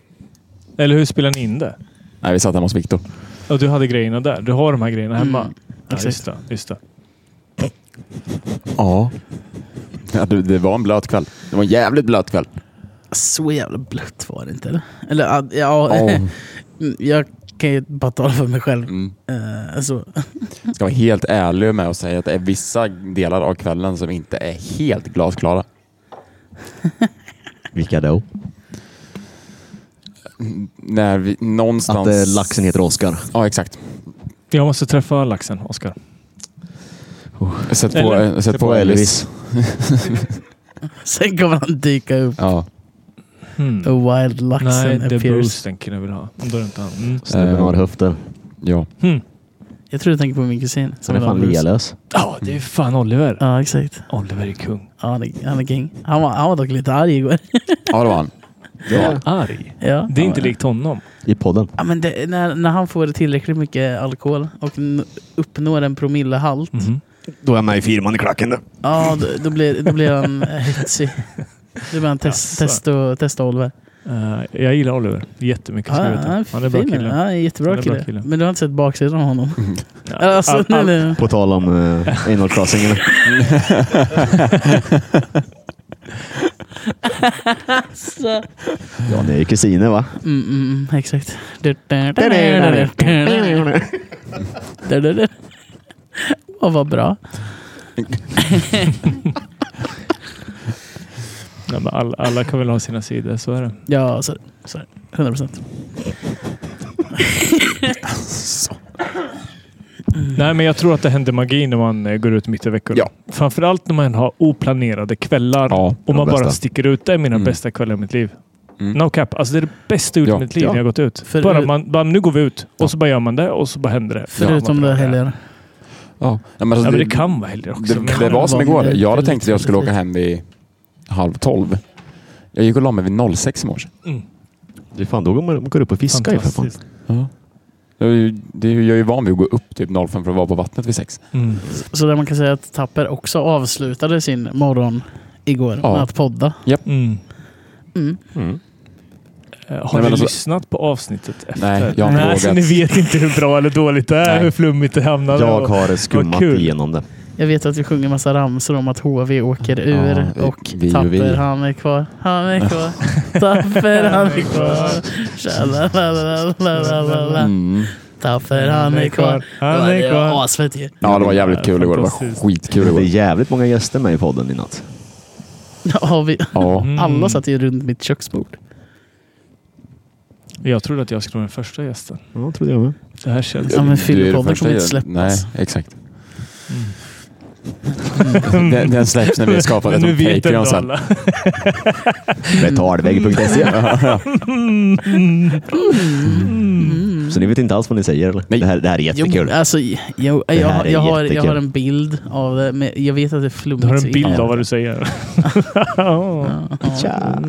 [SPEAKER 4] Eller hur spelade ni in det?
[SPEAKER 3] Nej, vi satt hemma hos Viktor.
[SPEAKER 4] Och du hade grejerna där? Du har de här grejerna hemma?
[SPEAKER 1] Mm,
[SPEAKER 4] Ja,
[SPEAKER 1] exakt.
[SPEAKER 4] just det, just det.
[SPEAKER 3] Ja. det, det var en blöt kväll. Det var en jävligt blöt kväll.
[SPEAKER 1] Alltså, Så jävla blött var det inte eller? Eller ja, ja jag kan ju bara tala för mig själv.
[SPEAKER 3] Mm.
[SPEAKER 1] Eh, alltså,
[SPEAKER 3] Ska vara helt ärlig med och säga att det är vissa delar av kvällen som inte är helt glasklara.
[SPEAKER 2] Vilka då?
[SPEAKER 3] När vi
[SPEAKER 2] Att
[SPEAKER 3] någonstans...
[SPEAKER 2] eh, laxen heter Oskar.
[SPEAKER 3] Ja, exakt.
[SPEAKER 4] Jag måste träffa laxen, Oskar.
[SPEAKER 3] Sätt på,
[SPEAKER 4] Eller-
[SPEAKER 3] eh, sätt på Elvis.
[SPEAKER 1] sen kommer han dyka upp.
[SPEAKER 3] Ja.
[SPEAKER 4] Mm.
[SPEAKER 1] A wild
[SPEAKER 4] Nej,
[SPEAKER 1] Oh, laxen
[SPEAKER 4] det är
[SPEAKER 1] appears.
[SPEAKER 4] Bruce tänker jag vill ha. Om då är det inte han. Mm.
[SPEAKER 2] Snubben har höfter.
[SPEAKER 3] ja.
[SPEAKER 4] Mm.
[SPEAKER 1] Jag tror du tänker på min kusin.
[SPEAKER 2] Han är
[SPEAKER 1] var
[SPEAKER 2] fan
[SPEAKER 1] Bruce.
[SPEAKER 2] lealös.
[SPEAKER 4] Ja, det är fan Oliver.
[SPEAKER 1] Mm. Ja, exakt.
[SPEAKER 4] Oliver är kung.
[SPEAKER 1] Ja, han är, han är king. Han var, han var dock lite arg igår.
[SPEAKER 3] ja, det var han.
[SPEAKER 2] Ja.
[SPEAKER 4] Arg.
[SPEAKER 1] ja.
[SPEAKER 4] Det är inte likt honom.
[SPEAKER 2] I podden.
[SPEAKER 1] Ja, men det, när, när han får tillräckligt mycket alkohol och n- uppnår en promillehalt,
[SPEAKER 4] Mhm.
[SPEAKER 2] Då är man i firman i klacken då.
[SPEAKER 1] ja, då, då, blir, då blir han hetsig. Då blir han test,
[SPEAKER 4] Jaså.
[SPEAKER 1] testo, testo-Oliver.
[SPEAKER 4] Eh, jag gillar Oliver jättemycket.
[SPEAKER 1] Ja,
[SPEAKER 4] Ska
[SPEAKER 1] han
[SPEAKER 4] jag veta.
[SPEAKER 1] är
[SPEAKER 4] Han är bra
[SPEAKER 1] fin. Ja,
[SPEAKER 4] kille.
[SPEAKER 1] han är jättebra
[SPEAKER 4] Han är bra
[SPEAKER 1] kille.
[SPEAKER 4] kille.
[SPEAKER 1] Men du har inte sett baksidan av honom?
[SPEAKER 4] Ja.
[SPEAKER 1] Alltså,
[SPEAKER 4] All-
[SPEAKER 1] nej,
[SPEAKER 4] all-
[SPEAKER 1] nej.
[SPEAKER 2] På tal om uh, anal crossing. eller?
[SPEAKER 1] Alltså.
[SPEAKER 2] Ja, ni är ju kusiner va?
[SPEAKER 1] Mm, mm, mm, exakt. Åh, vad bra.
[SPEAKER 4] Nej, men alla, alla kan väl ha sina sidor, så är det.
[SPEAKER 1] Ja, så, så 100 procent.
[SPEAKER 4] Nej, men jag tror att det händer magi när man eh, går ut mitt i veckorna.
[SPEAKER 3] Ja.
[SPEAKER 4] Framförallt när man har oplanerade kvällar
[SPEAKER 3] Ja,
[SPEAKER 4] och
[SPEAKER 2] de
[SPEAKER 4] man
[SPEAKER 2] bästa.
[SPEAKER 4] bara sticker ut. Det är mina
[SPEAKER 3] Mm.
[SPEAKER 4] bästa kvällar i mitt liv.
[SPEAKER 3] Mm.
[SPEAKER 4] No cap. Alltså det är det bästa ut i
[SPEAKER 3] Ja.
[SPEAKER 4] mitt liv
[SPEAKER 3] Ja.
[SPEAKER 4] när jag gått ut.
[SPEAKER 1] För-
[SPEAKER 4] bara man, bara, nu går vi ut
[SPEAKER 3] Ja.
[SPEAKER 4] och så bara gör man det och så bara händer det.
[SPEAKER 1] Förutom
[SPEAKER 4] Fan, vad
[SPEAKER 1] det
[SPEAKER 4] bra är.
[SPEAKER 1] helger.
[SPEAKER 3] Ja. men alltså,
[SPEAKER 4] Ja, men det kan vara helger också. men-
[SPEAKER 3] Det, det var som
[SPEAKER 1] Vanlig
[SPEAKER 3] igår. Jag hade
[SPEAKER 1] väldigt
[SPEAKER 3] tänkt att jag skulle
[SPEAKER 1] precis.
[SPEAKER 3] åka hem vid halv tolv. Jag gick och la mig vid 06 i morse.
[SPEAKER 2] Det är fan, då går man går upp och fiskar ju för fan.
[SPEAKER 4] Fantastiskt.
[SPEAKER 3] Jag är ju- det är ju- jag är ju van vid att gå upp typ 05 för att vara på vattnet vid sex.
[SPEAKER 4] Mm.
[SPEAKER 1] Så där man kan säga att Tapper också avslutade sin morgon igår
[SPEAKER 3] Ja.
[SPEAKER 1] med att podda.
[SPEAKER 4] Mm.
[SPEAKER 1] Mm.
[SPEAKER 2] Mm.
[SPEAKER 4] Eh, Har
[SPEAKER 3] men
[SPEAKER 4] ni
[SPEAKER 3] alltså-
[SPEAKER 4] lyssnat på avsnittet efter?
[SPEAKER 3] Nej, jag har inte
[SPEAKER 4] Nej, så
[SPEAKER 3] vågat.
[SPEAKER 4] ni vet inte hur bra eller dåligt det är,
[SPEAKER 3] Nej.
[SPEAKER 4] hur flummigt det hamnade.
[SPEAKER 2] Jag
[SPEAKER 4] och-
[SPEAKER 2] har skummat
[SPEAKER 4] Vad kul.
[SPEAKER 2] igenom det.
[SPEAKER 1] Jag vet att vi sjunger massa ramsor om att HV åker ur
[SPEAKER 3] Ja, vi-
[SPEAKER 1] och
[SPEAKER 3] vi och
[SPEAKER 1] Tapper
[SPEAKER 3] vi.
[SPEAKER 1] han är kvar. Han är kvar. Tapper han är kvar. Tja, la, la, la, la, la, la, la.
[SPEAKER 3] Mm.
[SPEAKER 1] Tapper han är kvar.
[SPEAKER 4] Han
[SPEAKER 1] Det
[SPEAKER 4] är
[SPEAKER 1] var
[SPEAKER 4] kvar.
[SPEAKER 1] Asfett ju.
[SPEAKER 3] Ja, det var jävligt kul igår. Det var
[SPEAKER 4] Fantastiskt.
[SPEAKER 3] skitkul
[SPEAKER 2] Det är
[SPEAKER 3] igår.
[SPEAKER 2] jävligt många gäster med i podden i natt.
[SPEAKER 1] Ja, vi,
[SPEAKER 3] Ja.
[SPEAKER 4] Mm.
[SPEAKER 1] alla satt ju runt mitt köksbord.
[SPEAKER 4] Jag trodde att jag skulle vara den första gästen.
[SPEAKER 2] Ja, trodde jag med.
[SPEAKER 4] Det här känns...
[SPEAKER 1] Ja, men
[SPEAKER 3] Du är det
[SPEAKER 1] Fyllepodden
[SPEAKER 3] första
[SPEAKER 1] kommer inte
[SPEAKER 3] i-
[SPEAKER 1] släppas.
[SPEAKER 3] Nej, exakt. Den, den släpps när vi har skapat
[SPEAKER 4] Men nu
[SPEAKER 3] ett
[SPEAKER 4] vet
[SPEAKER 3] Patreon
[SPEAKER 4] ändå
[SPEAKER 3] sen.
[SPEAKER 4] alla.
[SPEAKER 2] Betalvägg.se.
[SPEAKER 4] Mm.
[SPEAKER 2] Så ni vet inte alls vad ni säger eller?
[SPEAKER 3] Nej.
[SPEAKER 2] Det, här, det här är
[SPEAKER 1] Jo,
[SPEAKER 2] jättekul.
[SPEAKER 1] alltså, jag, jag,
[SPEAKER 2] Det här
[SPEAKER 1] jag,
[SPEAKER 2] är
[SPEAKER 1] jag, har, jag
[SPEAKER 2] jättekul.
[SPEAKER 1] har en bild av det, men jag vet att det är flummigt.
[SPEAKER 4] Du har
[SPEAKER 1] så
[SPEAKER 4] en
[SPEAKER 1] in-
[SPEAKER 4] bild
[SPEAKER 3] Ja.
[SPEAKER 4] av vad du säger.
[SPEAKER 1] Ja, ja.
[SPEAKER 2] Tja.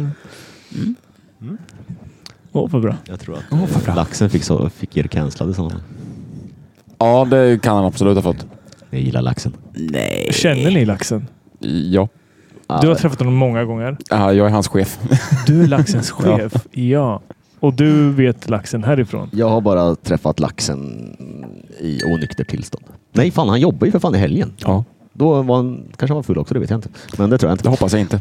[SPEAKER 4] Åh, vad bra.
[SPEAKER 2] Jag tror att eh, laxen fick, så, fick er cancellad i sådana fall.
[SPEAKER 3] Ja, det kan han absolut ha fått.
[SPEAKER 2] Jag gillar laxen.
[SPEAKER 1] Nej.
[SPEAKER 4] Känner ni laxen?
[SPEAKER 3] Ja,
[SPEAKER 4] Du har träffat honom många gånger.
[SPEAKER 3] Ja, jag är hans chef.
[SPEAKER 4] Du är laxens chef. Ja. Och du vet laxen härifrån.
[SPEAKER 2] Jag har bara träffat laxen i onykter tillstånd. Nej fan, han jobbar ju för fan i helgen.
[SPEAKER 3] Ja,
[SPEAKER 2] Då var han, kanske han var full också, det vet jag inte. Men det tror jag
[SPEAKER 3] det
[SPEAKER 2] inte.
[SPEAKER 3] hoppas jag inte.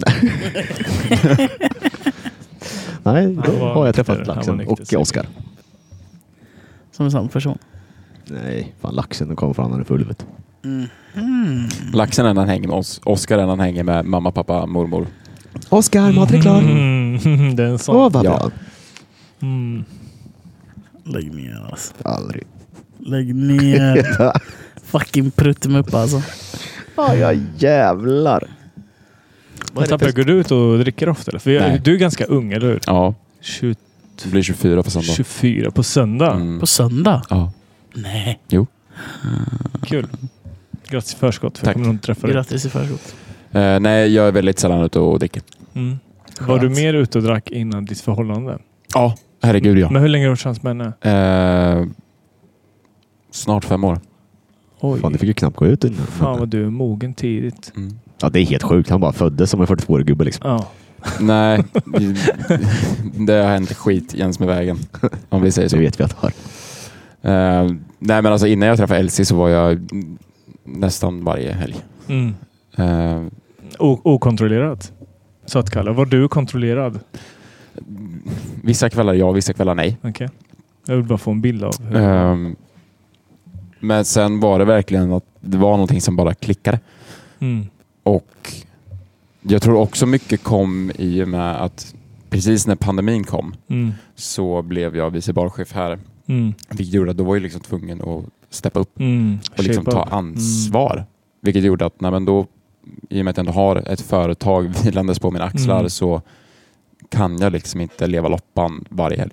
[SPEAKER 2] Nej, då
[SPEAKER 4] Han
[SPEAKER 2] har
[SPEAKER 4] var
[SPEAKER 2] jag
[SPEAKER 4] nykter.
[SPEAKER 2] träffat
[SPEAKER 4] Han var
[SPEAKER 2] laxen
[SPEAKER 4] nykter,
[SPEAKER 2] och
[SPEAKER 4] säkert.
[SPEAKER 2] Oskar.
[SPEAKER 1] Som en sån person.
[SPEAKER 2] Nej, fan laxen den kom fram när den är full. Vet. du.
[SPEAKER 3] Laxen är när han hänger med oss. Oskar är när han hänger med mamma, pappa, mormor.
[SPEAKER 2] Oskar, maten är klar.
[SPEAKER 4] Mm, det är en sån.
[SPEAKER 2] Åh, vad
[SPEAKER 3] Ja.
[SPEAKER 2] bra.
[SPEAKER 4] Mm.
[SPEAKER 1] Lägg ner alltså.
[SPEAKER 2] Aldrig.
[SPEAKER 1] Lägg ner. Fucking pruttmupp alltså.
[SPEAKER 2] Ja, ja, jävlar.
[SPEAKER 4] Men Tapper, går du ut och dricker ofta? Eller? För
[SPEAKER 3] Nej.
[SPEAKER 4] jag, du är ganska ung, eller hur?
[SPEAKER 3] Ja,
[SPEAKER 4] 20,
[SPEAKER 3] det blir 24 på söndag.
[SPEAKER 4] 24 på söndag.
[SPEAKER 3] Mm.
[SPEAKER 1] På söndag?
[SPEAKER 3] Ja.
[SPEAKER 1] Nej.
[SPEAKER 4] Kul. Grattis i förskott. För
[SPEAKER 3] Tack.
[SPEAKER 4] Jag kommer nog inte träffa dig.
[SPEAKER 1] Grattis i förskott.
[SPEAKER 3] Eh, nej, jag är väldigt sällan ute och dricker.
[SPEAKER 4] Mm. Var du mer ute och drack innan ditt förhållande?
[SPEAKER 3] Ja, herregud ja.
[SPEAKER 4] Men hur länge har du varit tillsammans med henne?
[SPEAKER 3] Eh, snart fem år.
[SPEAKER 4] Oj.
[SPEAKER 2] Fan, du fick ju knappt gå ut innan.
[SPEAKER 4] Fan vad du är mogen tidigt.
[SPEAKER 3] Mm.
[SPEAKER 2] Ja, det är helt sjukt. Han bara föddes som en 42-årig gubbe liksom.
[SPEAKER 4] Ja.
[SPEAKER 3] Nej, det har hänt skit jäms med vägen. Om vi säger så.
[SPEAKER 2] Det vet vi att han har.
[SPEAKER 3] Eh, nej, men alltså innan jag träffade Elsie så var jag mm, nästan varje helg.
[SPEAKER 4] Mm.
[SPEAKER 3] Eh,
[SPEAKER 4] O- okontrollerat. Så att kalla. Var du kontrollerad?
[SPEAKER 3] vissa kvällar ja, vissa kvällar nej.
[SPEAKER 4] Okej. Jag vill bara få en bild av hur...
[SPEAKER 3] Ehm, men sen var det verkligen att det var någonting som bara klickade.
[SPEAKER 4] Mm.
[SPEAKER 3] Och jag tror också mycket kom i och med att precis när pandemin kom
[SPEAKER 4] Mm.
[SPEAKER 3] så blev jag vice barchef här.
[SPEAKER 4] Mm.
[SPEAKER 3] Vilket gjorde att då var jag liksom tvungen att steppa upp
[SPEAKER 4] Mm.
[SPEAKER 3] och liksom
[SPEAKER 4] Shape
[SPEAKER 3] ta
[SPEAKER 4] up. Mm.
[SPEAKER 3] ansvar. Vilket gjorde att nej, men då, i och med att jag ändå har ett företag vilandes på mina axlar
[SPEAKER 4] Mm.
[SPEAKER 3] så kan jag liksom inte leva loppan varje helg.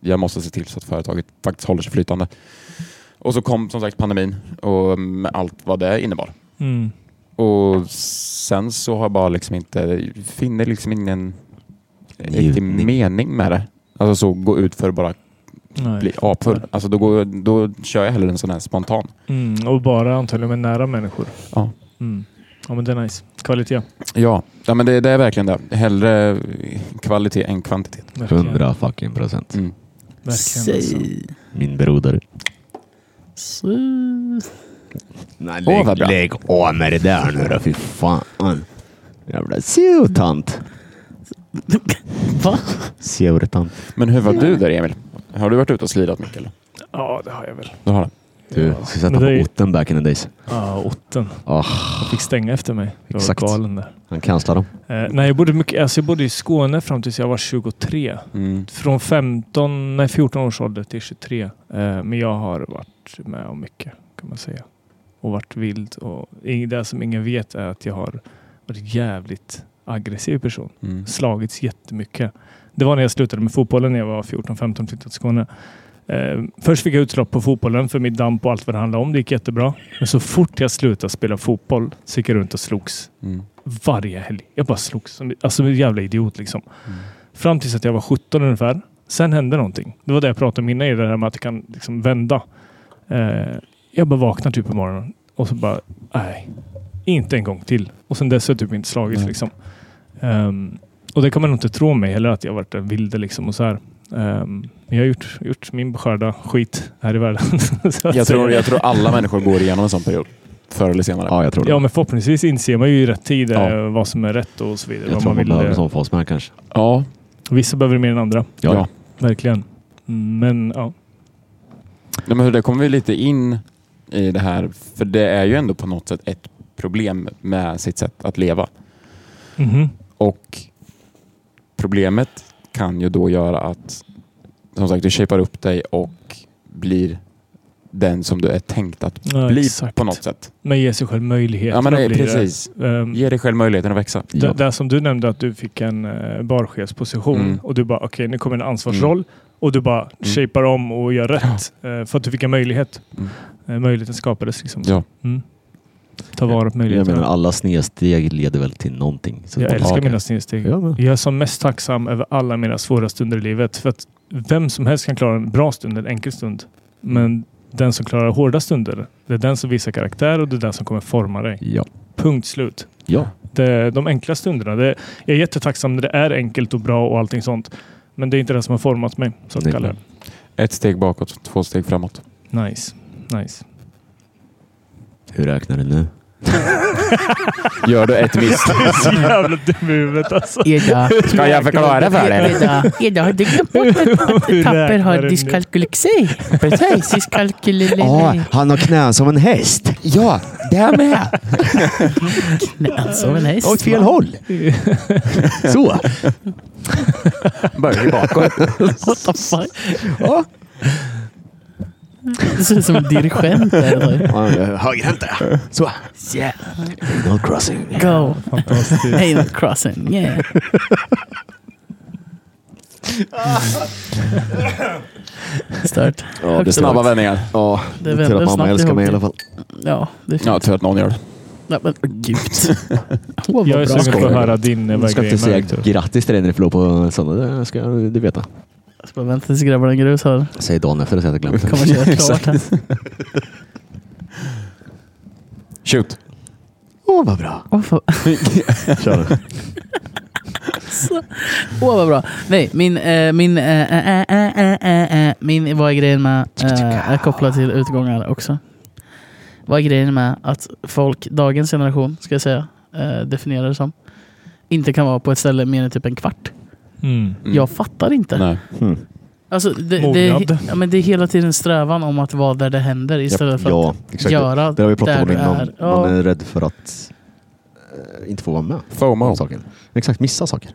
[SPEAKER 3] Jag måste se till så att företaget faktiskt håller sig flytande. Och så kom som sagt pandemin och med allt vad det innebar.
[SPEAKER 4] Mm.
[SPEAKER 3] Och sen så har jag bara liksom inte, finner liksom ingen riktig
[SPEAKER 2] Njutning.
[SPEAKER 3] mening med det. Alltså så gå ut för att bara
[SPEAKER 4] Nej.
[SPEAKER 3] bli apfull. Alltså då, går, då kör jag hellre en sån här spontan.
[SPEAKER 4] Mm. Och bara antagligen med nära människor.
[SPEAKER 3] Ja.
[SPEAKER 4] Mm. Ja men det är nice. Kvalitet.
[SPEAKER 3] Ja, ja men det, det är verkligen det. Hellre kvalitet än kvantitet.
[SPEAKER 4] Verkligen.
[SPEAKER 2] 100 fucking procent.
[SPEAKER 3] Mm.
[SPEAKER 4] Verkligen alltså.
[SPEAKER 2] Min broder.
[SPEAKER 1] Så-
[SPEAKER 2] Nej,
[SPEAKER 3] Åh, vad bra.
[SPEAKER 2] lägg av med det där nu då, fy fan. Jävla seutant.
[SPEAKER 1] Va?
[SPEAKER 2] Seutant.
[SPEAKER 3] Men hur var du där Emil? Har du varit ute och slirat mycket? Eller?
[SPEAKER 4] Ja det har jag väl.
[SPEAKER 3] Du har det.
[SPEAKER 2] Du
[SPEAKER 4] Ja.
[SPEAKER 2] ska sätta
[SPEAKER 4] Men
[SPEAKER 2] på
[SPEAKER 4] det är-
[SPEAKER 2] otten back in the days.
[SPEAKER 4] Ja, otten.
[SPEAKER 2] Ah.
[SPEAKER 4] Jag fick stänga efter mig. Jag var
[SPEAKER 2] Exakt.
[SPEAKER 4] galen där.
[SPEAKER 2] Han cancelar dem.
[SPEAKER 4] Eh, nej, jag bodde, mycket, alltså jag bodde i Skåne fram tills jag var 23.
[SPEAKER 3] Mm.
[SPEAKER 4] Från 15, nej, 14 års ålder till 23. Eh, men jag har varit med om mycket kan man säga. Och varit vild. Och ing- det som ingen vet är att jag har varit en jävligt aggressiv person.
[SPEAKER 3] Mm.
[SPEAKER 4] Slagits jättemycket. Det var när jag slutade med fotbollen när jag var 14-15 och flyttade till Skåne. Eh, först fick jag utlopp på fotbollen för mitt damp och allt vad det handlade om. Det gick jättebra. Men så fort jag slutade spela fotboll så gick jag runt och slogs
[SPEAKER 3] Mm.
[SPEAKER 4] varje helg. Jag bara slogs. som- Alltså en jävla idiot liksom. Fram tills att jag var 17 ungefär. Sen hände någonting. Det var det jag pratade om innan, i det här med att det kan liksom vända. Eh, jag bara vaknar typ på morgonen och så bara, nej. Inte en gång till. Och sen dess har jag typ inte slagits
[SPEAKER 3] Nej.
[SPEAKER 4] liksom. Ehm, och det kan man nog inte tro om mig heller, att jag varit en vilde liksom och så här. Ehm, men jag har gjort, gjort min beskärda skit här i världen. så att
[SPEAKER 3] Jag, tror,
[SPEAKER 4] säga.
[SPEAKER 3] jag tror alla människor går igenom en sån period. Förr eller senare.
[SPEAKER 2] Ja, jag tror det.
[SPEAKER 4] Ja, men förhoppningsvis inser man ju i rätt tid eh,
[SPEAKER 3] Ja.
[SPEAKER 4] vad som är rätt och så vidare.
[SPEAKER 2] jag
[SPEAKER 4] vad
[SPEAKER 2] tror man
[SPEAKER 4] vill,
[SPEAKER 2] behöver
[SPEAKER 4] eh,
[SPEAKER 2] en sån fas med här kanske.
[SPEAKER 3] Ja.
[SPEAKER 4] Vissa behöver det mer än andra.
[SPEAKER 2] Ja, ja.
[SPEAKER 4] Verkligen. Men ja.
[SPEAKER 3] Nej, men det kommer vi lite in i det här, för det är ju ändå på något sätt ett problem med sitt sätt att leva.
[SPEAKER 4] Mhm.
[SPEAKER 3] Och problemet kan ju då göra att som sagt, du shapar upp dig och blir den som du är tänkt att
[SPEAKER 4] Ja,
[SPEAKER 3] bli
[SPEAKER 4] exakt.
[SPEAKER 3] på något sätt.
[SPEAKER 4] Men ge sig själv möjligheter.
[SPEAKER 3] Ja, men det är
[SPEAKER 4] blir det.
[SPEAKER 3] precis.
[SPEAKER 4] Ehm,
[SPEAKER 3] Ge dig själv möjligheten att växa.
[SPEAKER 4] det, det som du nämnde att du fick en uh, barchefsposition
[SPEAKER 3] Mm.
[SPEAKER 4] och du bara okej nu kommer en ansvarsroll och du bara shapar om och gör rätt eh, för att du fick en möjlighet.
[SPEAKER 3] Mm.
[SPEAKER 4] Eh, möjligheten skapades liksom.
[SPEAKER 3] Ja.
[SPEAKER 4] Mm. Ta vara på
[SPEAKER 2] Jag
[SPEAKER 4] möjligheterna.
[SPEAKER 2] menar,
[SPEAKER 4] Jag,
[SPEAKER 2] alla snedsteg leder väl till någonting. Så att-
[SPEAKER 4] älskar
[SPEAKER 3] okej.
[SPEAKER 4] mina snedsteg.
[SPEAKER 2] Ja, men.
[SPEAKER 4] Jag är som mest tacksam över alla mina svåra stunder i livet. För att vem som helst kan klara en bra stund, en enkel stund. Men den som klarar hårda stunder, det är den som visar karaktär och det är den som kommer forma dig.
[SPEAKER 2] Ja.
[SPEAKER 4] Punkt slut.
[SPEAKER 2] ja.
[SPEAKER 4] Det, de enkla stunderna. Det, jag är jättetacksam när det är enkelt och bra och allting sånt. Men det är inte det som har format mig. Så att
[SPEAKER 2] Nej.
[SPEAKER 4] kalla
[SPEAKER 3] Ett steg bakåt, två steg framåt.
[SPEAKER 4] det. Nice. Nice.
[SPEAKER 2] Hur räknar du nu?
[SPEAKER 3] Gör du ett misstag?
[SPEAKER 4] Du är så jävla dum i huvudet alltså.
[SPEAKER 1] Eda,
[SPEAKER 3] Ska jag förklara för dig?
[SPEAKER 1] Eda, Eda, har du glömt bort att
[SPEAKER 4] Hur
[SPEAKER 1] Tapper
[SPEAKER 4] räknar
[SPEAKER 1] har
[SPEAKER 4] du
[SPEAKER 1] dyskalkylexi? Precis, dyskalkylexi.
[SPEAKER 2] han har knän som en häst. Ja, det med.
[SPEAKER 1] Nej, som en häst.
[SPEAKER 2] håll. Så.
[SPEAKER 3] Börja bakåt.
[SPEAKER 1] What the fuck?
[SPEAKER 2] Ja.
[SPEAKER 1] Det ser ut som en dirigent. där.
[SPEAKER 2] Högerhänta. Så.
[SPEAKER 1] Yeah,
[SPEAKER 2] No crossing.
[SPEAKER 1] go.
[SPEAKER 4] Fantastiskt.
[SPEAKER 1] Anal crossing, yeah. Stört.
[SPEAKER 2] Ja, det
[SPEAKER 3] Snabba vändningar.
[SPEAKER 2] Ja,
[SPEAKER 1] Det
[SPEAKER 2] det är tur
[SPEAKER 1] vänder
[SPEAKER 2] att mamma
[SPEAKER 1] snabbt
[SPEAKER 2] älskar
[SPEAKER 1] ihop
[SPEAKER 2] mig i
[SPEAKER 1] det.
[SPEAKER 2] alla fall.
[SPEAKER 1] Ja, det är fint.
[SPEAKER 3] Ja, tur att någon gör det.
[SPEAKER 1] Nej, men gud. Åh,
[SPEAKER 4] Jag är
[SPEAKER 1] vad bra.
[SPEAKER 4] sugen på att höra din eh,
[SPEAKER 2] Jag ska
[SPEAKER 4] grej
[SPEAKER 2] inte
[SPEAKER 4] med
[SPEAKER 2] säga
[SPEAKER 4] Arthur.
[SPEAKER 2] grattis till dig när du förlorar på söndag. Det ska du veta.
[SPEAKER 1] Jag ska bara vänta tills grabbarna grus här.
[SPEAKER 2] Säg dagen efter så att jag glömt
[SPEAKER 1] Kommer
[SPEAKER 2] det.
[SPEAKER 1] köra klart här.
[SPEAKER 3] Shoot.
[SPEAKER 2] Åh, vad bra. Mm.
[SPEAKER 1] Åh, fan.
[SPEAKER 2] Kör.
[SPEAKER 1] Så- Åh vad bra. Nej, min, eh, min, eh, eh, eh, eh, eh, eh, min, vad är grejen med, eh, är kopplat till utgångar också. Vad är grejen med att folk, dagens generation ska jag säga, eh, definierar det som, inte kan vara på ett ställe mer än typ en kvart.
[SPEAKER 4] Mm.
[SPEAKER 3] Mm.
[SPEAKER 1] Jag fattar inte.
[SPEAKER 3] Nej.
[SPEAKER 2] Mm.
[SPEAKER 1] Alltså, det,
[SPEAKER 4] Mognad.
[SPEAKER 1] det, ja, men det är hela tiden strävan om att vara där det händer istället för
[SPEAKER 2] Ja,
[SPEAKER 1] att
[SPEAKER 2] exakt.
[SPEAKER 1] göra
[SPEAKER 2] Det har vi pratat
[SPEAKER 1] där
[SPEAKER 2] om
[SPEAKER 1] du
[SPEAKER 2] innan.
[SPEAKER 1] är. Ja.
[SPEAKER 2] Man är rädd för att eh, inte få vara med.
[SPEAKER 3] FOMO.
[SPEAKER 2] om saken. Exakt, missa saker.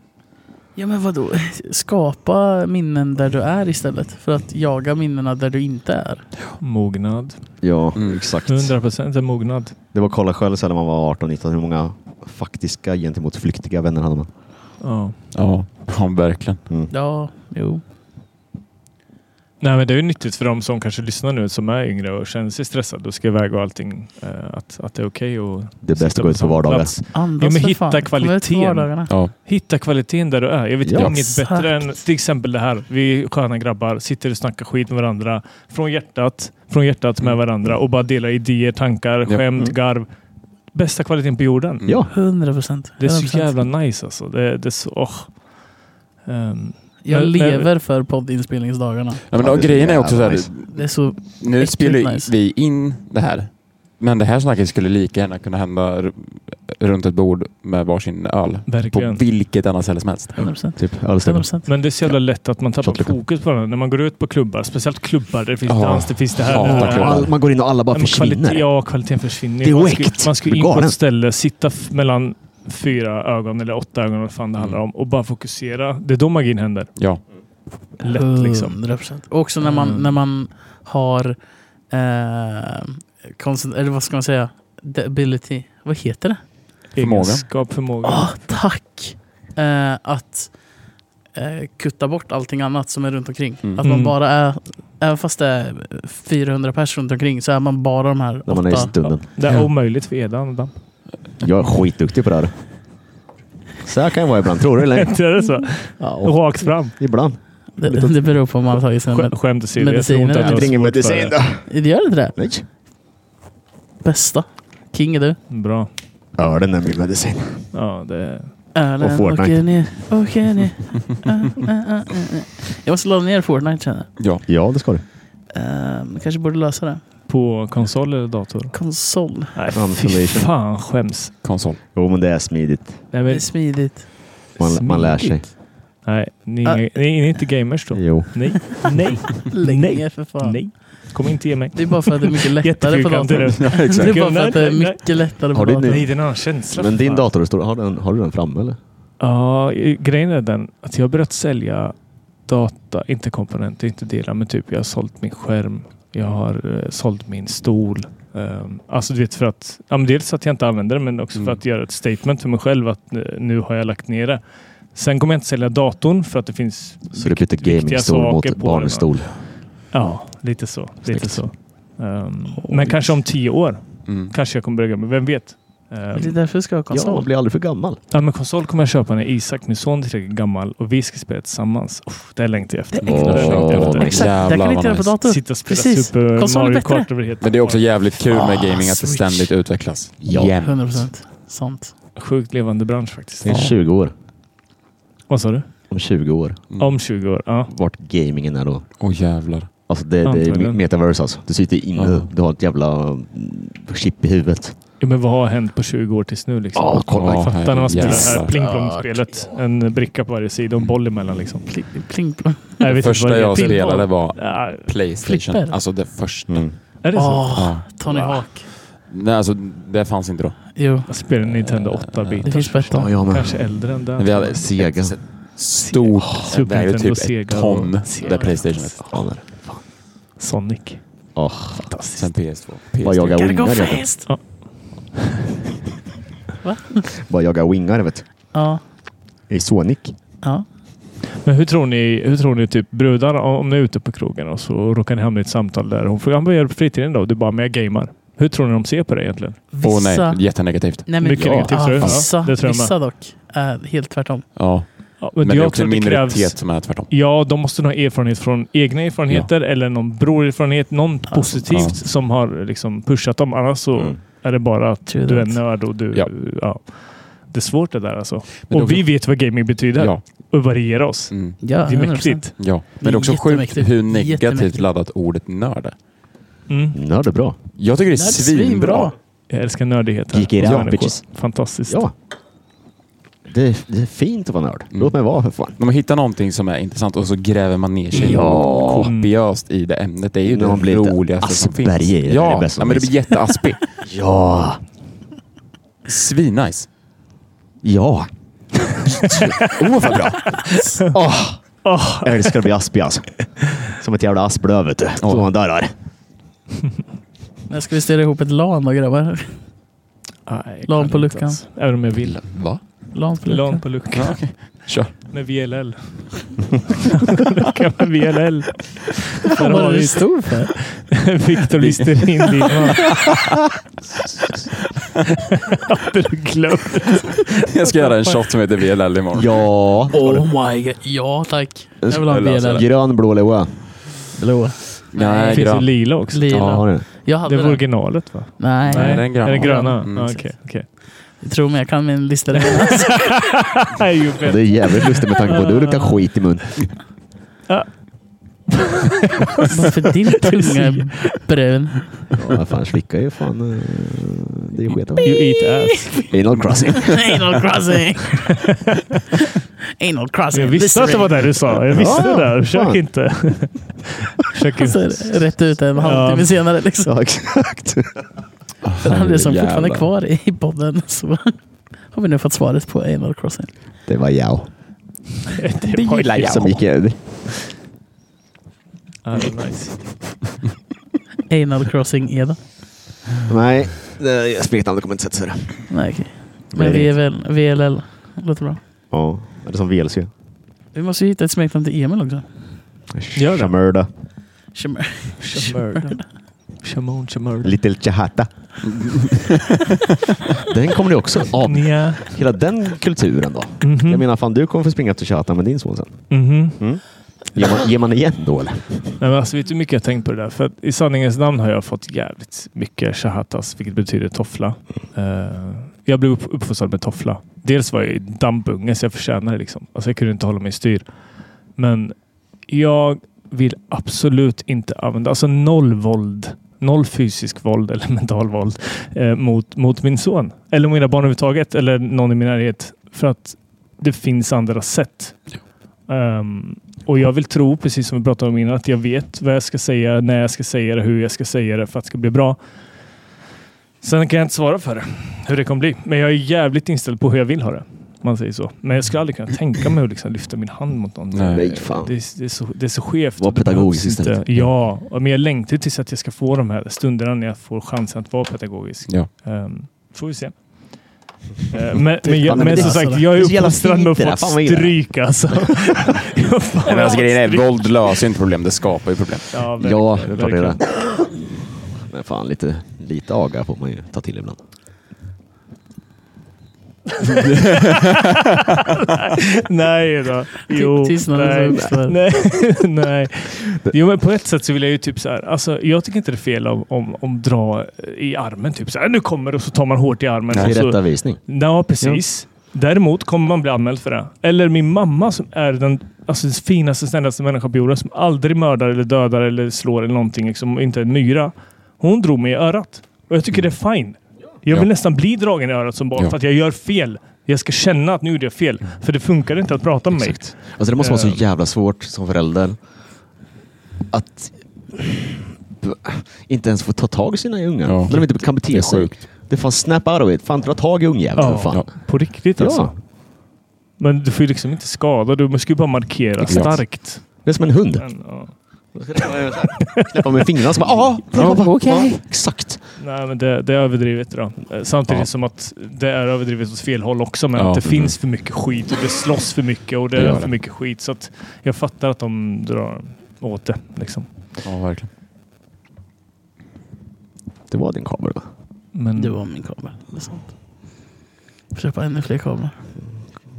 [SPEAKER 1] Ja men vadå? Skapa minnen där du är istället. För att jaga minnena där du inte är.
[SPEAKER 4] Mognad.
[SPEAKER 2] Ja,
[SPEAKER 3] Mm.
[SPEAKER 2] exakt.
[SPEAKER 4] 100% är mognad.
[SPEAKER 2] Det var kolla själv sen när man var 18-19 hur många faktiska gentemot flyktiga vänner hade man. Mm.
[SPEAKER 4] Ja.
[SPEAKER 3] Ja, ja verkligen.
[SPEAKER 1] Ja, jo.
[SPEAKER 4] Nej, men det är ju nyttigt för de som kanske lyssnar nu som är yngre och känner sig stressade och ska iväg och allting. Eh, att, att det är okej att
[SPEAKER 2] Det är
[SPEAKER 4] sitta
[SPEAKER 2] bäst att gå ut på
[SPEAKER 4] samma
[SPEAKER 2] vardagar.
[SPEAKER 4] plats.
[SPEAKER 1] Andas
[SPEAKER 4] Ja, men
[SPEAKER 1] för
[SPEAKER 4] hitta
[SPEAKER 1] fan. Kom ut på
[SPEAKER 4] kvaliteten.
[SPEAKER 1] vardagarna.
[SPEAKER 3] Ja.
[SPEAKER 4] Hitta kvaliteten där du är. Jag vet
[SPEAKER 2] Ja.
[SPEAKER 4] inget
[SPEAKER 1] Exakt.
[SPEAKER 4] bättre än till exempel det här. Vi är sköna grabbar, sitter och snackar skit med varandra. Från hjärtat, från hjärtat med varandra och bara delar idéer, tankar,
[SPEAKER 3] Mm. Ja.
[SPEAKER 4] skämt, garv. Bästa kvaliteten på jorden.
[SPEAKER 3] Mm.
[SPEAKER 2] Ja,
[SPEAKER 1] 100 procent.
[SPEAKER 4] Det är så jävla nice alltså. Det, det är så... åh. Ehm,
[SPEAKER 1] Jag
[SPEAKER 4] Men-
[SPEAKER 1] lever för poddinspelningsdagarna.
[SPEAKER 3] Ja, men,
[SPEAKER 2] Ja,
[SPEAKER 3] och
[SPEAKER 2] det är
[SPEAKER 3] grejen är
[SPEAKER 2] jävla
[SPEAKER 3] också så här,
[SPEAKER 2] nice.
[SPEAKER 1] Det är så...
[SPEAKER 3] nu
[SPEAKER 1] Äckligt
[SPEAKER 3] spelar
[SPEAKER 1] nice.
[SPEAKER 3] vi in det här. Men det här snacket skulle lika gärna kunna hända r- runt ett bord med varsin öl. På
[SPEAKER 4] Verkligen.
[SPEAKER 3] vilket annat ställe som helst.
[SPEAKER 1] 100%.
[SPEAKER 2] Typ ölställe.
[SPEAKER 1] 100%.
[SPEAKER 4] Men det är så jävla lätt att man tappar
[SPEAKER 2] Shotluckan.
[SPEAKER 4] fokus på den. När man går ut på klubbar, speciellt klubbar där det finns
[SPEAKER 3] Ja.
[SPEAKER 4] dans, det finns det här.
[SPEAKER 3] Ja,
[SPEAKER 4] det här.
[SPEAKER 3] klubbar.
[SPEAKER 2] All, man går in och alla bara
[SPEAKER 4] Nej, men Kvalitet,
[SPEAKER 2] försvinner.
[SPEAKER 4] ja, kvaliteten försvinner.
[SPEAKER 2] Det är
[SPEAKER 4] man skulle,
[SPEAKER 2] oäkt.
[SPEAKER 4] man skulle
[SPEAKER 2] Blir
[SPEAKER 4] in på
[SPEAKER 2] galen.
[SPEAKER 4] ett ställe, sitta f- mellan fyra ögon eller åtta ögon, vad fan det handlar om, och bara fokusera. Det är då magin händer.
[SPEAKER 3] Ja.
[SPEAKER 1] Mm.
[SPEAKER 4] Lätt liksom.
[SPEAKER 1] 100%. Och också när man,
[SPEAKER 4] Mm.
[SPEAKER 1] när man har... Eh, koncent- eller vad ska man säga? The ability. Vad heter
[SPEAKER 4] Mm.
[SPEAKER 1] det?
[SPEAKER 3] Förmåga.
[SPEAKER 4] Egenskap, förmåga.
[SPEAKER 1] Ah, tack! Eh, att eh, kutta bort allting annat som är runt omkring.
[SPEAKER 3] Mm.
[SPEAKER 1] Att man
[SPEAKER 4] Mm.
[SPEAKER 1] bara är... Även fast det är 400 personer runt omkring så är man bara de här
[SPEAKER 2] När man
[SPEAKER 1] åtta.
[SPEAKER 2] är i stunden.
[SPEAKER 4] Det är
[SPEAKER 3] Ja.
[SPEAKER 4] omöjligt för Edan. Adam.
[SPEAKER 2] Jag är skitduktig på det här. Så här kan jag vara ibland, tror du eller ej?
[SPEAKER 4] Det är så.
[SPEAKER 2] Ja, och-
[SPEAKER 4] Rakt fram.
[SPEAKER 2] ibland.
[SPEAKER 1] det, det beror på om man har tagit sina...
[SPEAKER 4] Skä- Skämt åsido. Jag tror
[SPEAKER 1] Mediciner.
[SPEAKER 4] inte att
[SPEAKER 1] Det
[SPEAKER 4] jag
[SPEAKER 1] är
[SPEAKER 4] har svårt för det.
[SPEAKER 1] Det gör det inte det?
[SPEAKER 2] Nej.
[SPEAKER 1] Bästa. King är du.
[SPEAKER 4] Bra.
[SPEAKER 2] Ölen är min medicin.
[SPEAKER 4] Ja, det...
[SPEAKER 1] Ölen
[SPEAKER 2] Och Fortnite.
[SPEAKER 1] åker ner, åker ner. Äh, äh, äh, äh. Jag måste ladda ner Fortnite känner
[SPEAKER 3] ja.
[SPEAKER 2] Ja, det ska du.
[SPEAKER 1] jag. Ehm, kanske borde lösa det.
[SPEAKER 4] På konsol eller dator?
[SPEAKER 1] Konsol.
[SPEAKER 4] Nej, fy
[SPEAKER 2] Unfilation.
[SPEAKER 4] fan skäms.
[SPEAKER 3] Konsol.
[SPEAKER 2] Jo, men det är smidigt.
[SPEAKER 4] Nej,
[SPEAKER 1] Det
[SPEAKER 4] men,
[SPEAKER 1] är smidigt.
[SPEAKER 2] Man, man lär sig.
[SPEAKER 4] Smidigt. Nej, ni, är inga- ni, ni är inte gamers då.
[SPEAKER 2] Jo.
[SPEAKER 4] Nej, nej,
[SPEAKER 1] Lägg
[SPEAKER 4] Nej.
[SPEAKER 1] ner för fan.
[SPEAKER 4] nej. Kom inte ge mig.
[SPEAKER 1] Det är bara för att det är mycket lättare på
[SPEAKER 4] Jättefyrkantig
[SPEAKER 1] datorn.
[SPEAKER 4] röst.
[SPEAKER 3] Ja,
[SPEAKER 1] Det
[SPEAKER 3] exakt.
[SPEAKER 1] är bara för att det är
[SPEAKER 4] Nej, nej.
[SPEAKER 1] mycket lättare på
[SPEAKER 2] Har du
[SPEAKER 1] datorn.
[SPEAKER 4] Nej, det är en annan känsla.
[SPEAKER 2] Men din
[SPEAKER 4] fan.
[SPEAKER 2] dator, är stor. har, den, har du den framme eller?
[SPEAKER 4] Ja, i- grejen är den att jag har börjat sälja data, inte komponenter, inte delar, men typ jag har sålt min skärm. Jag har eh, sålt min stol. Ehm, alltså du vet för att, ja, men dels att jag inte använder det, men också
[SPEAKER 3] Mm.
[SPEAKER 4] för att göra ett statement för mig själv att eh, nu har jag lagt ner det. Sen kommer jag inte sälja datorn för att det finns
[SPEAKER 2] Så du bytte
[SPEAKER 4] viktiga
[SPEAKER 2] gamingstol
[SPEAKER 4] saker
[SPEAKER 2] mot
[SPEAKER 4] på den, va?
[SPEAKER 2] barnstol.
[SPEAKER 4] Ja, lite så. Lite
[SPEAKER 2] Snyggt.
[SPEAKER 4] så. Ehm, men kanske om tio år
[SPEAKER 3] Mm.
[SPEAKER 4] kanske jag kommer börja med. Vem vet? Ehm,
[SPEAKER 1] Det är därför du ska ha
[SPEAKER 2] Ja, man
[SPEAKER 1] konsol.
[SPEAKER 2] blir aldrig för gammal.
[SPEAKER 4] ja, men konsol kommer jag köpa när Isak, min son, är tillräckligt gammal och vi ska spela tillsammans. Uff, det längtar jag efter.
[SPEAKER 1] Det är äkta.
[SPEAKER 4] Det längtar jag efter.
[SPEAKER 2] Åh,
[SPEAKER 1] Exakt, det
[SPEAKER 3] Jävlar
[SPEAKER 1] kan
[SPEAKER 3] vad
[SPEAKER 1] vi inte göra på
[SPEAKER 3] nice.
[SPEAKER 1] dator.
[SPEAKER 4] Sitta och spela
[SPEAKER 1] Precis.
[SPEAKER 4] Super
[SPEAKER 1] Konsol är
[SPEAKER 4] Mario
[SPEAKER 1] bättre.
[SPEAKER 4] Kart över hela
[SPEAKER 3] Men det är också jävligt kul med gaming att det
[SPEAKER 1] Switch.
[SPEAKER 3] ständigt utvecklas.
[SPEAKER 2] Ja.
[SPEAKER 3] Jämt.
[SPEAKER 1] 100% sant.
[SPEAKER 4] Sjukt levande bransch faktiskt.
[SPEAKER 2] Det är 20 år.
[SPEAKER 4] Vad sa du?
[SPEAKER 2] Om 20 år.
[SPEAKER 3] Mm.
[SPEAKER 4] Om 20 år. Ja.
[SPEAKER 2] Vart gamingen är då.
[SPEAKER 3] Åh jävlar.
[SPEAKER 2] Alltså det, det är
[SPEAKER 4] Antagligen.
[SPEAKER 2] metaverse alltså. Du sitter inne.
[SPEAKER 3] Ja.
[SPEAKER 2] Du har ett jävla mm, chip i huvudet.
[SPEAKER 4] Ja, Men vad har hänt på 20 år tills nu liksom?
[SPEAKER 2] Ja, kolla.
[SPEAKER 3] Ja,
[SPEAKER 4] Fattar när man spelar det här
[SPEAKER 3] jävlar.
[SPEAKER 4] pling plong spelet En bricka på varje sida och en boll emellan liksom.
[SPEAKER 1] Pling, pling, plong.
[SPEAKER 4] Nej, jag
[SPEAKER 3] Det
[SPEAKER 4] vet inte vad
[SPEAKER 3] första
[SPEAKER 4] det
[SPEAKER 3] jag
[SPEAKER 4] heter.
[SPEAKER 3] spelade var
[SPEAKER 4] Ja,
[SPEAKER 3] Playstation.
[SPEAKER 1] Flipper.
[SPEAKER 3] Alltså det första.
[SPEAKER 4] Är det så?
[SPEAKER 1] Åh,
[SPEAKER 3] Ja.
[SPEAKER 1] Tony
[SPEAKER 4] Wow.
[SPEAKER 1] Hawk.
[SPEAKER 3] Nej, alltså, det fanns inte då.
[SPEAKER 1] Jo,
[SPEAKER 4] Jag spelade Nintendo 8-bit.
[SPEAKER 1] det finns bättre.
[SPEAKER 2] Ja, jag med.
[SPEAKER 4] Kanske äldre än
[SPEAKER 3] Men Vi
[SPEAKER 4] den.
[SPEAKER 3] hade ett
[SPEAKER 2] Sega.
[SPEAKER 3] stort, det
[SPEAKER 4] Super
[SPEAKER 3] är ju
[SPEAKER 4] Nintendo,
[SPEAKER 3] typ ett
[SPEAKER 4] Sega och-
[SPEAKER 3] ton,
[SPEAKER 4] Sega.
[SPEAKER 3] där Playstation hette.
[SPEAKER 2] Fan är det.
[SPEAKER 4] Sonic.
[SPEAKER 2] Åh,
[SPEAKER 3] Sen PS2.
[SPEAKER 2] Bara
[SPEAKER 3] PS3.
[SPEAKER 2] jaga
[SPEAKER 1] Gotta go
[SPEAKER 2] wingar. vet
[SPEAKER 1] fast!
[SPEAKER 2] du. Bara jaga wingar vet du.
[SPEAKER 1] Ja,
[SPEAKER 2] I Sonic.
[SPEAKER 1] ja.
[SPEAKER 4] Men hur tror ni, hur tror ni typ brudar, om ni är ute på krogen och så råkar ni hamna i ett samtal där hon frågar "Ja, vad gör du på fritiden då? Du bara, men jag gamar. Hur tror ni de ser på dig egentligen?
[SPEAKER 3] Åh
[SPEAKER 1] Vissa-
[SPEAKER 3] nej, jättenegativt.
[SPEAKER 1] Nej,
[SPEAKER 4] Mycket negativt, tror jag. Ja,
[SPEAKER 1] vissa,
[SPEAKER 4] det tror jag med.
[SPEAKER 1] vissa dock är helt tvärtom.
[SPEAKER 3] Ja.
[SPEAKER 4] Ja,
[SPEAKER 3] Men, det är
[SPEAKER 4] jag
[SPEAKER 3] också en
[SPEAKER 4] tror det
[SPEAKER 3] minoritet
[SPEAKER 4] krävs-
[SPEAKER 3] som är tvärtom.
[SPEAKER 4] Ja, de måste nog ha erfarenhet från egna erfarenheter eller någon brorerfarenhet. Något positivt
[SPEAKER 3] ja.
[SPEAKER 4] som har liksom pushat dem. Annars så
[SPEAKER 2] Mm.
[SPEAKER 4] är det bara att
[SPEAKER 1] True
[SPEAKER 4] du är
[SPEAKER 1] that.
[SPEAKER 4] nörd och du... Ja.
[SPEAKER 3] Ja.
[SPEAKER 4] Det är svårt det där alltså.
[SPEAKER 3] Men
[SPEAKER 4] och
[SPEAKER 3] det är
[SPEAKER 4] vi vet vad gaming betyder
[SPEAKER 3] Ja.
[SPEAKER 4] och variera oss.
[SPEAKER 3] Mm.
[SPEAKER 1] Ja,
[SPEAKER 4] Det är mäktigt.
[SPEAKER 3] ja.
[SPEAKER 1] Det
[SPEAKER 3] Men
[SPEAKER 1] är
[SPEAKER 3] det är också sjukt
[SPEAKER 1] jättemäktigt.
[SPEAKER 3] hur negativt
[SPEAKER 1] Jättemäktigt.
[SPEAKER 3] laddat ordet nörd är.
[SPEAKER 4] Mm.
[SPEAKER 2] Ja, det är bra.
[SPEAKER 3] Jag tycker det är
[SPEAKER 1] Nej, det är
[SPEAKER 3] svinbra.
[SPEAKER 1] svinbra.
[SPEAKER 4] Jag älskar nördigheten.
[SPEAKER 2] Geek it
[SPEAKER 4] hos
[SPEAKER 2] out,
[SPEAKER 4] människor.
[SPEAKER 2] bitches.
[SPEAKER 4] Fantastiskt.
[SPEAKER 2] Ja. Det är, det är fint att vara nörd. Låt mig vara för fan.
[SPEAKER 3] När man hittar någonting som är intressant och så gräver man ner sig
[SPEAKER 2] Ja.
[SPEAKER 3] kopiöst i det ämnet. Det är ju
[SPEAKER 2] När man
[SPEAKER 3] det
[SPEAKER 2] blir lite
[SPEAKER 3] roligaste som finns.
[SPEAKER 2] Asperger i det, det är det
[SPEAKER 3] ja.
[SPEAKER 2] bästa
[SPEAKER 3] ja,
[SPEAKER 2] som
[SPEAKER 3] men det
[SPEAKER 2] finns.
[SPEAKER 3] blir jätteaspigt.
[SPEAKER 2] Ja.
[SPEAKER 3] Svinnice.
[SPEAKER 2] Ja. Åh, vad bra. Åh,
[SPEAKER 4] Åh,
[SPEAKER 2] Jag älskar att bli aspig alltså. Som ett jävla asplöv vet du. Så han där är.
[SPEAKER 1] Nu ska vi styra ihop ett LAN då grabbar.
[SPEAKER 4] nej, jag
[SPEAKER 1] Lan
[SPEAKER 4] kan
[SPEAKER 1] på
[SPEAKER 4] inte
[SPEAKER 1] luckan.
[SPEAKER 4] ens. Även om jag vill.
[SPEAKER 3] Va?
[SPEAKER 1] LAN på
[SPEAKER 4] Lan
[SPEAKER 1] luckan.
[SPEAKER 4] på luckan.
[SPEAKER 3] Ja, okej. Kör.
[SPEAKER 4] Med VLL. luckan med VLL. Där
[SPEAKER 1] Vad var
[SPEAKER 4] har
[SPEAKER 1] det
[SPEAKER 4] vi
[SPEAKER 1] du stod för?
[SPEAKER 4] Viktor Listerin Lindman. Hade du glömt?
[SPEAKER 3] Jag ska göra en shot som heter VLL imorgon.
[SPEAKER 2] Ja.
[SPEAKER 1] Oh my god. Ja tack. Jag vill ha en
[SPEAKER 3] lösa
[SPEAKER 1] VLL.
[SPEAKER 2] Grön, blå Lewa.
[SPEAKER 1] Blå.
[SPEAKER 4] Det
[SPEAKER 3] Nej,
[SPEAKER 4] finns ju
[SPEAKER 3] grön.
[SPEAKER 4] lila också.
[SPEAKER 1] Lila.
[SPEAKER 2] Ja, har du.
[SPEAKER 1] Jag
[SPEAKER 4] Det
[SPEAKER 1] hade
[SPEAKER 4] var
[SPEAKER 1] den.
[SPEAKER 4] originalet va?
[SPEAKER 1] Nej,
[SPEAKER 3] Nej, den gröna.
[SPEAKER 4] Är det gröna?
[SPEAKER 3] Mm,
[SPEAKER 4] Mm, ah,
[SPEAKER 3] exakt.
[SPEAKER 4] okej. okej.
[SPEAKER 1] tro mig jag kan min lista redan.
[SPEAKER 4] Nej, ju
[SPEAKER 2] Det är
[SPEAKER 4] bättre.
[SPEAKER 2] jävligt lustigt med tanke på att du luktar skit i mun.
[SPEAKER 1] Varför din tunga är brun?
[SPEAKER 2] Ja, fan, slicka ju fan... eh, Det är sket av.
[SPEAKER 4] You eat ass.
[SPEAKER 2] Anal crossing.
[SPEAKER 1] Anal crossing! Anal crossing.
[SPEAKER 4] Jag visste att det var det du sa. Jag visste
[SPEAKER 2] Ja,
[SPEAKER 4] det där.
[SPEAKER 2] fan.
[SPEAKER 4] Försök inte. Försök
[SPEAKER 1] Så
[SPEAKER 4] inte.
[SPEAKER 1] är det Rätt ut en halvtimme
[SPEAKER 4] Ja.
[SPEAKER 1] senare. Liksom.
[SPEAKER 2] Ja, exakt.
[SPEAKER 1] För han är som fortfarande
[SPEAKER 3] Jävlar.
[SPEAKER 1] kvar i podden. Så har vi nu fått svaret på anal crossing.
[SPEAKER 2] Det var jag.
[SPEAKER 4] Det var
[SPEAKER 2] gillar
[SPEAKER 4] jag.
[SPEAKER 2] Som gick över.
[SPEAKER 4] Ja, det är nice.
[SPEAKER 1] Anal crossing Eda.
[SPEAKER 2] Nej, det- smeknamnet kommer inte sätta sig.
[SPEAKER 1] Nej, okej.
[SPEAKER 2] Nej,
[SPEAKER 1] Men vi
[SPEAKER 2] det
[SPEAKER 1] är väl VLL. Låter bra.
[SPEAKER 2] Ja, eller som VLC.
[SPEAKER 1] Vi måste ju hitta ett smeknamn till Emil också.
[SPEAKER 4] Gör det.
[SPEAKER 2] Shamurda.
[SPEAKER 1] Shimmer.
[SPEAKER 4] Shamurda. Shamon Shamurda.
[SPEAKER 2] Little Chahata. den kommer ni också
[SPEAKER 1] Mm.
[SPEAKER 2] av.
[SPEAKER 4] Nja.
[SPEAKER 2] Hela den kulturen då. Jag menar, fan du kommer få springa till Chahata med din son sen.
[SPEAKER 4] Mhm.
[SPEAKER 2] Ger man, ger man igen då eller?
[SPEAKER 4] Nej, men alltså, vet du hur mycket jag har tänkt på det där? För att i sanningens namn har jag fått jävligt mycket shahatas, vilket betyder toffla. Eh, jag blev upp, uppfostrad med toffla. Dels var jag ju dampunge, så jag förtjänade det. Liksom. Alltså, jag kunde inte hålla mig i styr. Men jag vill absolut inte använda, alltså noll våld. Noll fysisk våld eller mental våld eh, mot, mot min son. Eller mina barn överhuvudtaget. Eller någon i min närhet. För att det finns andra sätt. Ehm, och jag vill tro, precis som vi pratade om innan, att jag vet vad jag ska säga, när jag ska säga det, hur jag ska säga det för att det ska bli bra. Sen kan jag inte svara för det, hur det kommer bli. Men jag är jävligt inställd på hur jag vill ha det. om Man säger så. Men jag skulle aldrig kunna tänka mig att liksom lyfta min hand mot någon.
[SPEAKER 3] Nej.
[SPEAKER 2] Nej, fan.
[SPEAKER 4] Det, är- det, är så, det är så skevt.
[SPEAKER 2] Var
[SPEAKER 4] och det
[SPEAKER 2] pedagogisk
[SPEAKER 4] behövs inte.
[SPEAKER 2] istället.
[SPEAKER 4] Ja, och- men jag längtar tills att jag ska få de här stunderna när jag får chansen att vara pedagogisk.
[SPEAKER 3] Ja.
[SPEAKER 4] Ehm, får vi se. Eh, Men, men, jag,
[SPEAKER 2] men
[SPEAKER 4] men
[SPEAKER 2] det-
[SPEAKER 4] som sagt, jag är
[SPEAKER 2] det är så jävla
[SPEAKER 4] uppfostrad med att
[SPEAKER 2] fint det där.
[SPEAKER 4] få
[SPEAKER 2] Fan, vad jag gillar det.
[SPEAKER 4] stryk alltså. Jag har fan
[SPEAKER 2] men alltså, grejen är-
[SPEAKER 4] stryk.
[SPEAKER 3] Våld löser inte problem, det skapar ju problem.
[SPEAKER 4] Ja, verkligen,
[SPEAKER 2] Ja, det är klart det är
[SPEAKER 4] verkligen.
[SPEAKER 2] det. Men fan, lite, lite aga får man ju ta till ibland.
[SPEAKER 4] Nej då. Jo,
[SPEAKER 1] tystnaden som
[SPEAKER 4] nej.
[SPEAKER 1] uppstår.
[SPEAKER 4] Nej, nej. Jo, men på ett sätt så vill jag ju typ så här. Alltså, jag tycker inte det är fel om, om, om dra i armen. Typ så här, nu kommer och så tar man hårt i armen. och så,
[SPEAKER 2] Tillrättavisning.
[SPEAKER 4] Ja, precis. Däremot kommer man bli anmäld för det. Eller min mamma som är den alltså, finaste, snällaste människan på jorden som aldrig mördar eller dödar eller slår eller någonting. Liksom, och inte en myra. Hon drog mig i örat. Och jag tycker det är fine. Jag vill
[SPEAKER 3] Ja.
[SPEAKER 4] nästan bli dragen i örat som barn
[SPEAKER 3] Ja.
[SPEAKER 4] för att jag gör fel. Jag ska känna att nu gjorde jag fel. För det funkar inte att prata med mig.
[SPEAKER 2] Alltså det måste vara så
[SPEAKER 4] Eh.
[SPEAKER 2] jävla svårt som förälder att inte ens få ta tag i sina ungar.
[SPEAKER 3] Ja.
[SPEAKER 2] När de inte kan bete
[SPEAKER 3] Det är
[SPEAKER 2] sig.
[SPEAKER 3] sjukt.
[SPEAKER 2] Det är fan snap out of it. Fan dra tag i ungjäveln.
[SPEAKER 4] Ja.
[SPEAKER 2] Ja. Fan.
[SPEAKER 3] Ja.
[SPEAKER 4] På riktigt
[SPEAKER 2] Ja.
[SPEAKER 4] alltså. Men du får ju liksom inte skada. Du måste ju bara markera
[SPEAKER 3] Exakt.
[SPEAKER 4] starkt.
[SPEAKER 2] Det är som en hund.
[SPEAKER 4] Men, ja.
[SPEAKER 2] Knäppa med fingrarna så bara ja,
[SPEAKER 5] Ja, okej.
[SPEAKER 2] ja, exakt.
[SPEAKER 4] Nej, men det, det är överdrivet då. Eh, Samtidigt som att det är överdrivet åt fel håll också. Men
[SPEAKER 3] Ja.
[SPEAKER 4] att det finns för mycket skit och det slåss för mycket och det,
[SPEAKER 3] Det gör
[SPEAKER 4] är
[SPEAKER 3] det.
[SPEAKER 4] för mycket skit. Så att jag fattar att de drar åt det. Liksom.
[SPEAKER 3] Ja, verkligen.
[SPEAKER 2] Det var din kabel va?
[SPEAKER 4] Men
[SPEAKER 1] Det var min kamera. Det är sant. Köpa ännu fler kameror.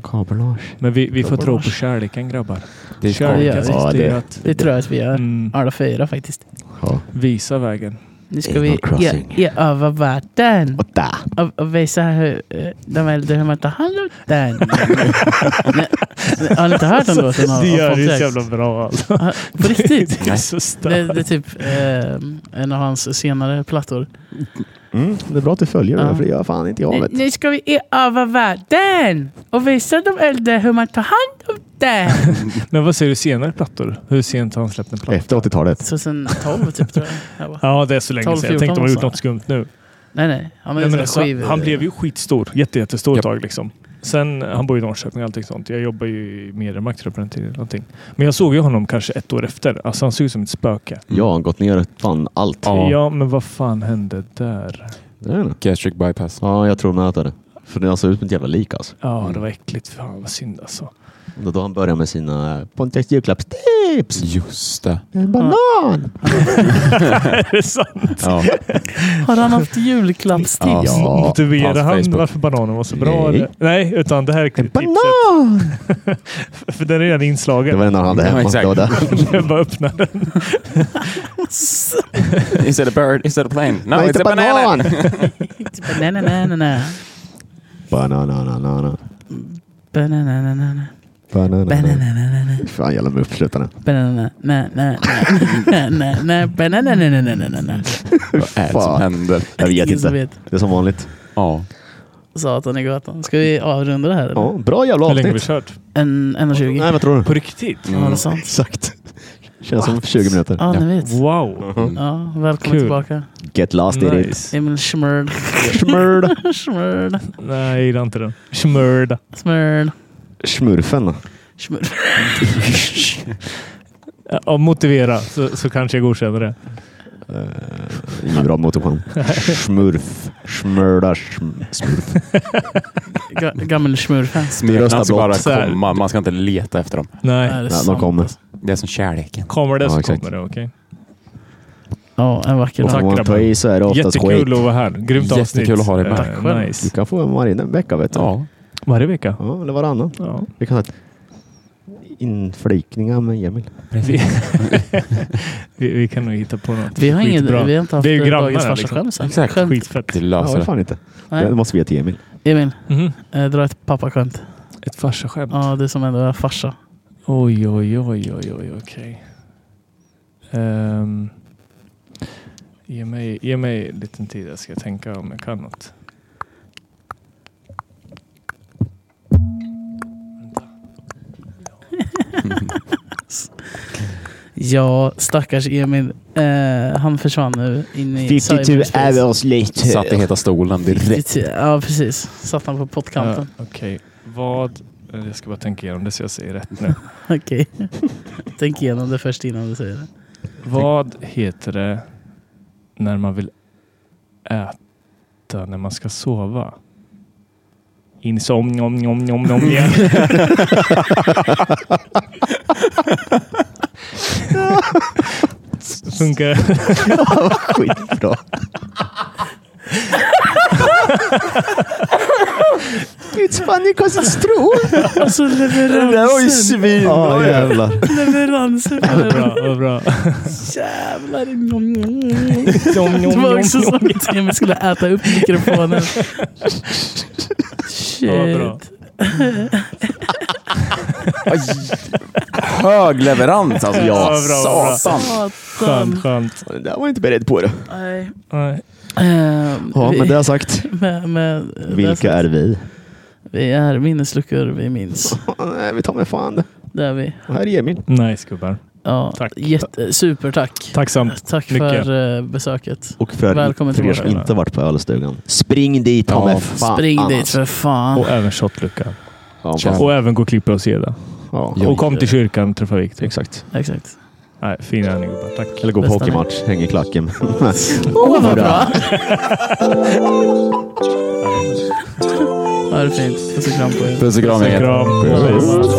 [SPEAKER 2] Kabelage.
[SPEAKER 4] Men vi, vi får
[SPEAKER 1] Grabbar.
[SPEAKER 4] tro på kärleken grabbar.
[SPEAKER 3] Det är
[SPEAKER 1] Ja,
[SPEAKER 4] Kärleken
[SPEAKER 1] det-
[SPEAKER 4] som
[SPEAKER 2] ja,
[SPEAKER 4] styr
[SPEAKER 2] det-
[SPEAKER 4] att
[SPEAKER 1] Det tror jag att vi gör.
[SPEAKER 4] mm,
[SPEAKER 1] Alla fyra faktiskt.
[SPEAKER 2] Ja.
[SPEAKER 4] visa vägen.
[SPEAKER 1] Nu ska
[SPEAKER 2] Anal
[SPEAKER 1] vi
[SPEAKER 2] crossing.
[SPEAKER 1] e- erövra världen
[SPEAKER 2] Och där.
[SPEAKER 1] och, och visa hur eh, de äldre hur man tar hand om den. Nej, nej, Har ni inte hört den låten? av-
[SPEAKER 4] det
[SPEAKER 1] av
[SPEAKER 4] gör det
[SPEAKER 1] Pontiac?
[SPEAKER 4] så jävla bra. Alltså.
[SPEAKER 1] Ja, På riktigt?
[SPEAKER 4] Det är så
[SPEAKER 1] Det,
[SPEAKER 4] starkt.
[SPEAKER 1] det är typ eh, en av hans senare plattor.
[SPEAKER 2] Mm, det är bra att du följer
[SPEAKER 1] Ja.
[SPEAKER 2] det för det gör fan inte jag.
[SPEAKER 1] Nu,
[SPEAKER 2] Vet. du.
[SPEAKER 1] nu ska vi erövra världen och visa de äldre hur man tar hand om den.
[SPEAKER 4] Men vad säger du senare plattor? Hur sent har han släppt en platta?
[SPEAKER 2] Efter 80-talet.
[SPEAKER 1] 2012 typ tror jag. jag. bara-
[SPEAKER 4] Ja, det är så länge
[SPEAKER 1] 12,
[SPEAKER 4] sedan. Jag tänkte de har
[SPEAKER 1] 14
[SPEAKER 4] gjort något skumt nu.
[SPEAKER 1] Nej nej. Ja, men
[SPEAKER 4] Nej, men
[SPEAKER 1] det är så
[SPEAKER 4] alltså,
[SPEAKER 1] här skiv-
[SPEAKER 4] han blev ju skitstor. Jätte, jättestor
[SPEAKER 3] Japp.
[SPEAKER 4] ett tag. Liksom. Sen, han bor i Norrköping och allting sånt. Jag jobbar ju i Mediamarkt tror jag på den tiden. Någonting. Men jag såg ju honom kanske ett år efter. Alltså han såg ut som ett spöke.
[SPEAKER 2] Jag har gått ner fan allt.
[SPEAKER 3] Ja.
[SPEAKER 4] Ja, men vad fan hände där?
[SPEAKER 2] Det är det.
[SPEAKER 3] Gastric bypass.
[SPEAKER 2] Ja, jag tror nog att det är det. För det såg ut som ett jävla lik alltså.
[SPEAKER 4] Ja, det var äckligt. Fan vad synd alltså.
[SPEAKER 2] Och då- då han började med sina Pontiac julklappstips.
[SPEAKER 3] Just det.
[SPEAKER 2] En banan!
[SPEAKER 4] Är det sant?
[SPEAKER 3] Ja.
[SPEAKER 1] Har han haft julklappstips?
[SPEAKER 3] Ja.
[SPEAKER 4] Motiverar
[SPEAKER 3] hans
[SPEAKER 4] han
[SPEAKER 3] Facebook.
[SPEAKER 4] varför bananen var så bra?
[SPEAKER 2] Nej.
[SPEAKER 4] Nej, Nej utan det här är
[SPEAKER 2] En
[SPEAKER 4] tipset.
[SPEAKER 2] banan!
[SPEAKER 4] För den är redan
[SPEAKER 2] Det
[SPEAKER 4] inslagen.
[SPEAKER 2] var den han hade
[SPEAKER 3] Ja,
[SPEAKER 2] hemma.
[SPEAKER 3] exakt.
[SPEAKER 2] Det var där.
[SPEAKER 4] Jag bara öppnar den.
[SPEAKER 3] Is it a bird? Is it a plane? No,
[SPEAKER 2] Nej,
[SPEAKER 3] it's a banana!
[SPEAKER 1] Nej nej nej nej nej.
[SPEAKER 2] Bananananana.
[SPEAKER 1] Bananananana.
[SPEAKER 2] Banana.
[SPEAKER 1] Bananananana.
[SPEAKER 2] Fan, jävla med uppslutarna.
[SPEAKER 1] Banananananananana. Banananananananana.
[SPEAKER 3] Vad är det som
[SPEAKER 2] Fan.
[SPEAKER 3] händer?
[SPEAKER 2] Jag vet
[SPEAKER 1] Ingen som
[SPEAKER 2] inte.
[SPEAKER 1] vet.
[SPEAKER 2] Det är som vanligt.
[SPEAKER 3] Ja.
[SPEAKER 1] Satan i gatan. Ska vi avrunda det här? eller?
[SPEAKER 2] Ja, Mm. bra jävla
[SPEAKER 4] Hur länge har vi
[SPEAKER 2] avsnitt.
[SPEAKER 4] kört?
[SPEAKER 1] En, en och tjugo.
[SPEAKER 2] Nej, vad tror du?
[SPEAKER 4] På riktigt?
[SPEAKER 1] Ja, det
[SPEAKER 3] Mm.
[SPEAKER 1] är sant.
[SPEAKER 2] Exakt. Känns som 20 minuter.
[SPEAKER 1] Ja, ni vet.
[SPEAKER 4] Wow!
[SPEAKER 3] Mm.
[SPEAKER 1] Ja, välkommen
[SPEAKER 4] Kul.
[SPEAKER 1] tillbaka.
[SPEAKER 2] Get lost in it.
[SPEAKER 4] Nice.
[SPEAKER 1] Emil Schmörd.
[SPEAKER 2] Smörd.
[SPEAKER 1] Schmörd.
[SPEAKER 4] Nej, jag gillar inte den. Smörda.
[SPEAKER 1] Smörd.
[SPEAKER 2] Smurfen.
[SPEAKER 1] Schmörd.
[SPEAKER 4] Ja, motivera så, så kanske jag godkänner det.
[SPEAKER 2] Uh, ingen bra motorplan. Smurf. Smörda. Sm smurf.
[SPEAKER 1] Ga- Gammel smurfans.
[SPEAKER 3] Smyrna
[SPEAKER 2] Rösta
[SPEAKER 3] ska bara
[SPEAKER 2] blått.
[SPEAKER 4] Så här.
[SPEAKER 3] komma. Man ska inte leta efter dem.
[SPEAKER 4] Nej,
[SPEAKER 1] Är det
[SPEAKER 2] Nej, de
[SPEAKER 1] sant?
[SPEAKER 2] kommer.
[SPEAKER 3] Det är som kärleken.
[SPEAKER 4] kommer det
[SPEAKER 2] Ja,
[SPEAKER 4] så
[SPEAKER 2] exakt.
[SPEAKER 4] kommer det. Okej.
[SPEAKER 1] Ja, en vacker
[SPEAKER 2] Och
[SPEAKER 1] dag.
[SPEAKER 4] Tack,
[SPEAKER 2] får man ta
[SPEAKER 4] grabbar.
[SPEAKER 2] i så är det oftast skit.
[SPEAKER 4] Jättekul att vara här. Grymt
[SPEAKER 3] Jättekul
[SPEAKER 4] avsnitt.
[SPEAKER 3] att ha dig med.
[SPEAKER 4] Eh,
[SPEAKER 1] Tack själv.
[SPEAKER 2] Du
[SPEAKER 4] Nice.
[SPEAKER 2] kan få en varannan vecka vet du.
[SPEAKER 3] Ja.
[SPEAKER 4] Varje vecka.
[SPEAKER 2] Ja, eller varannan.
[SPEAKER 4] Ja.
[SPEAKER 2] Vi kan ha ett inflikningar med Emil.
[SPEAKER 4] Vi, vi, vi kan nog hitta på något.
[SPEAKER 1] Vi har, inget,
[SPEAKER 4] Skitbra.
[SPEAKER 1] vi har inte haft
[SPEAKER 4] Det är ju
[SPEAKER 1] eh,
[SPEAKER 4] grannar
[SPEAKER 1] dagens
[SPEAKER 4] här,
[SPEAKER 1] farsa
[SPEAKER 4] liksom.
[SPEAKER 1] skämt sen.
[SPEAKER 3] Exakt.
[SPEAKER 1] Skämt.
[SPEAKER 4] Skitfett.
[SPEAKER 3] Det
[SPEAKER 2] Ja,
[SPEAKER 3] löser
[SPEAKER 2] det
[SPEAKER 3] det.
[SPEAKER 2] fan inte.
[SPEAKER 1] Nej.
[SPEAKER 2] Det måste vi ge till Emil.
[SPEAKER 1] Emil,
[SPEAKER 4] Mhm.
[SPEAKER 1] eh, dra ett pappaskämt.
[SPEAKER 4] Ett farsaskämt.
[SPEAKER 1] Ja, du som ändå är farsa.
[SPEAKER 4] Oj, oj, oj, oj, oj, okej. Ehm, ge, mig, ge mig en liten tid, jag ska tänka om jag kan något.
[SPEAKER 1] Ja, stackars Emil. Eh, han försvann nu in i
[SPEAKER 2] 52
[SPEAKER 1] cyberspace.
[SPEAKER 2] hours later.
[SPEAKER 3] Satt i heta stolen direkt.
[SPEAKER 1] 52 Ja, precis. Satt han på pottkanten.
[SPEAKER 4] Ja, Okej, vad... Jag ska bara tänka igenom det så jag säger rätt nu.
[SPEAKER 1] Okej. Tänk igenom det först innan du säger det.
[SPEAKER 4] vad heter det när man vill äta när man ska sova? Insomning, om, om, om, om igen. Funkar det?
[SPEAKER 2] Skitbra. It's funny cause it's true.
[SPEAKER 1] Alltså leveransen.
[SPEAKER 2] svinbra. jävlar.
[SPEAKER 1] Leveransen.
[SPEAKER 4] Vad bra, vad bra.
[SPEAKER 1] Jävlar. Det var också som att Emil skulle äta upp mikrofonen.
[SPEAKER 4] Ja, bra.
[SPEAKER 1] Shit.
[SPEAKER 3] Aj. Hög leverans alltså.
[SPEAKER 4] Ja,
[SPEAKER 3] Ja,
[SPEAKER 4] bra, bra.
[SPEAKER 3] satan.
[SPEAKER 4] Skönt,
[SPEAKER 1] Satan.
[SPEAKER 4] skönt.
[SPEAKER 2] Det där var jag inte beredd på. Det.
[SPEAKER 1] Nej.
[SPEAKER 4] Nej.
[SPEAKER 1] Ehm,
[SPEAKER 2] Ja,
[SPEAKER 1] vi-
[SPEAKER 2] men det sagt.
[SPEAKER 1] med, med,
[SPEAKER 2] Vilka är vi?
[SPEAKER 1] Vi är minnesluckor vi minns.
[SPEAKER 2] Nej, vi tar med fan det.
[SPEAKER 1] Det är vi.
[SPEAKER 2] Och här är Emil.
[SPEAKER 4] Nice gubbar.
[SPEAKER 1] Ja,
[SPEAKER 4] Tack.
[SPEAKER 1] Jätte, supertack.
[SPEAKER 4] Tacksamt.
[SPEAKER 1] Tack
[SPEAKER 4] Mycket.
[SPEAKER 1] för eh, besöket.
[SPEAKER 2] Och för,
[SPEAKER 1] Välkommen
[SPEAKER 2] för er som
[SPEAKER 1] tillbaka.
[SPEAKER 2] inte varit på ölstugan. Spring dit
[SPEAKER 3] Ja,
[SPEAKER 2] ta med fan
[SPEAKER 1] Spring dit
[SPEAKER 2] annars.
[SPEAKER 1] för fan.
[SPEAKER 4] Och även shotluckan.
[SPEAKER 2] Ja,
[SPEAKER 3] Tja.
[SPEAKER 2] och,
[SPEAKER 4] Och även gå och klippa och seda.
[SPEAKER 2] ja.
[SPEAKER 3] Ja.
[SPEAKER 4] Och kom till kyrkan och träffa Viktor.
[SPEAKER 2] Exakt.
[SPEAKER 1] Exakt.
[SPEAKER 4] Nej, fina är ni gubbar. Tack.
[SPEAKER 2] Eller gå på
[SPEAKER 1] Bästa.
[SPEAKER 2] hockeymatch, häng i klacken.
[SPEAKER 1] Åh, vad bra! ha det fint. Puss och kram på er.
[SPEAKER 3] Puss och kram
[SPEAKER 4] Puss och
[SPEAKER 3] gänget.
[SPEAKER 4] kram.
[SPEAKER 3] Puss.
[SPEAKER 4] Puss.